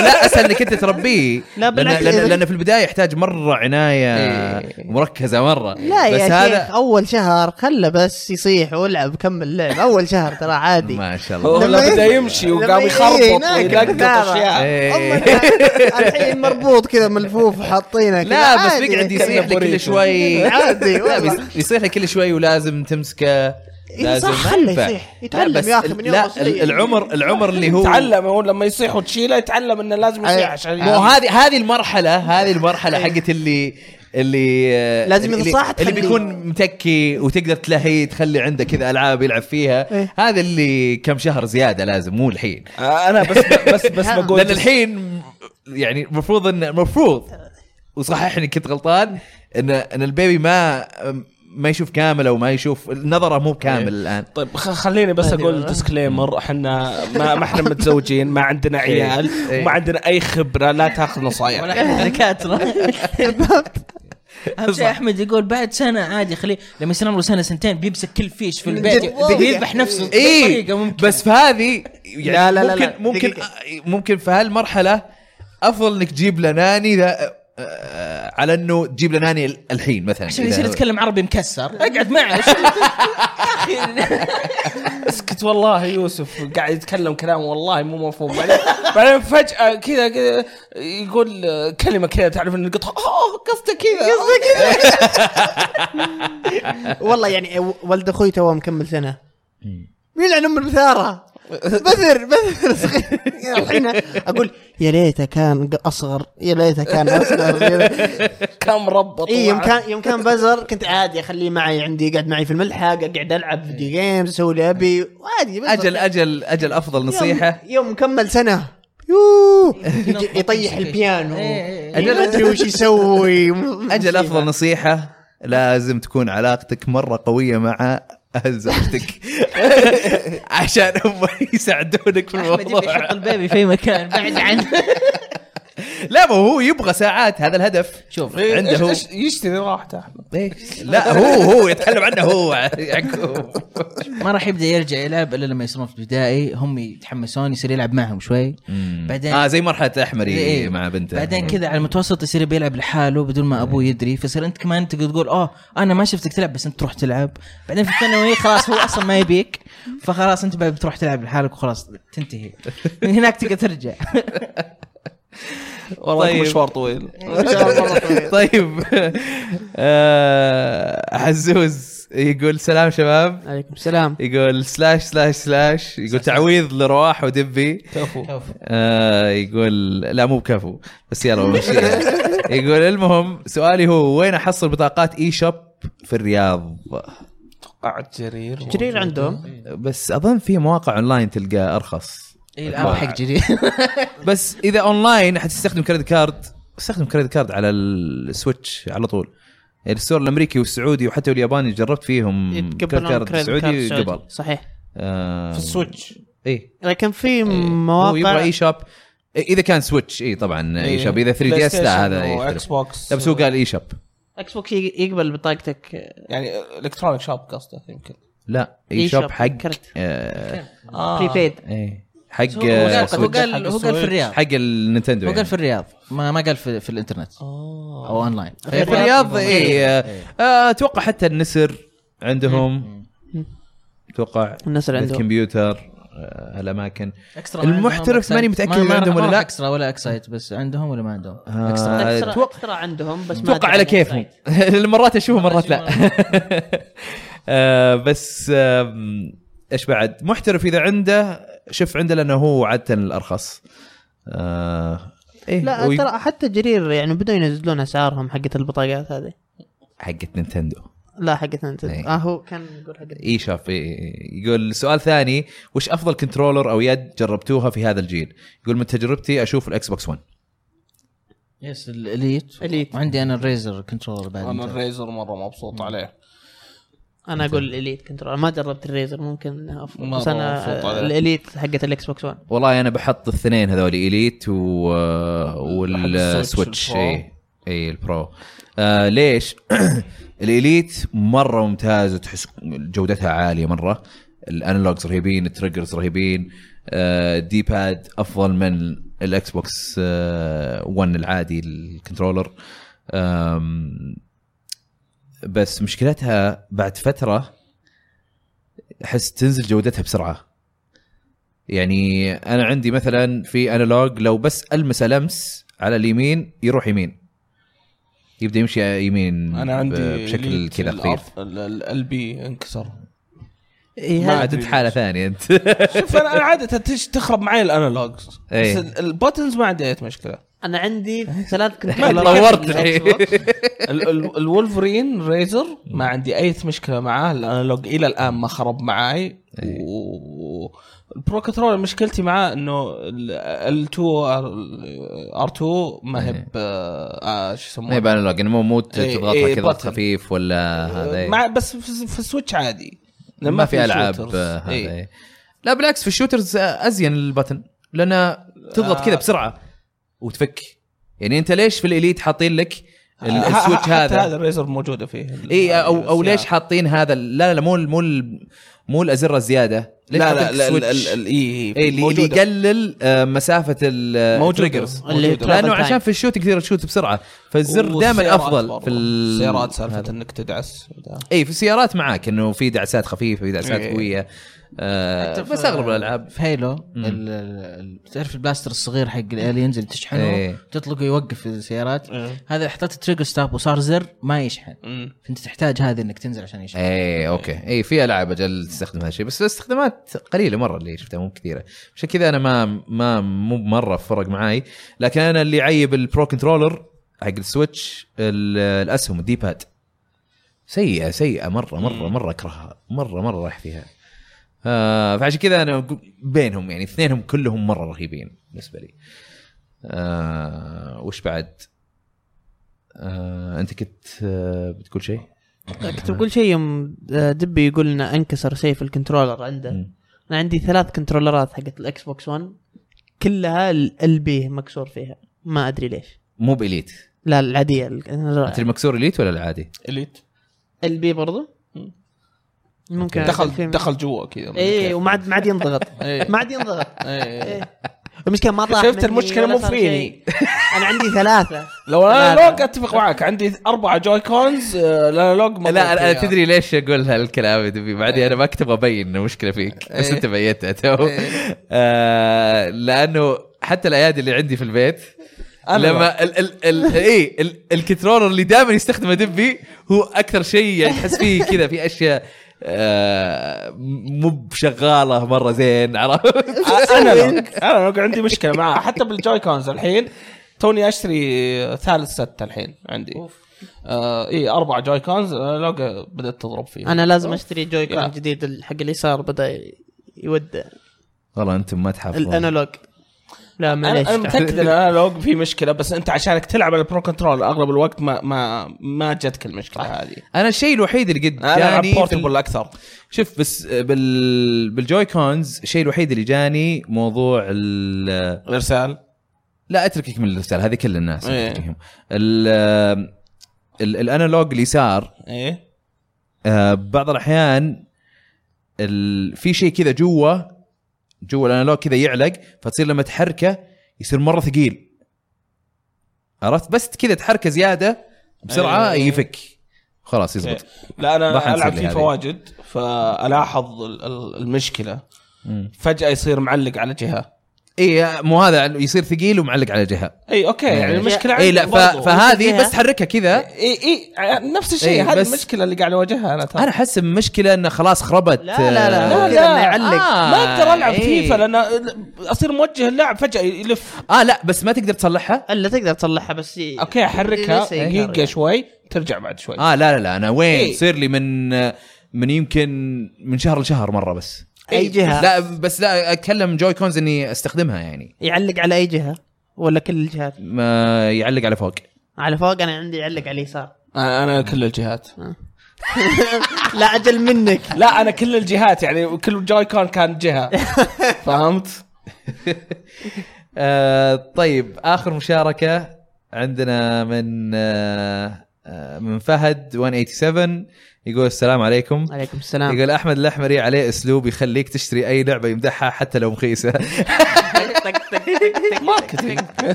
C: [LAUGHS] لا اسهل انك انت تربيه
D: لا،
C: لأن,
D: بالعكس.
C: لأن, لان في البدايه يحتاج مره عنايه
A: إيه.
C: مركزه مره
D: لا
C: بس
D: يا
C: هذا
D: شيخ اول شهر خله بس يصيح والعب كمل لعب اول شهر ترى
C: [LAUGHS]
D: عادي إيه،
C: ما شاء
A: هو
C: الله
D: لما
A: لما بدا
D: يجي-
A: يمشي
D: لما
A: وقام
D: يجي
A: يخربط
D: هناك
A: ويلقط
D: بالثابة.
A: اشياء
D: [LAUGHS]
C: إيه.
D: والله الحين مربوط كذا ملفوف حاطينه كذا
C: لا بس
D: عادي.
C: بيقعد يصيح لك كل
A: كنبوريتو.
C: شوي
D: عادي،
C: لا
D: والله. إيه،
C: بيص- يصيح لك كل شوي ولازم تمسكه لازم
D: صح،
C: ما
D: خله
C: ينفع.
D: يصيح،
C: لا،
D: يتعلم
C: بس
D: يا أخي من يوم
C: لا
D: صغير.
C: العمر العمر اللي إيه، هو
A: تعلم هو لما يصيح وتشيله يتعلم انه لازم يصيح عشان
C: إيه. مو هذه هذه المرحله هذه المرحله حقت اللي اللي
D: إيه. [LAUGHS] لازم
C: اللي,
D: ينصح
C: اللي
D: تخليه.
C: بيكون متكي وتقدر تلهي تخلي عنده كذا العاب يلعب فيها
D: إيه.
C: هذا اللي كم شهر زياده لازم مو الحين
A: آه، انا بس بس بس بقول
C: لان الحين يعني المفروض ان المفروض وصححني كنت غلطان ان ان البيبي ما ما يشوف كامل او ما يشوف نظره مو كامل
D: إيه.
C: الان
A: طيب خ- خليني بس اقول ديسكليمر احنا ما, ما احنا متزوجين ما عندنا عيال
C: إيه.
A: وما عندنا اي خبره لا تاخذ نصايح
E: ولا احنا دكاتره [LAUGHS] اهم شيء احمد يقول بعد سنه عادي خليه لما يصير عمره سنه سنتين بيمسك كل فيش في البيت
D: دقيقة.
E: بيذبح نفسه
C: اي
E: بطريقه ممكن
C: إيه، بس في هذه يعني
D: لا- لا- لا-
C: ممكن
D: لا،
C: ممكن آه،
D: دقيقة.
C: ممكن في هالمرحله افضل انك تجيب له ناني لا- آه، على انه تجيب له ناني ال- الحين مثلا
E: عشان
C: إذا-
E: يصير يتكلم عربي مكسر اقعد معه [LAUGHS] يا اخي
A: [LAUGHS] اسكت والله يوسف قاعد يتكلم كلام والله مو مفهوم بعدين بعدين فجاه كذا كذا يقول كلمه كذا تعرف ان القطه اه قصده كذا
D: [LAUGHS] والله يعني ولد اخوي توه مكمل يعني سنه يلعن ام البثاره بذر بذر صغير [LAUGHS] يعني الحين اقول يا ليته كان ق- اصغر يا ليته كان اصغر
A: كان مربط
D: اي إيه، يوم كان يوم كان بزر كنت عادي اخليه معي عندي يقعد معي في الملحق اقعد العب فيديو جيمز اسوي اللي ابي وعادي بزر.
C: اجل اجل اجل افضل
D: يوم-
C: نصيحه
D: يوم مكمل سنه يوه
E: ينظف
D: يطيح
E: كل شيء.
D: البيانو
E: إيه، إيه،
C: إيه.
D: اجل ادري وش يسوي
C: اجل افضل نصيحه لازم تكون علاقتك مره قويه مع اهل زوجتك [LAUGHS] عشان هم يساعدونك في
E: احمد يبي [LAUGHS]
C: الموضوع
E: يحط البيبي في مكان بعد عنه
C: لا ما هو يبغى ساعات هذا الهدف
E: شوف
C: عنده هو.
A: إيش- إيش يشتري راحته احمد
E: إيه.
C: ليش؟ لا هو هو يتكلم عنه هو [LAUGHS] يعقوب
E: ما راح يبدا يرجع يلعب الا لما يصيرون في البدائي هم يتحمسون يصير يلعب معهم شوي بعدين
C: اه زي مرحله احمري
E: إيه.
C: مع بنته إيه.
E: بعدين كذا على المتوسط يصير بيلعب لحاله بدون ما ابوه يدري فيصير انت كمان تقدر تقول اه انا ما شفتك تلعب بس انت تروح تلعب بعدين في الثانوي خلاص هو اصلا ما يبيك فخلاص انت بقى بتروح تلعب لحالك وخلاص تنتهي من هناك تقدر ترجع
A: والله
C: طيب.
A: مشوار طويل
C: [LAUGHS] طيب آه، حزوز يقول سلام شباب
D: عليكم السلام
C: يقول سلاش سلاش سلاش يقول تعويض لرواح ودبي
A: كفو
C: آه يقول لا مو بكفو بس يلا بمشي
E: [LAUGHS]
C: يقول المهم سؤالي هو وين احصل بطاقات اي شوب في الرياض
A: قعد جرير إيه.
D: جرير عندهم
C: بس اظن في مواقع اونلاين تلقى ارخص
E: اي الان إيه، حق جديد
C: [LAUGHS] بس اذا اونلاين حتستخدم كريدت كارد استخدم كريدت كارد على السويتش على طول يعني السور الامريكي والسعودي وحتى الياباني جربت فيهم
D: يتقبلون كريدت
C: سعودي
D: كارد
C: قبل
D: صحيح
C: آه
A: في السويتش
C: اي
D: لكن في
C: هو يبغى
D: مواقع
C: اي شوب اذا كان سويتش اي
A: إيه،
C: طبعا
E: إيه.
C: اي شوب اذا 3 دي اس لا هذا
A: اكس
C: يختلف.
A: بوكس
C: لا بس هو قال اي شوب
D: اكس بوكس يقبل بطاقتك آه،
A: يعني الكترونيك شوب قصده يمكن
C: لا اي شوب
D: شوب
C: حق
D: كرت.
C: آه
A: آه.
D: بريبيد
C: ايه حق
E: هو قال هو
C: سويتش.
E: قال هو قال في الرياض
C: حق النينتندو
E: هو قال
C: يعني.
E: في الرياض ما ما قال في, في الانترنت
A: آه.
E: او اونلاين
C: في الرياض إيه. اي آه، اتوقع حتى النسر عندهم اتوقع
D: الناس اللي عندهم
C: الكمبيوتر آه، هالاماكن
E: اكسترا
C: المحترف
E: عندهم، أكسايد.
C: ماني متأكد
E: ما-
C: إذا
E: ما-
C: عندهم
E: ما
C: ولا
E: أعرف
C: لا.
E: اكسترا ولا اكسايد بس عندهم ولا ما عندهم
C: آه،
D: اكسترا
C: أتوقع-
D: أكسترا عندهم بس ما
C: اتوقع على
D: أدري عن
C: كيفهم
D: السايت.
C: [LAUGHS] مرات اشوفه مرات لا [LAUGHS] آه، بس آم، ايش بعد محترف اذا عنده شوف عنده لانه هو عاده الارخص آه، ايه
D: لا
C: وي-
D: ترى حتى جرير يعني بدوا ينزلون اسعارهم حقت البطاقات هذه
C: حقت نينتندو
D: لا حقت انت
C: إيه.
D: اه هو كان يقول حقت
C: اي شاف يقول سؤال ثاني وش افضل كنترولر او يد جربتوها في هذا الجيل يقول من تجربتي اشوف الاكس بوكس 1
E: يس الاليت
D: Elite.
E: وعندي انا الريزر كنترولر
A: انا
E: بعد
A: آه، الريزر مره مبسوط عليه
D: انا اقول الاليت كنترول ما جربت الريزر ممكن افضل
A: ما
D: بس انا
A: أفضل عليه.
D: الاليت حقت الاكس بوكس 1
C: والله انا بحط الثنين هذول اليت و...
A: حق
C: والسويتش
A: السويتش
C: اي اي البرو إيه، آه ليش؟ [CLEARS THROAT] الاليت مره ممتازه تحس جودتها عاليه مره الانالوجز رهيبين التريجرز رهيبين آه دي باد افضل من الاكس بوكس 1 آه 1 العادي الكنترولر آم، بس مشكلتها بعد فتره احس تنزل جودتها بسرعه يعني انا عندي مثلا في انالوج لو بس المسه لمس على اليمين يروح يمين يبدا يمشي يمين
A: انا عندي
C: بشكل
A: ليت
C: كذا خفيف
A: الأرض- ال- ال- البي انكسر [LAUGHS]
D: اي
A: ما-
D: هذا
C: عاد انت حاله ثانيه انت
A: [LAUGHS] شوف انا أنا عاده تش تخرب معي الانالوجز بس
C: إيه.
A: ال- البوتنز ما عندي أي مشكله
D: انا
C: [LAUGHS]
D: عندي ثلاث
C: ما
D: كنترولر
C: طورت
D: من
C: الحين.
D: الإكس بوكس.
A: ال- ال- الولفرين ريزر ما عندي اي مشكله معاه الانالوج الى الان ما خرب معاي
C: إيه.
A: و- البرو كنترول مشكلتي معاه انه ال2 ار2 ما هي ب- آه، شو
C: [LAUGHS] إيه. ما هي
A: يسمونه
C: بانالوج انه مو مو تضغطها
A: إيه،
C: كذا ضغط
A: button.
C: خفيف ولا هذا إيه.
A: آه، مع بس في في السويتش عادي لأن
C: ما في العاب
A: shooters.
C: آه، هذا
A: إيه.
C: إيه. لا بالعكس في الشوترز آه، ازين البتن لانه تضغط
A: آه.
C: كذا بسرعه وتفك يعني انت ليش في الاليت حاطين لك ال-
A: ه- آه،
C: السويتش
A: حتى
C: هذا
A: هذا يعني الريزر موجوده فيه
C: اي او او ليش
A: حط
C: حاطين هذا ال- لا لا مو ال- مو ال- مو الازره الزياده ليش
A: لا
C: حاطين
A: لا لا ال-
C: السويتش؟
A: ال- ال- اي
C: إيه، اللي اللي يقلل آه، مسافه
A: موجودة.
C: التريجرز
A: اللي
D: موجودة.
C: لانه
D: travel time.
C: عشان في الشوت تقدر تشوت بسرعه فالزر دائما افضل في ال-
A: السيارات سالفه انك تدعس
C: اي إيه، في السيارات معاك انه في دعسات خفيفه في دعسات
A: إيه.
C: قويه آه، بس اغلب الالعاب
E: في هيلو ال- ال- تعرف البلاستر الصغير حق الالينز اللي تشحنه
C: إيه.
E: تطلقه يوقف السيارات
D: إيه.
E: هذا حطيت تريجر ستوب وصار زر ما يشحن
A: مم.
E: فانت تحتاج هذا انك تنزل عشان يشحن
C: ايه اوكي ايه في العاب اجل تستخدم هذا الشيء بس استخدامات قليله مره اللي شفتها مو كثيره عشان كذا انا ما ما مو مره فرق معاي لكن انا اللي يعيب البرو كنترولر حق السويتش ال- الاسهم الدي باد سيئه سيئه مره مره مره اكرهها مره مره رايح فيها آه فعشان كذا انا أقول بينهم يعني اثنينهم كلهم مره رهيبين بالنسبه لي آه وش بعد آه انت كنت آه بتقول شيء
D: كنت بقول شيء يوم آه، دبي يقول لنا انكسر سيف الكنترولر عنده
C: مم.
D: انا عندي ثلاث كنترولرات حقت الاكس بوكس 1 كلها البي مكسور فيها ما ادري ليش
C: مو باليت
D: لا العاديه ال-
C: انت المكسور اليت ولا العادي؟
A: اليت
D: البي برضو
A: مم.
D: ممكن
A: دخل دخل جوا كذا
D: اي يعني إيه، وما عاد ما عاد ينضغط
A: [LAUGHS] إيه.
D: ما عاد ينضغط
A: إيه.
D: إيه. المشكله ما طاح
A: شفت
D: مني
A: المشكلة
D: ولا
A: مو
D: صار
A: فيني.
D: شيء. انا عندي ثلاثه
A: [LAUGHS] لو
D: لا،
A: انا
D: لا.
A: لوج اتفق معك عندي آه، اربعه جوي كونز لا لوج ما
C: لا
A: ضبط
C: انا
A: فيها.
C: تدري ليش اقول هالكلام يا دبي بعدين انا ما كنت ابغى ابين انه مشكله فيك بس
A: إيه.
C: انت بينتها تو
A: إيه.
C: آه، لانه حتى الايادي اللي عندي في البيت
A: أنا
C: لما ال ال ال اي ال الكنترولر اللي دائما يستخدمه دبي هو اكثر شيء يعني تحس فيه كذا في اشياء آه، مو بشغاله مره زين عرفت؟
A: [LAUGHS] انا لوج انا لوج عندي مشكله معاه حتى بالجوي كونز الحين توني اشتري ثالث ست الحين عندي آه اي اربع جوي كونز لوج بدات تضرب فيه
D: انا لازم اشتري جوي
A: يا.
D: كون جديد حق اليسار بدا يودع
C: والله انتم ما تحافظون
D: الانالوج لا
A: انا
D: معليش
A: أنا متاكد ان انا لوج في مشكله بس انت عشانك تلعب على البرو كنترول اغلب الوقت ما ما ما جتك المشكله هذه يعني
C: انا الشيء الوحيد اللي قد
A: انا العب
C: جاني في ال-
A: بورتبل اكثر
C: شوف بس آه، بال بالجوي كونز الشيء الوحيد اللي جاني موضوع ال
A: الارسال
C: لا اتركك من الارسال هذه كل الناس
A: إيه.
C: اتركهم ال ال- الانالوج اليسار
A: ايه
C: آه، بعض الاحيان ال- في شيء كذا جوا جوا الانالوج كذا يعلق فتصير لما تحركه يصير مره ثقيل عرفت بس كذا تحركه زياده بسرعه
A: إيه.
C: يفك خلاص يزبط
A: لا
C: ما حنصير
A: انا العب
C: لي
A: فيفا
C: هذه.
A: واجد فالاحظ ال- ال- المشكله فجاه يصير معلق على جهه
C: اي إيه، مو هذا يصير ثقيل ومعلق على جهه
A: اي اوكي يعني
C: إيه.
A: المشكله
C: اي لا ف-
A: برضو.
C: فهذه
D: فيها.
C: بس تحركها
D: إيه،
C: كذا
A: اي اي نفس الشيء
C: إيه،
A: هذه
C: بس-
A: المشكله اللي قاعد اواجهها انا ترى
C: انا احس بمشكله انه خلاص خربت
D: لا لا لا
A: لا،
D: لا
A: لا.
D: لا يعلق
C: آه.
A: ما اقدر العب
C: إيه.
A: فيفا لان اصير موجه اللاعب فجاه يلف
C: اه لا بس ما تقدر تصلحها
D: الا تقدر تصلحها بس ي-
A: اوكي احركها
D: لسه يقهر
A: دقيقه
D: يعني.
A: شوي ترجع بعد شوي
C: اه لا لا لا انا وين
A: إيه.
C: يصير لي من من يمكن من شهر لشهر مره بس
D: اي جهه
C: لا بس لا اتكلم جوي كونز اني استخدمها يعني
D: يعلق على اي جهه ولا كل الجهات
C: ما يعلق على فوق
D: على فوق انا عندي يعلق على اليسار
A: انا أنا كل الجهات
D: [LAUGHS] لا اجل منك
A: لا انا كل الجهات يعني كل جوي كون كان جهه [LAUGHS] فهمت؟
C: آه طيب اخر مشاركه عندنا من آه آه، من فهد 187 يقول السلام عليكم
D: عليكم
C: [LAUGHS]
D: السلام
C: يقول احمد الاحمري عليه اسلوب يخليك تشتري اي لعبه يمدحها حتى لو [LAUGHS] مخيسه
D: [LAUGHS]
A: ماركتينج
C: اي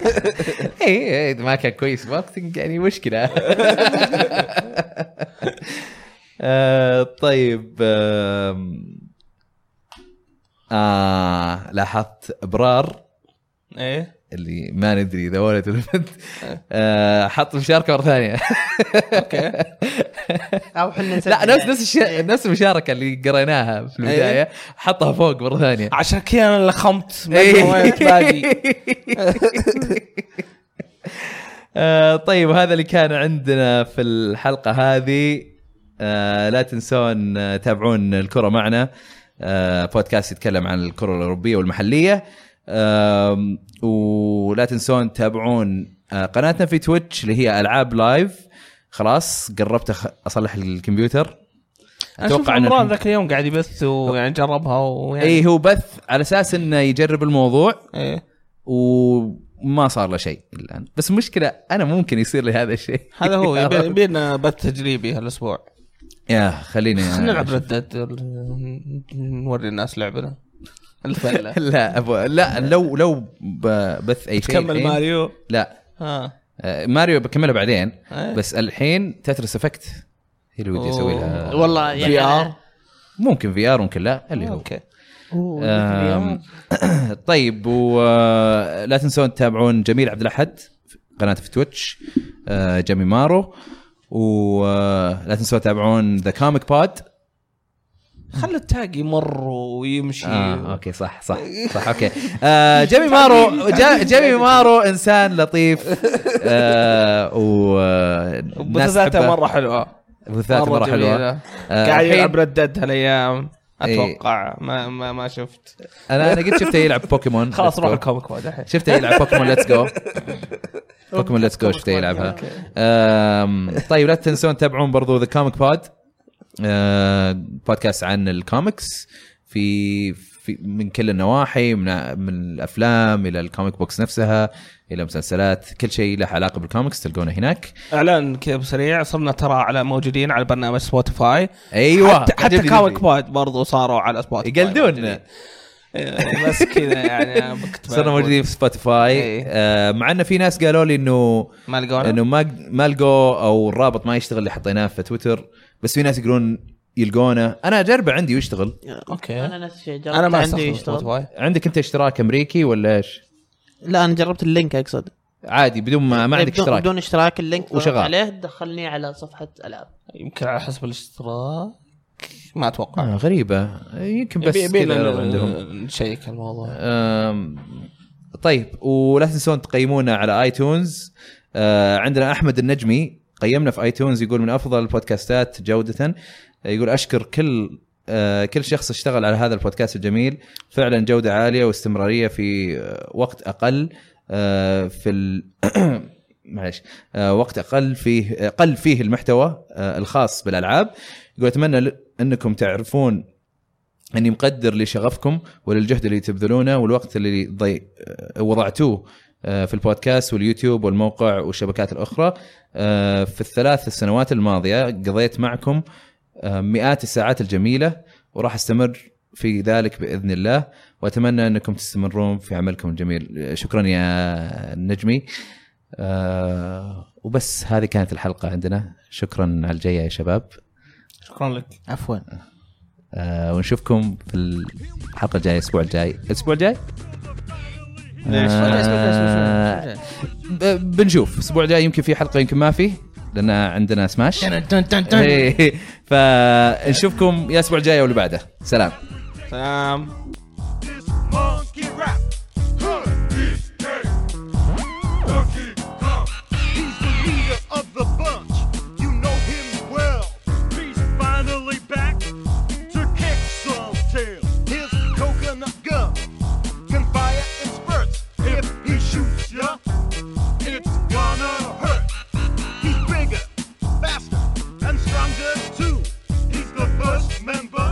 C: اذا إيه، ما كان كويس ماركتنج يعني مشكله [LAUGHS] آه، طيب آم، آه لاحظت ابرار
A: ايه
C: اللي ما ندري اذا ولد ولا بنت آه، حط مشاركه مره ثانيه
A: اوكي
D: او حنا
C: [LAUGHS]
D: نسجل
C: لا نفس
D: يعني.
C: نفس الشيء نفس المشاركه اللي قريناها في البدايه حطها فوق مره ثانيه
A: عشان كذا انا لخمت ما أدري وين باقي [LAUGHS]
C: إيه. [LAUGHS] آه، طيب هذا اللي كان عندنا في الحلقه هذه آه، لا تنسون آه، تابعون الكره معنا آه، بودكاست يتكلم عن الكره الاوروبيه والمحليه آم، ولا تنسون تتابعون آه، قناتنا في تويتش اللي هي العاب لايف خلاص قربت أخ- اصلح الكمبيوتر
A: اشوف
C: إن
A: عمران
C: الحين-
A: ذاك اليوم قاعد يبث ويعني جربها ويعني
C: اي إيه، هو بث على اساس انه يجرب الموضوع
A: إيه.
C: وما صار له شيء الان بس المشكله انا ممكن يصير لي هذا الشيء
A: هذا [LAUGHS] هو يبي- يبينا بث تجريبي هالاسبوع
C: [LAUGHS] يا خليني
A: خلينا نلعب ردات نوري الناس
C: [LAUGHS]
A: لعبنا الفله
C: لا أبو... لا لو لو ب- بث اي شيء
A: تكمل
C: الحين-
A: ماريو
C: لا
A: ها
C: آه، ماريو بكملها بعدين
A: إيه.
C: بس الحين تترس افكت هي اللي ودي اسوي لها
A: أوه.
D: والله [LAUGHS] يعني
A: في ار
D: أنا-
C: ممكن في ار ممكن لا اللي هو
A: اوكي
D: أوه،
C: آم، [LAUGHS] طيب ولا تنسون تتابعون جميل عبد الاحد في قناته في تويتش آه، جيمي مارو ولا تنسون تتابعون ذا كوميك بود
A: خلي التاج يمر ويمشي
C: آه، اوكي
A: [LAUGHS]
C: صح صح صح اوكي آه، جيمي مارو جا- جيمي مارو انسان لطيف آه، و الناس
A: بثاثاته
C: تحبه.
A: مره حلوه
C: بثاثاته مره
A: جميلة.
C: حلوه آه،
A: قاعد
C: الحين-
A: يلعب ردد هالايام
C: إيه.
A: اتوقع ما ما ما شفت
C: انا انا قد شفته يلعب بوكيمون
A: خلاص
C: Let's
A: روح
C: Go.
A: الكوميك بود الحين
C: شفته يلعب بوكيمون ليتس
A: [LAUGHS]
C: جو بوكيمون ليتس جو شفته يلعبها أم، طيب لا تنسون تتابعون برضو أه، ذا كوميك بود بودكاست عن الكوميكس في في من كل النواحي من من الافلام الى الكوميك بوكس نفسها الى مسلسلات كل شيء له علاقه بالكوميكس تلقونه هناك
A: اعلان كذا بسريع صرنا ترى على موجودين على برنامج سبوتيفاي
C: ايوه
A: حتى, حتى طيب،
C: عجبني
A: كاوك
C: ذي.
A: بود برضو صاروا على سبوتيفاي
C: يقلدوننا
A: إيه، بس كذا يعني أنا كنت
C: [LAUGHS] صرنا
A: بقول.
C: موجودين في سبوتيفاي
A: إيه.
C: آه، مع ان في ناس قالوا لي انه
A: ما لقونا
C: انه ما ما لقوا او الرابط ما يشتغل اللي حطيناه في تويتر بس في ناس يقولون يلقونه انا اجربه عندي ويشتغل
A: اوكي
D: انا نفس الشيء جربت
A: انا ما
D: عندي
A: استخدم
D: يشتغل
A: سبوتيفاي
C: عندك انت اشتراك امريكي ولا ايش؟
D: لا انا جربت اللينك اقصد
C: عادي بدون ما, ما عندك
D: إيه، بدون-
C: اشتراك
D: بدون اشتراك اللينك
C: وشغال.
D: وشغال عليه دخلني على صفحه العاب
A: يمكن على حسب الاشتراك ما اتوقع
C: آه غريبه يمكن بس
A: يبي- يبينا
C: كذا
A: ن-
C: عندهم
A: نشيك الموضوع
C: آم، طيب ولا تنسون تقيمونا على ايتونز آه، عندنا احمد النجمي قيمنا في ايتونز يقول من افضل البودكاستات جوده يقول اشكر كل آه، كل شخص اشتغل على هذا البودكاست الجميل فعلا جوده عاليه واستمراريه في آه، وقت اقل آه، في ال... [COUGHS] معلش آه، وقت اقل فيه قل فيه المحتوى آه، الخاص بالالعاب يقول اتمنى ل- انكم تعرفون اني مقدر لشغفكم وللجهد اللي تبذلونه والوقت اللي ضي... وضعتوه آه، في البودكاست واليوتيوب والموقع والشبكات الاخرى آه، في الثلاث السنوات الماضيه قضيت معكم آه، مئات الساعات الجميله وراح استمر في ذلك باذن الله واتمنى انكم تستمرون في عملكم الجميل شكرا يا نجمي آه، وبس هذه كانت الحلقه عندنا شكرا على الجايه يا شباب
A: شكرا لك
E: عفوا
C: آه ونشوفكم في الحلقه الجايه الاسبوع الجاي الاسبوع الجاي
A: ليش؟
C: آه ب- بنشوف الاسبوع الجاي يمكن في حلقه يمكن ما في لان عندنا سماش
E: يعني
C: [LAUGHS] إيه. فنشوفكم يا الاسبوع الجاي واللي بعده سلام
A: سلام
F: monkey rap. Huh, DK. Donkey Kong. He's the leader of the bunch. You know him well. He's finally back to kick some tail. His coconut gun can fire in spurts. If he shoots ya, it's gonna hurt. He's bigger, faster, and stronger too. He's the first member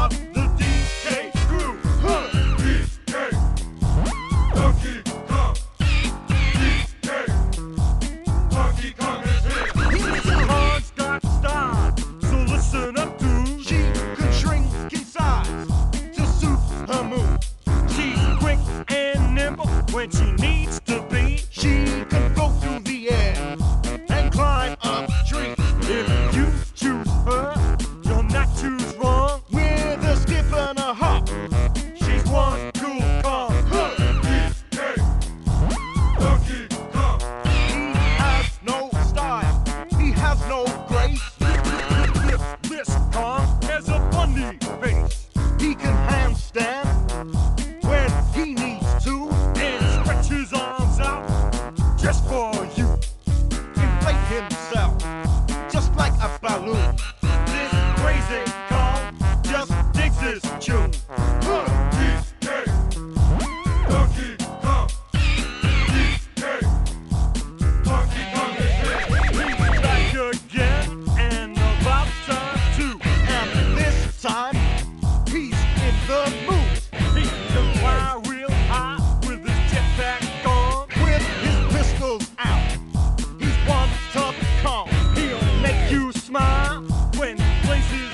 F: of the DK crew. Huh. DK. Donkey Kong. DK. Donkey Kong is here. He was a hard start star. So listen up to. She could shrink in size to suit her move. She's quick and nimble when she needs to be. She can go through the air and climb up trees. If you choose her, you'll not choose wrong. With a skip and a hop, she's one cool call. He has no style, he has no grace. This Kong has a funny face. He can handstand when he needs to and stretch his arms out just for you inflate himself just like a balloon. This crazy call just digs his tune. He's back again and about time too. And this time he's in the mood. He can fly real high with his jetpack on, with his pistols out. He's one tough call. He'll make you smile when places Oh, Oh, Oh,